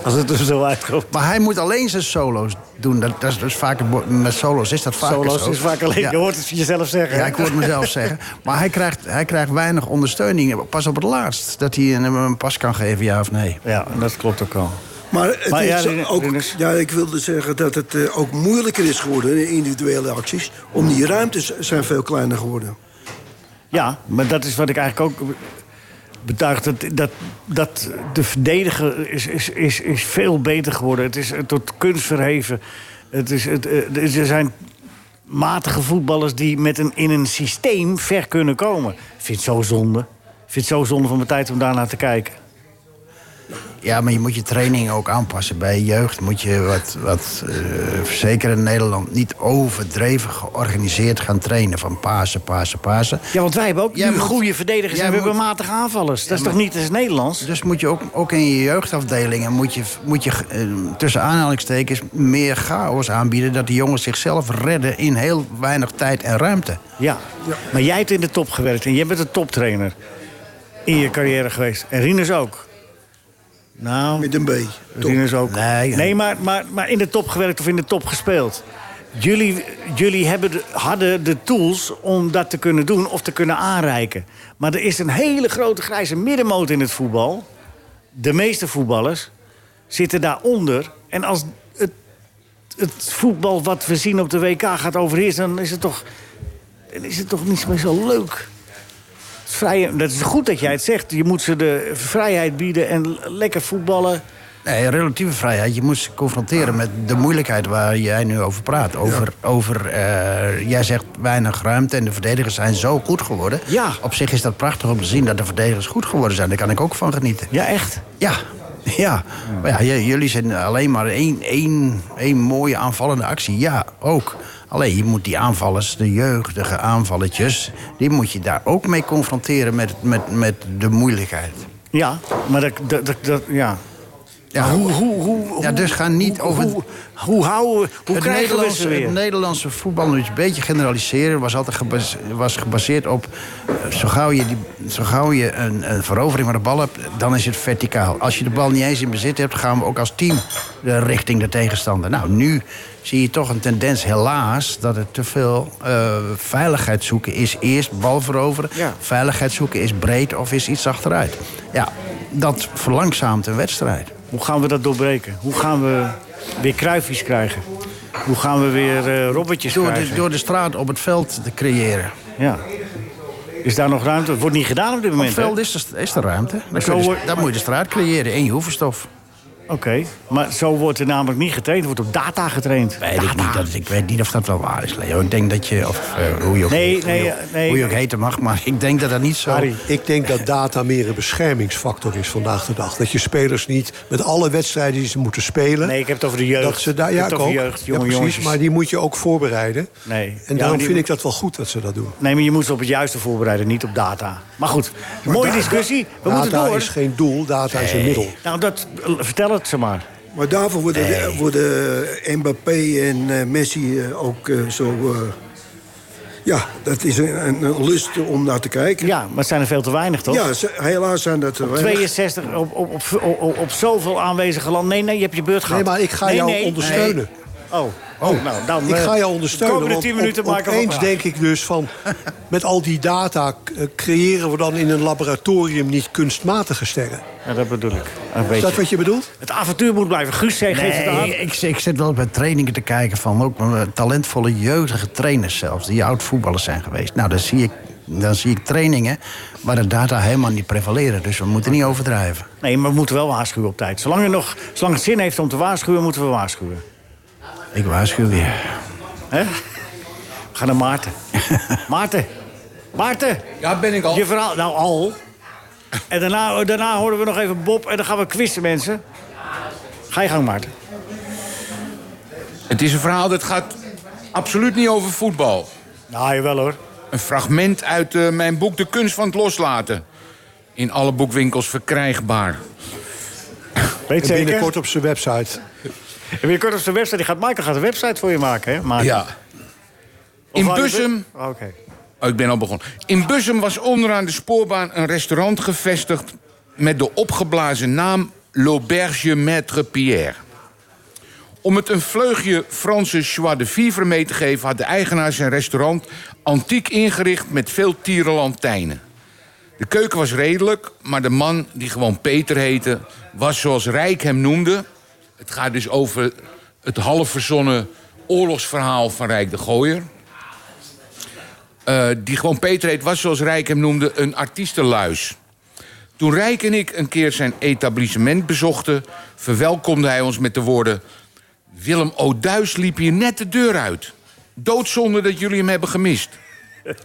Speaker 3: Als het er zo uitkomt.
Speaker 5: Maar hij moet alleen zijn solo's doen. Dat, dat is dus vaker, bo- met solo's is dat vaker
Speaker 3: Solo's
Speaker 5: zo.
Speaker 3: is vaak alleen.
Speaker 5: Ja.
Speaker 3: Je hoort het jezelf zeggen.
Speaker 5: Ja, ik hoor het mezelf zeggen. Maar hij krijgt, hij krijgt weinig ondersteuning. Pas op het laatst. Dat hij een, een pas kan geven, ja of nee.
Speaker 3: Ja, dat klopt ook al.
Speaker 6: Maar, het
Speaker 3: Maar ja,
Speaker 6: is
Speaker 3: Rin-
Speaker 6: ook,
Speaker 3: Rinus.
Speaker 6: ja, ik wilde zeggen dat het eh, ook moeilijker is geworden in individuele acties. Om die ruimtes zijn veel kleiner geworden.
Speaker 3: Ja, maar dat is wat ik eigenlijk ook betuig. Dat, dat, dat de verdediger is, is, is, is veel beter geworden. Het is eh, tot kunst verheven. Het is, het, eh, er zijn matige voetballers die met een, in een systeem ver kunnen komen. Ik vind het zo zonde. Ik vind het zo zonde van mijn tijd om daarnaar te kijken.
Speaker 5: Ja, maar je moet je training ook aanpassen. Bij jeugd moet je wat, wat eh, zeker in Nederland, niet overdreven georganiseerd gaan trainen. Van Pasen, Pasen, Pasen.
Speaker 3: Ja, want wij hebben ook
Speaker 5: Jij
Speaker 3: nu
Speaker 5: moet-
Speaker 3: goede verdedigers
Speaker 5: jij
Speaker 3: en we hebben
Speaker 5: moet-
Speaker 3: matige aanvallers.
Speaker 5: Ja,
Speaker 3: dat is
Speaker 5: maar-
Speaker 3: toch niet eens Nederlands?
Speaker 5: Dus moet je ook, ook in je jeugdafdelingen, moet je, moet je eh, tussen aanhalingstekens meer chaos aanbieden. Dat die jongens zichzelf redden in heel weinig tijd en ruimte.
Speaker 3: Ja. maar jij hebt in de top gewerkt en jij bent een toptrainer in je carrière geweest. En Rinus ook. Nou, Met
Speaker 6: een B.
Speaker 3: Rinus ook. Nee, maar, maar, maar in de top gewerkt of in de top gespeeld. Jullie, jullie hebben de- hadden de tools om dat te kunnen doen of te kunnen aanreiken. Maar er is een hele grote grijze middenmoot in het voetbal. De meeste voetballers zitten daaronder. En als het, het voetbal wat we zien op de WK gaat overheersen... dan is het toch dan is het toch niet meer zo leuk. Vrije, dat is goed dat jij het zegt. Je moet ze de vrijheid bieden en l- lekker voetballen.
Speaker 5: Nee, relatieve vrijheid. Je moet ze confronteren met de moeilijkheid waar jij nu over praat. Over, over eh, jij zegt weinig ruimte en de verdedigers zijn zo goed geworden. Ja. Op zich is dat prachtig om te zien dat de verdedigers goed geworden zijn. Daar kan ik ook van genieten.
Speaker 3: Ja, echt?
Speaker 5: Ja. Ja, maar ja, j- jullie zijn alleen maar één, één, één mooie aanvallende actie. Ja, ook. Alleen je moet die aanvallers, de jeugdige aanvalletjes... die moet je daar ook mee confronteren met, met, met de moeilijkheid.
Speaker 3: Ja, maar dat, dat, dat, dat- ja.
Speaker 5: Ja,
Speaker 3: hoe, hoe, hoe,
Speaker 5: ja, dus ga niet over...
Speaker 3: Hoe, hoe houden we, hoe
Speaker 5: het,
Speaker 3: krijgen we
Speaker 5: Nederlandse,
Speaker 3: ze weer?
Speaker 5: het Nederlandse voetbal, nu een beetje generaliseren, was altijd gebase- was gebaseerd op. eh, Zo gauw je, die, zo gauw je een, een verovering van de bal hebt, dan is het verticaal. Als je de bal niet eens in bezit hebt, gaan we ook als team eh, richting de tegenstander. Nou, nu zie je toch een tendens, helaas, dat het te veel eh, veiligheid zoeken is. Eerst bal veroveren, veiligheid zoeken is breed of is iets achteruit. Ja, dat verlangzaamt een wedstrijd.
Speaker 3: Hoe gaan we dat doorbreken? Hoe gaan we weer kruifjes krijgen? Hoe gaan we weer eh robbertjes
Speaker 5: Door de,
Speaker 3: krijgen?
Speaker 5: door de straat op het veld te creëren.
Speaker 3: Ja. Is daar nog ruimte? Het wordt niet gedaan op dit
Speaker 5: Op
Speaker 3: moment.
Speaker 5: het veld
Speaker 3: hè?
Speaker 5: is er, is er ruimte. Dan,
Speaker 3: Zo
Speaker 5: kun je dus- de-
Speaker 3: wordt-
Speaker 5: dan moet je de straat creëren en je hoevenstof.
Speaker 3: Oké, maar zo wordt er namelijk niet getraind. Er wordt op data getraind.
Speaker 5: Weet ik, niet, dat, ik weet niet of dat wel waar is, Leo. Ik denk dat je, of eh, hoe, je ook,
Speaker 3: Nee,
Speaker 5: hoe je
Speaker 3: nee,
Speaker 5: ook-
Speaker 3: nee.
Speaker 5: hoe je ook heten mag, maar ik denk dat dat niet zo...
Speaker 4: Ik denk dat data meer een beschermingsfactor is vandaag de dag. Dat je spelers niet met alle wedstrijden die ze moeten spelen.
Speaker 3: Nee, ik heb het over de jeugd.
Speaker 4: Dat ze daar,
Speaker 3: Ik
Speaker 4: ja,
Speaker 3: heb het
Speaker 4: ik
Speaker 3: over
Speaker 4: ook.
Speaker 3: jeugd,
Speaker 4: Ja,
Speaker 3: jonge
Speaker 4: precies,
Speaker 3: jongetjes.
Speaker 4: maar die moet je ook voorbereiden.
Speaker 3: Nee. Ja,
Speaker 4: En
Speaker 3: maar
Speaker 4: daarom
Speaker 3: die-
Speaker 4: vind ik dat wel goed dat ze dat doen.
Speaker 3: Nee, maar je moet ze op het juiste voorbereiden, niet op data. Maar goed, mooie
Speaker 4: da-
Speaker 3: discussie.
Speaker 4: da-
Speaker 3: We moeten
Speaker 4: data
Speaker 3: door.
Speaker 4: is geen doel, data is een middel.
Speaker 3: Nou, dat, vertel het ze maar.
Speaker 6: Maar daarvoor worden,
Speaker 3: Nee.
Speaker 6: worden Mbappé en eh, Messi eh, ook eh, zo... eh, ja, dat is een, een, een lust om naar te kijken.
Speaker 3: Ja, maar het zijn er veel te weinig, toch?
Speaker 6: Ja, ze- helaas zijn dat er
Speaker 3: Op
Speaker 6: weinig.
Speaker 3: 62, op, op, op, op, op zoveel aanwezige land. Nee, nee, je hebt je beurt gehad.
Speaker 4: Nee, maar ik ga
Speaker 3: Nee,
Speaker 4: jou
Speaker 3: nee.
Speaker 4: ondersteunen.
Speaker 3: Nee. Oh, oh, nou, dan...
Speaker 4: ik
Speaker 3: eh,
Speaker 4: ga jou ondersteunen.
Speaker 3: De komende 10
Speaker 4: want
Speaker 3: minuten
Speaker 4: op,
Speaker 3: maken we...
Speaker 4: opeens denk ik dus van... met al die data k- eh, creëren we dan in een laboratorium niet kunstmatige sterren.
Speaker 3: Ja, dat bedoel ik. Een
Speaker 4: Is
Speaker 3: beetje.
Speaker 4: dat wat je bedoelt?
Speaker 3: Het avontuur moet blijven. Guus, zeg, geef het aan.
Speaker 5: Nee, ik, ik zit wel bij trainingen te kijken van ook eh, talentvolle jeugdige trainers zelfs, die oud voetballers zijn geweest. Nou, dan zie ik, dan zie ik trainingen waar de data helemaal niet prevaleren. Dus we moeten niet overdrijven.
Speaker 3: Nee, maar we moeten wel waarschuwen op tijd. Zolang, er nog, zolang het zin heeft om te waarschuwen, moeten we waarschuwen.
Speaker 5: Ik waarschuw je.
Speaker 3: Hè? We gaan naar Maarten. Maarten. Maarten.
Speaker 7: Ja, ben ik al.
Speaker 3: Je verhaal, nou al. En daarna, daarna horen we nog even Bob en dan gaan we quizzen, mensen. Ga je gang, Maarten.
Speaker 7: Het is een verhaal dat gaat absoluut niet over voetbal.
Speaker 3: Nou, jawel hoor.
Speaker 7: Een fragment uit eh, mijn boek De Kunst van het Loslaten. In alle boekwinkels verkrijgbaar.
Speaker 3: Weet
Speaker 4: En
Speaker 3: zeker?
Speaker 4: binnenkort op zijn website.
Speaker 3: En binnenkort op zijn website. Die gaat, Michael gaat een website voor je maken, hè? Maarten?
Speaker 7: Ja.
Speaker 3: Of
Speaker 7: In
Speaker 3: waar-
Speaker 7: Bussum.
Speaker 3: Oh, Oké.
Speaker 7: Oh, ik ben al begonnen. In Bussum was onderaan de spoorbaan een restaurant gevestigd... met de opgeblazen naam L'Auberge Maître Pierre. Om het een vleugje Franse joie de vivre mee te geven... had de eigenaar zijn restaurant antiek ingericht met veel tierenlantijnen. De keuken was redelijk, maar de man die gewoon Peter heette... was zoals Rijk hem noemde... het gaat dus over het half verzonnen oorlogsverhaal van Rijk de Gooier... Eh, die gewoon Peter heet, was zoals Rijk hem noemde, een artiestenluis. Toen Rijk en ik een keer zijn etablissement bezochten, verwelkomde hij ons met de woorden: Willem O'Duis liep hier net de deur uit. Doodzonde dat jullie hem hebben gemist.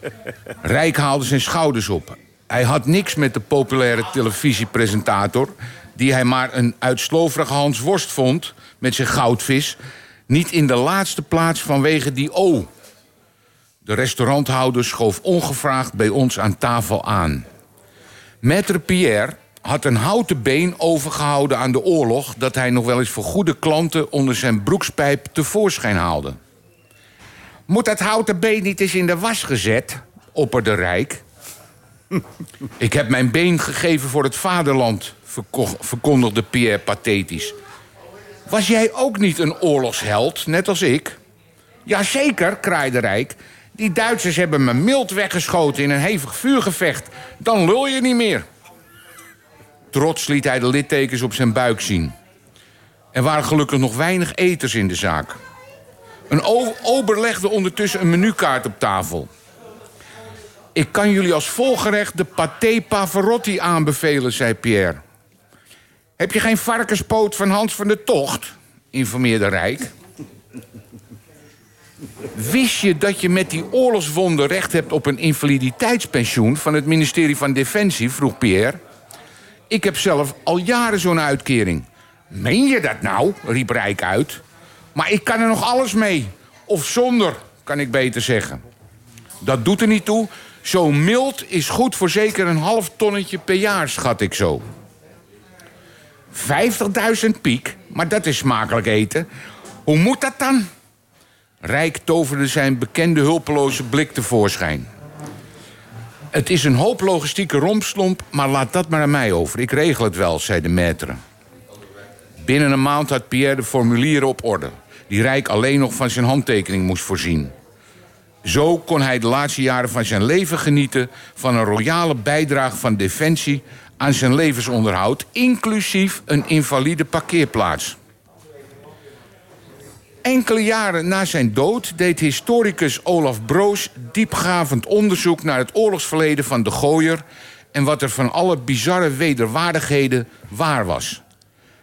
Speaker 7: Rijk haalde zijn schouders op. Hij had niks met de populaire televisiepresentator die hij maar een uitsloverige Hans Worst vond met zijn goudvis, niet in de laatste plaats vanwege die oh, O. De restauranthouder schoof ongevraagd bij ons aan tafel aan. Maître Pierre had een houten been overgehouden aan de oorlog... dat hij nog wel eens voor goede klanten onder zijn broekspijp tevoorschijn haalde. Moet dat houten been niet eens in de was gezet, opperde Rijk. Ik heb mijn been gegeven voor het vaderland, verko- verkondigde Pierre pathetisch. Was jij ook niet een oorlogsheld, net als ik? Jazeker, kraaide Rijk. Die Duitsers hebben me mild weggeschoten in een hevig vuurgevecht. Dan lul je niet meer. Trots liet hij de littekens op zijn buik zien. Er waren gelukkig nog weinig eters in de zaak. Een o- ober legde ondertussen een menukaart op tafel. Ik kan jullie als volgerecht de paté Pavarotti aanbevelen, zei Pierre. Heb je geen varkenspoot van Hans van de Tocht? informeerde Rijk. Wist je dat je met die oorlogswonden recht hebt op een invaliditeitspensioen van het ministerie van Defensie? vroeg Pierre. Ik heb zelf al jaren zo'n uitkering. Meen je dat nou? riep Rijk uit. Maar ik kan er nog alles mee. Of zonder, kan ik beter zeggen. Dat doet er niet toe. Zo'n mild is goed voor zeker een half tonnetje per jaar, schat ik zo. 50.000 piek, maar dat is smakelijk eten. Hoe moet dat dan? Rijk toverde zijn bekende hulpeloze blik tevoorschijn. Het is een hoop logistieke rompslomp, maar laat dat maar aan mij over. Ik regel het wel, zei de maître. Binnen een maand had Pierre de formulieren op orde... die Rijk alleen nog van zijn handtekening moest voorzien. Zo kon hij de laatste jaren van zijn leven genieten... van een royale bijdrage van Defensie aan zijn levensonderhoud... inclusief een invalide parkeerplaats. Enkele jaren na zijn dood deed historicus Olaf Broos diepgravend onderzoek naar het oorlogsverleden van de gooier en wat er van alle bizarre wederwaardigheden waar was.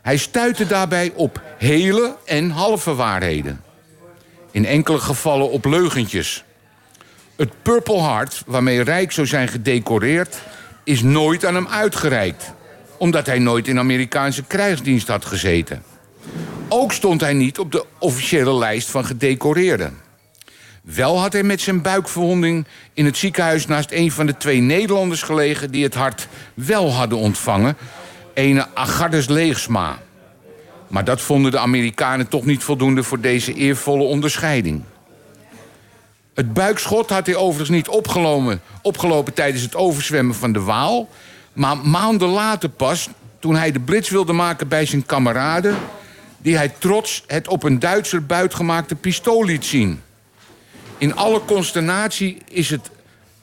Speaker 7: Hij stuitte daarbij op hele en halve waarheden. In enkele gevallen op leugentjes. Het Purple Heart, waarmee Rijk zou zijn gedecoreerd, is nooit aan hem uitgereikt, omdat hij nooit in Amerikaanse krijgsdienst had gezeten. Ook stond hij niet op de officiële lijst van gedecoreerden. Wel had hij met zijn buikverwonding in het ziekenhuis naast een van de twee Nederlanders gelegen die het hart wel hadden ontvangen, ene Agardes Leegsma. Maar dat vonden de Amerikanen toch niet voldoende voor deze eervolle onderscheiding. Het buikschot had hij overigens niet opgelopen, opgelopen tijdens het overzwemmen van de Waal, maar maanden later pas, toen hij de blitz wilde maken bij zijn kameraden, die hij trots het op een Duitser buitgemaakte pistool liet zien. In alle consternatie is het,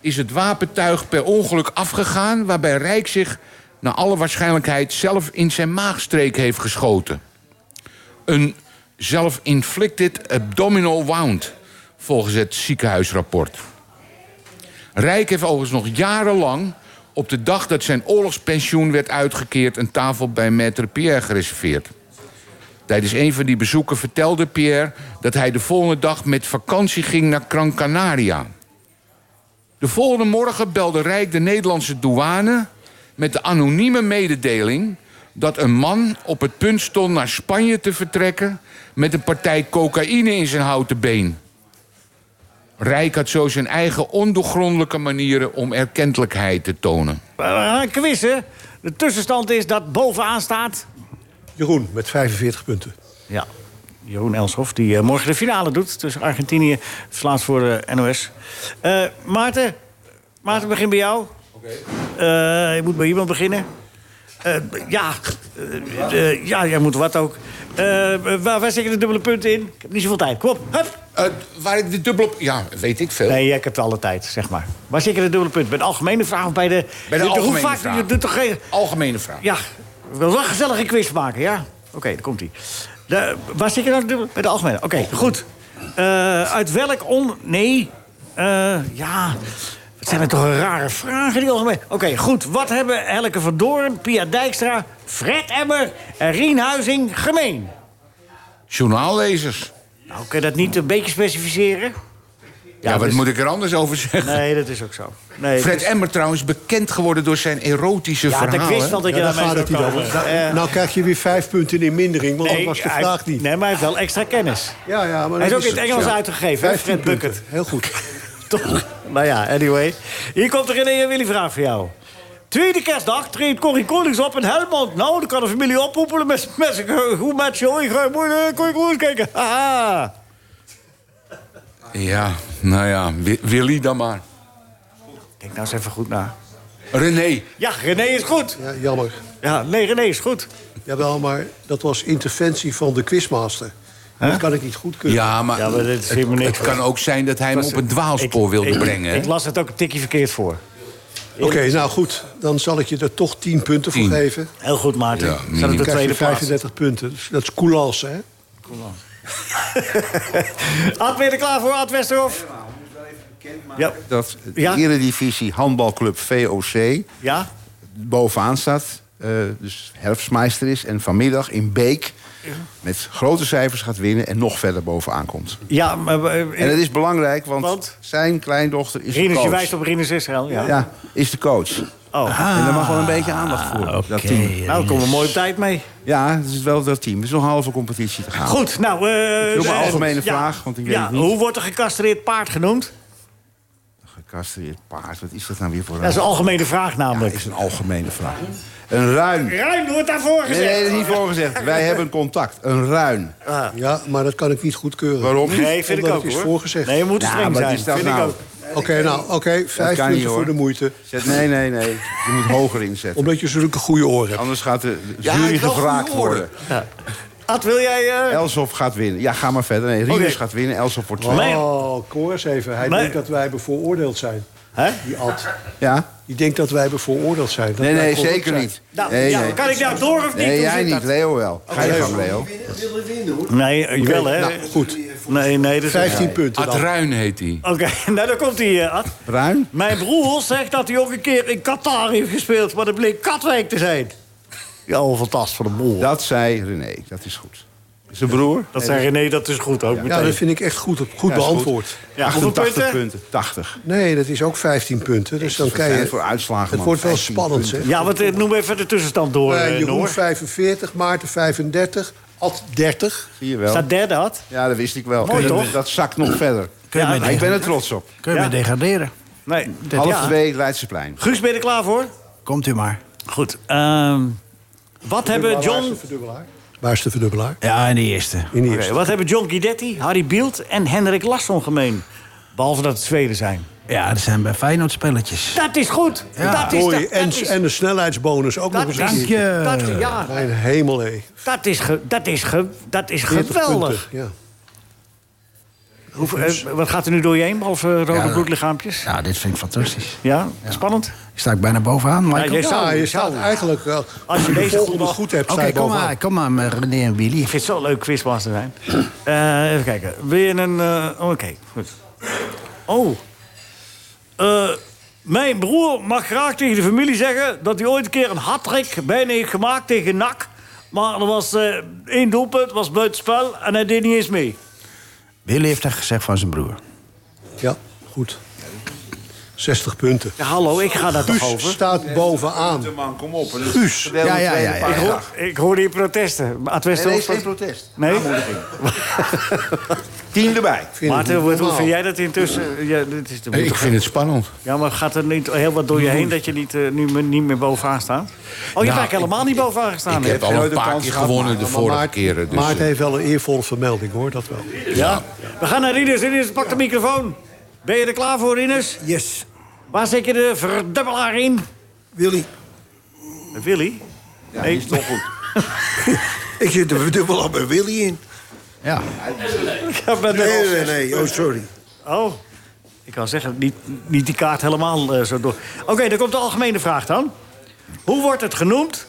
Speaker 7: is het wapentuig per ongeluk afgegaan... waarbij Rijk zich naar alle waarschijnlijkheid zelf in zijn maagstreek heeft geschoten. Een self-inflicted abdominal wound, volgens het ziekenhuisrapport. Rijk heeft overigens nog jarenlang... op de dag dat zijn oorlogspensioen werd uitgekeerd... een tafel bij Maître Pierre gereserveerd. Tijdens een van die bezoeken vertelde Pierre dat hij de volgende dag met vakantie ging naar Gran Canaria. De volgende morgen belde Rijk de Nederlandse douane met de anonieme mededeling dat een man op het punt stond naar Spanje te vertrekken met een partij cocaïne in zijn houten been. Rijk had zo zijn eigen ondoorgrondelijke manieren om erkentelijkheid te tonen.
Speaker 3: Eh, Een quiz, hè? De tussenstand is dat bovenaan staat...
Speaker 4: Jeroen, met 45 punten.
Speaker 3: Ja, Jeroen Elshoff, die eh, morgen de finale doet... tussen Argentinië, verslaat voor de NOS. Eh, Maarten, Maarten, begin bij jou. Oké. ik moet bij iemand beginnen. Eh, ja, eh, eh, ja, jij moet wat ook. Eh, waar, waar zit je de dubbele punten in? Ik heb niet zoveel tijd. Kom op, hup.
Speaker 7: Eh, waar ik de dubbele... Ja, weet ik veel.
Speaker 3: Nee, ik heb alle tijd, zeg maar. Waar zit je de dubbele punt? Bij de algemene vraag of bij de...
Speaker 7: Bij de
Speaker 3: Hoe
Speaker 7: algemene
Speaker 3: vaak-
Speaker 7: vraag.
Speaker 3: Je doet toch geen...
Speaker 7: Algemene vraag.
Speaker 3: Ja, we willen wel een gezellige quiz maken, ja? Oké, daar komt ie. De, waar zit je nou dubbel- bij de algemene? Oké, goed. Eh, uit welk on... Nee. Eh, ja, wat zijn er toch een rare vragen die algemeen... Oké, goed. Wat hebben Helke van Doorn, Pia Dijkstra, Fred Emmer en Rien Huizing gemeen?
Speaker 7: Journaallezers.
Speaker 3: Nou, kun je dat niet een beetje specificeren?
Speaker 2: Ja, wat
Speaker 3: dus-
Speaker 2: moet ik er anders over zeggen?
Speaker 3: Nee, dat is ook zo. Nee,
Speaker 2: Fred
Speaker 3: dus-
Speaker 2: Emmer trouwens bekend geworden door zijn erotische
Speaker 3: Ja, dat
Speaker 2: verhalen.
Speaker 3: wist wel dat je
Speaker 2: Ja,
Speaker 3: Ja,
Speaker 4: Daar
Speaker 3: daarmee
Speaker 4: gaat het niet
Speaker 3: zou
Speaker 4: over.
Speaker 3: komen.
Speaker 4: Nou-
Speaker 3: Eh.
Speaker 4: nou krijg je weer vijf punten in mindering, want dat was de
Speaker 3: hij-
Speaker 4: vraag niet.
Speaker 3: Nee, maar hij heeft wel extra kennis.
Speaker 4: Ja, ja, maar
Speaker 3: hij is
Speaker 4: dat
Speaker 3: ook in het
Speaker 4: het,
Speaker 3: Engels
Speaker 4: ja.
Speaker 3: uitgegeven, hè?
Speaker 4: 15
Speaker 3: Fred Bucket.
Speaker 4: Heel goed.
Speaker 3: Toch? Nou ja, anyway. Hier komt er een Willy-vraag voor jou. Tweede kerstdag treedt Corrie Konings op in Helmond. Nou, dan kan de familie oppoepelen met, met een goed matchje. Hoi, ga je moeder, Corrie Konings kijken. Haha.
Speaker 2: Ja, nou ja, Wi- Willy dan maar.
Speaker 3: Denk nou eens even goed na.
Speaker 2: René.
Speaker 3: Ja, René is goed.
Speaker 4: Ja, jammer.
Speaker 3: Ja, nee, René is goed.
Speaker 4: Jawel, maar dat was interventie van de quizmaster. Dat kan ik niet goedkeuren.
Speaker 2: Ja, maar,
Speaker 3: Ja, maar dit is helemaal
Speaker 2: het,
Speaker 3: niks.
Speaker 2: het kan ook zijn dat hij hem
Speaker 3: Was-
Speaker 2: op een dwaalspoor
Speaker 3: ik-
Speaker 2: wilde
Speaker 3: ik-
Speaker 2: brengen. hè?
Speaker 3: Ik las het ook een tikje verkeerd voor.
Speaker 4: Oké, nou goed. Dan zal ik je er toch 10 punten voor
Speaker 2: Tien.
Speaker 4: geven.
Speaker 3: Heel goed, Maarten.
Speaker 2: Ja,
Speaker 3: Staat
Speaker 2: minimum.
Speaker 3: op de
Speaker 4: Dan krijg je
Speaker 3: Nou, tweede plaats.
Speaker 4: 35 punten. Dus dat is coulance, hè?
Speaker 3: Ad, ben je er klaar voor, Ad Westerhof? Ja,
Speaker 7: Dat de
Speaker 3: Ja.
Speaker 7: Eredivisie Handbalclub VOC
Speaker 3: ja.
Speaker 7: bovenaan staat. eh, dus herfstmeister is. En vanmiddag in Beek met grote cijfers gaat winnen. En nog verder bovenaan komt.
Speaker 3: ja maar, eh,
Speaker 7: En dat is belangrijk, want,
Speaker 3: Want?
Speaker 7: zijn kleindochter is de
Speaker 3: Rinus, je
Speaker 7: coach.
Speaker 3: wijst op Rinus Israël. Ja.
Speaker 7: Ja, is de coach.
Speaker 3: Oh.
Speaker 7: en daar mag wel een beetje aandacht voor. dat team.
Speaker 3: Nou, dan komen we mooi op tijd mee.
Speaker 7: Ja, het is wel dat team. Het is nog een halve competitie te gaan.
Speaker 3: Goed, nou... eh
Speaker 7: doe maar
Speaker 3: eh,
Speaker 7: algemene
Speaker 3: ja.
Speaker 7: vraag, want ik weet
Speaker 3: ja,
Speaker 7: het niet.
Speaker 3: Hoe wordt een gecastreerd paard genoemd?
Speaker 7: Gecastreerd paard, wat is dat nou weer voor
Speaker 3: Dat is een algemene vraag
Speaker 7: Dat
Speaker 3: namelijk.
Speaker 7: is een algemene vraag. Een ruin. Nee,
Speaker 3: Ruim wordt daarvoor gezegd.
Speaker 7: nee, dat is niet voorgezegd. Wij hebben contact. Een ruin.
Speaker 4: Ja, maar dat kan ik niet goedkeuren.
Speaker 7: Waarom niet?
Speaker 3: Ah. Nee, vind ik
Speaker 4: Omdat
Speaker 3: ook
Speaker 4: het is
Speaker 3: hoor.
Speaker 4: voorgezegd.
Speaker 3: Nee, we moeten
Speaker 7: Ja,
Speaker 3: streng
Speaker 7: maar
Speaker 3: zijn.
Speaker 7: die staat
Speaker 3: Vind ik
Speaker 7: nou.
Speaker 3: ook.
Speaker 4: Oké, nou, oké. vijf
Speaker 7: kan
Speaker 4: punten
Speaker 7: niet, hoor.
Speaker 4: voor de moeite.
Speaker 7: Zet, nee, nee, nee. Je moet hoger inzetten.
Speaker 4: Omdat je zulke goede oren hebt.
Speaker 7: Anders gaat de de
Speaker 2: Ja, hij
Speaker 7: jury
Speaker 2: heeft wel
Speaker 7: gevraagd
Speaker 2: goede oren.
Speaker 7: worden.
Speaker 3: Ad, wil jij... eh
Speaker 7: Elsof gaat winnen. Ja, ga maar verder. Nee, Rinus
Speaker 3: Oké.
Speaker 7: gaat winnen. Elsof wordt tweede.
Speaker 3: Nee.
Speaker 4: Oh, koor eens even. Hij
Speaker 3: Nee.
Speaker 4: denkt dat wij hebben veroordeeld zijn.
Speaker 3: hè?
Speaker 4: Die Ad.
Speaker 7: Ja?
Speaker 4: Die denkt dat wij hebben veroordeeld zijn. Dat
Speaker 7: Nee,
Speaker 4: wij
Speaker 7: nee,
Speaker 4: corrupt
Speaker 7: zeker
Speaker 4: zijn.
Speaker 7: niet.
Speaker 3: Nou,
Speaker 7: Nee,
Speaker 3: ja,
Speaker 7: nee.
Speaker 3: Kan ik nou door of niet?
Speaker 7: Nee,
Speaker 3: Hoe
Speaker 7: jij
Speaker 3: zit
Speaker 7: niet.
Speaker 3: dat?
Speaker 7: Leo wel. Ga je gang, Leo.
Speaker 3: Nee, ik wel hè.
Speaker 4: Nou, goed.
Speaker 3: nee, nee, dat is...
Speaker 4: 15 punten
Speaker 2: Ad
Speaker 4: dan.
Speaker 2: Ruin heet hij.
Speaker 3: Oké, nou daar komt hij, eh Ad.
Speaker 7: Ruin?
Speaker 3: Mijn broer zegt dat hij ook een keer in Qatar heeft gespeeld... maar dat bleek Katwijk te zijn. Ja, oh, fantastisch voor de boel.
Speaker 7: Dat zei René. Dat is goed. Zijn broer?
Speaker 3: Dat zei René, dat is goed ook
Speaker 4: Ja,
Speaker 3: meteen.
Speaker 4: dat vind ik echt goed, goed
Speaker 7: is goed.
Speaker 4: beantwoord.
Speaker 3: Ja, hoeveel
Speaker 7: 88
Speaker 3: punten?
Speaker 7: punten. 80.
Speaker 4: Nee, dat is ook 15 punten. Dus dan krijg
Speaker 7: Fijn
Speaker 4: je...
Speaker 7: voor uitslagen,
Speaker 4: Het
Speaker 7: man.
Speaker 4: wordt wel
Speaker 7: 15
Speaker 4: spannend,
Speaker 7: punten.
Speaker 4: zeg.
Speaker 3: Ja, wat, eh, noem even de tussenstand door,
Speaker 4: Eh,
Speaker 3: eh,
Speaker 4: Jeroen
Speaker 3: Noor.
Speaker 4: 45, Maarten 35, Ad 30.
Speaker 7: Zie je wel.
Speaker 3: Staat derde, Ad?
Speaker 7: Ja, dat wist ik wel.
Speaker 3: Mooi,
Speaker 7: En dat-
Speaker 3: toch?
Speaker 7: Dat zakt nog verder.
Speaker 5: Kun je
Speaker 3: Ja,
Speaker 5: mij
Speaker 7: Maar ik ben
Speaker 5: degraderen?
Speaker 7: er trots op.
Speaker 5: Kun je
Speaker 3: Ja.
Speaker 5: mij degraderen?
Speaker 3: Nee. dat-
Speaker 7: Half
Speaker 3: ja.
Speaker 7: twee, Leidseplein.
Speaker 3: Guus, ben je er klaar voor?
Speaker 5: Komt u maar.
Speaker 3: Goed. ehm, wat, hebben
Speaker 4: Waar is
Speaker 3: John,
Speaker 4: de verdubbelaar? Waar is de verdubbelaar?
Speaker 5: Ja, in de eerste.
Speaker 4: In de
Speaker 3: Oké,
Speaker 4: eerste.
Speaker 3: wat hebben John Guidetti, Harry Bielt en Hendrik Larsson gemeen? Behalve dat het Zweden zijn.
Speaker 5: Ja, dat zijn bij Feyenoord spelletjes.
Speaker 3: Dat is goed.
Speaker 5: Ja.
Speaker 3: Dat is,
Speaker 4: Mooi.
Speaker 3: dat,
Speaker 4: en,
Speaker 3: dat is,
Speaker 4: en de snelheidsbonus ook nog
Speaker 3: dat
Speaker 4: eens.
Speaker 3: is,
Speaker 5: Dank je.
Speaker 3: dat- ja,
Speaker 4: Mijn hemel, hé.
Speaker 3: dat is, ge- dat is, ge- dat is
Speaker 4: 40
Speaker 3: geweldig.
Speaker 4: punten, Ja. Dus-
Speaker 3: Hoe- eh, wat gaat er nu door je heen, behalve rode
Speaker 5: Ja.
Speaker 3: bloedlichaampjes? Ja,
Speaker 5: Nou, dit vind ik fantastisch.
Speaker 3: spannend.
Speaker 5: Sta ik bijna bovenaan, Michael?
Speaker 3: jij zou-
Speaker 4: Ja, je
Speaker 3: je
Speaker 4: staat
Speaker 3: zou-
Speaker 4: eigenlijk... wel-
Speaker 3: Als je
Speaker 4: de
Speaker 3: deze
Speaker 4: volgende
Speaker 3: goed-
Speaker 4: goed hebt,
Speaker 5: Oké,
Speaker 4: sta je
Speaker 5: kom
Speaker 4: bovenaan.
Speaker 5: maar, kom maar, met René en Willy.
Speaker 3: Ik vind het zo leuk quizmaster zijn. Eh, even kijken. Wil je een... eh, Oké, goed. Oh. Eh, mijn broer mag graag tegen de familie zeggen... dat hij ooit een keer een hat-trick bijna heeft gemaakt tegen NAC. Maar er was eh, één doelpunt, was buitenspel... en hij deed niet eens mee.
Speaker 5: Willy heeft dat gezegd van zijn broer.
Speaker 4: Ja, goed. 60 punten.
Speaker 3: Ja, hallo, ik ga daar toch
Speaker 4: Guus
Speaker 3: over?
Speaker 4: staat bovenaan.
Speaker 7: man, kom op.
Speaker 4: Guus.
Speaker 5: Ja, ja, ja, ja.
Speaker 3: Ik hoor, ik hoor hier protesten. Ad Westerhof-
Speaker 7: protest.
Speaker 3: Nee?
Speaker 7: Tien erbij.
Speaker 4: Vind ik
Speaker 3: Maarten,
Speaker 4: niet
Speaker 3: wat- hoe
Speaker 4: normaal.
Speaker 3: vind jij dat intussen? Ja, dit is
Speaker 2: Ik
Speaker 3: de
Speaker 2: vind het spannend.
Speaker 3: ja, maar gaat er niet heel wat door je heen dat je niet, eh, nu me- niet meer bovenaan staat? Oh, je hebt eigenlijk helemaal niet bovenaan gestaan.
Speaker 2: Nou, Ik
Speaker 3: hè?
Speaker 2: heb al een
Speaker 7: nooit een
Speaker 2: paar
Speaker 7: kans
Speaker 2: keer
Speaker 7: gehad,
Speaker 2: gewonnen de
Speaker 4: Maar
Speaker 2: vorige
Speaker 4: Maarten-
Speaker 2: keren. Dus,
Speaker 4: Maarten
Speaker 2: eh,
Speaker 4: heeft wel een eervolle vermelding, hoor, dat wel.
Speaker 2: ja.
Speaker 3: We gaan naar Rinus. Rinus, pak de microfoon. Ben je er klaar voor, Rinus?
Speaker 15: Yes,
Speaker 3: Waar zit je de verdubbelaar in?
Speaker 15: Willy.
Speaker 3: Willy?
Speaker 7: Ja, die is toch goed.
Speaker 15: Ik zit er dubbel op een Willy in.
Speaker 5: Ja.
Speaker 3: Ja, ben
Speaker 15: Nee, nee, nee. Oh, sorry.
Speaker 3: Oh, ik kan zeggen, niet, niet die kaart helemaal eh, zo door. Oké, dan komt de algemene vraag dan. Hoe wordt het genoemd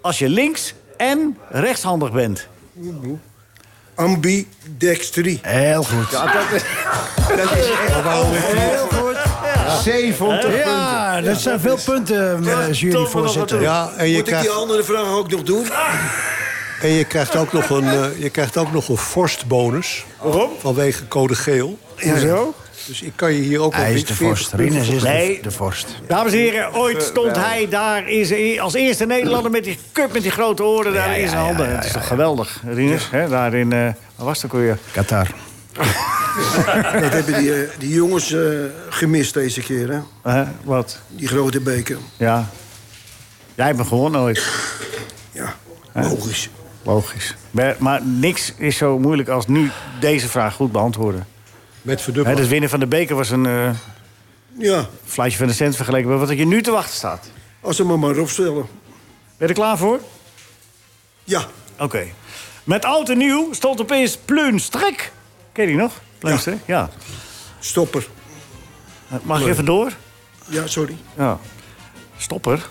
Speaker 3: als je links en rechtshandig bent?
Speaker 15: Ambidextrie.
Speaker 5: Heel goed.
Speaker 7: Dat is
Speaker 6: Oh,
Speaker 7: echt heel goed. 70 punten.
Speaker 5: Ja, dat zijn veel punten, eh, meneer juryvoorzitter.
Speaker 4: Ja, en je,
Speaker 15: Moet ik die
Speaker 4: krijgt,
Speaker 15: andere vraag ook nog doen?
Speaker 4: en je krijgt ook nog een, eh, je krijgt ook nog een vorstbonus.
Speaker 3: Waarom?
Speaker 4: Vanwege code geel.
Speaker 15: Ja, zo.
Speaker 4: Dus ik kan je hier ook
Speaker 5: Hij
Speaker 4: op
Speaker 5: is
Speaker 4: dit
Speaker 5: de
Speaker 4: 40
Speaker 5: vorst. Rinus is de-
Speaker 3: Nee.
Speaker 5: de vorst.
Speaker 3: Dames en heren, ooit stond hij daar in zijn- als eerste Nederlander met die cup met die grote oren daar in zijn handen. Het is toch geweldig, Rinus? hè, Daar in, eh, waar was dat ook weer?
Speaker 5: Qatar.
Speaker 6: Dat hebben die, eh, die jongens eh, gemist deze keer, hè?
Speaker 3: Hè, wat?
Speaker 6: Die grote beker.
Speaker 3: Ja. Jij hebt me gewonnen ooit.
Speaker 6: Ja,
Speaker 3: logisch. Logisch. Maar, maar niks is zo moeilijk als nu deze vraag goed beantwoorden.
Speaker 4: Met
Speaker 3: Hè,
Speaker 4: verdubbelen.
Speaker 3: het winnen van de beker was een eh
Speaker 6: Ja,
Speaker 3: fluitje van de cent vergeleken met wat er je nu te wachten staat.
Speaker 6: als ze me maar opstellen.
Speaker 3: Ben je er klaar voor?
Speaker 6: Ja.
Speaker 3: Oké. Met oud en nieuw stond opeens Pleunstrik. Ken je die nog? Pleunstrik, ja.
Speaker 6: Stopper.
Speaker 3: Mag ik even door?
Speaker 6: Ja, sorry.
Speaker 3: Ja. Stopper?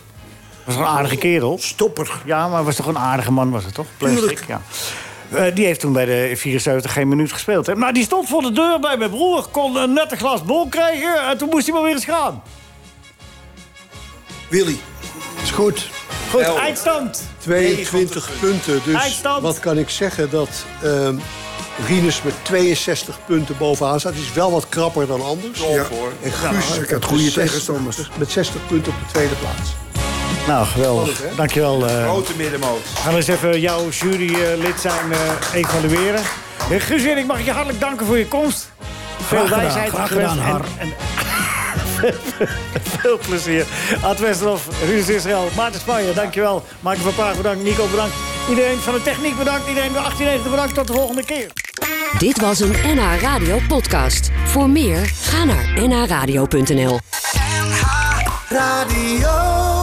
Speaker 3: Was een aardige kerel.
Speaker 6: Stopper.
Speaker 3: Ja, maar was toch een aardige man, was het toch? Plastic, ja. Eh, die heeft toen bij de 74 geen minuut gespeeld. Hè? Maar die stond voor de deur bij mijn broer. Kon een nette glas bol krijgen. En toen moest hij maar weer eens gaan.
Speaker 6: Willy.
Speaker 4: Is goed.
Speaker 3: Goed, eindstand.
Speaker 4: 22 punten. Dus
Speaker 3: Eindstand.
Speaker 4: wat kan ik zeggen dat ehm Rinus met 62 punten bovenaan staat. Die is wel wat krapper dan anders.
Speaker 6: Ja. hoor.
Speaker 4: En
Speaker 6: Ja,
Speaker 4: Guus
Speaker 6: ik had
Speaker 4: met
Speaker 6: goede
Speaker 4: 60
Speaker 6: tegenstanders.
Speaker 4: Met 60 punten op de tweede plaats.
Speaker 3: Nou, geweldig.
Speaker 4: Spannend, hè?
Speaker 3: Dankjewel. eh
Speaker 16: Grote middenmoot.
Speaker 3: we gaan eens even jouw jurylid zijn eh, evalueren. Eh, Guus Erik, mag ik je hartelijk danken voor je komst. Veel
Speaker 5: gedaan,
Speaker 3: wijsheid
Speaker 5: graag
Speaker 3: gewenst
Speaker 5: gedaan, Har.
Speaker 3: en, en Veel plezier. Ad Westerhof, Ruud Israël, Maarten Spanje, dankjewel. Maarten van Praag, bedankt. Nico, bedankt. Iedereen van de techniek, bedankt. Iedereen van 1890, bedankt. Tot de volgende keer.
Speaker 1: Dit was een NH Radio podcast. Voor meer, ga naar nhradio.nl.
Speaker 11: Radio.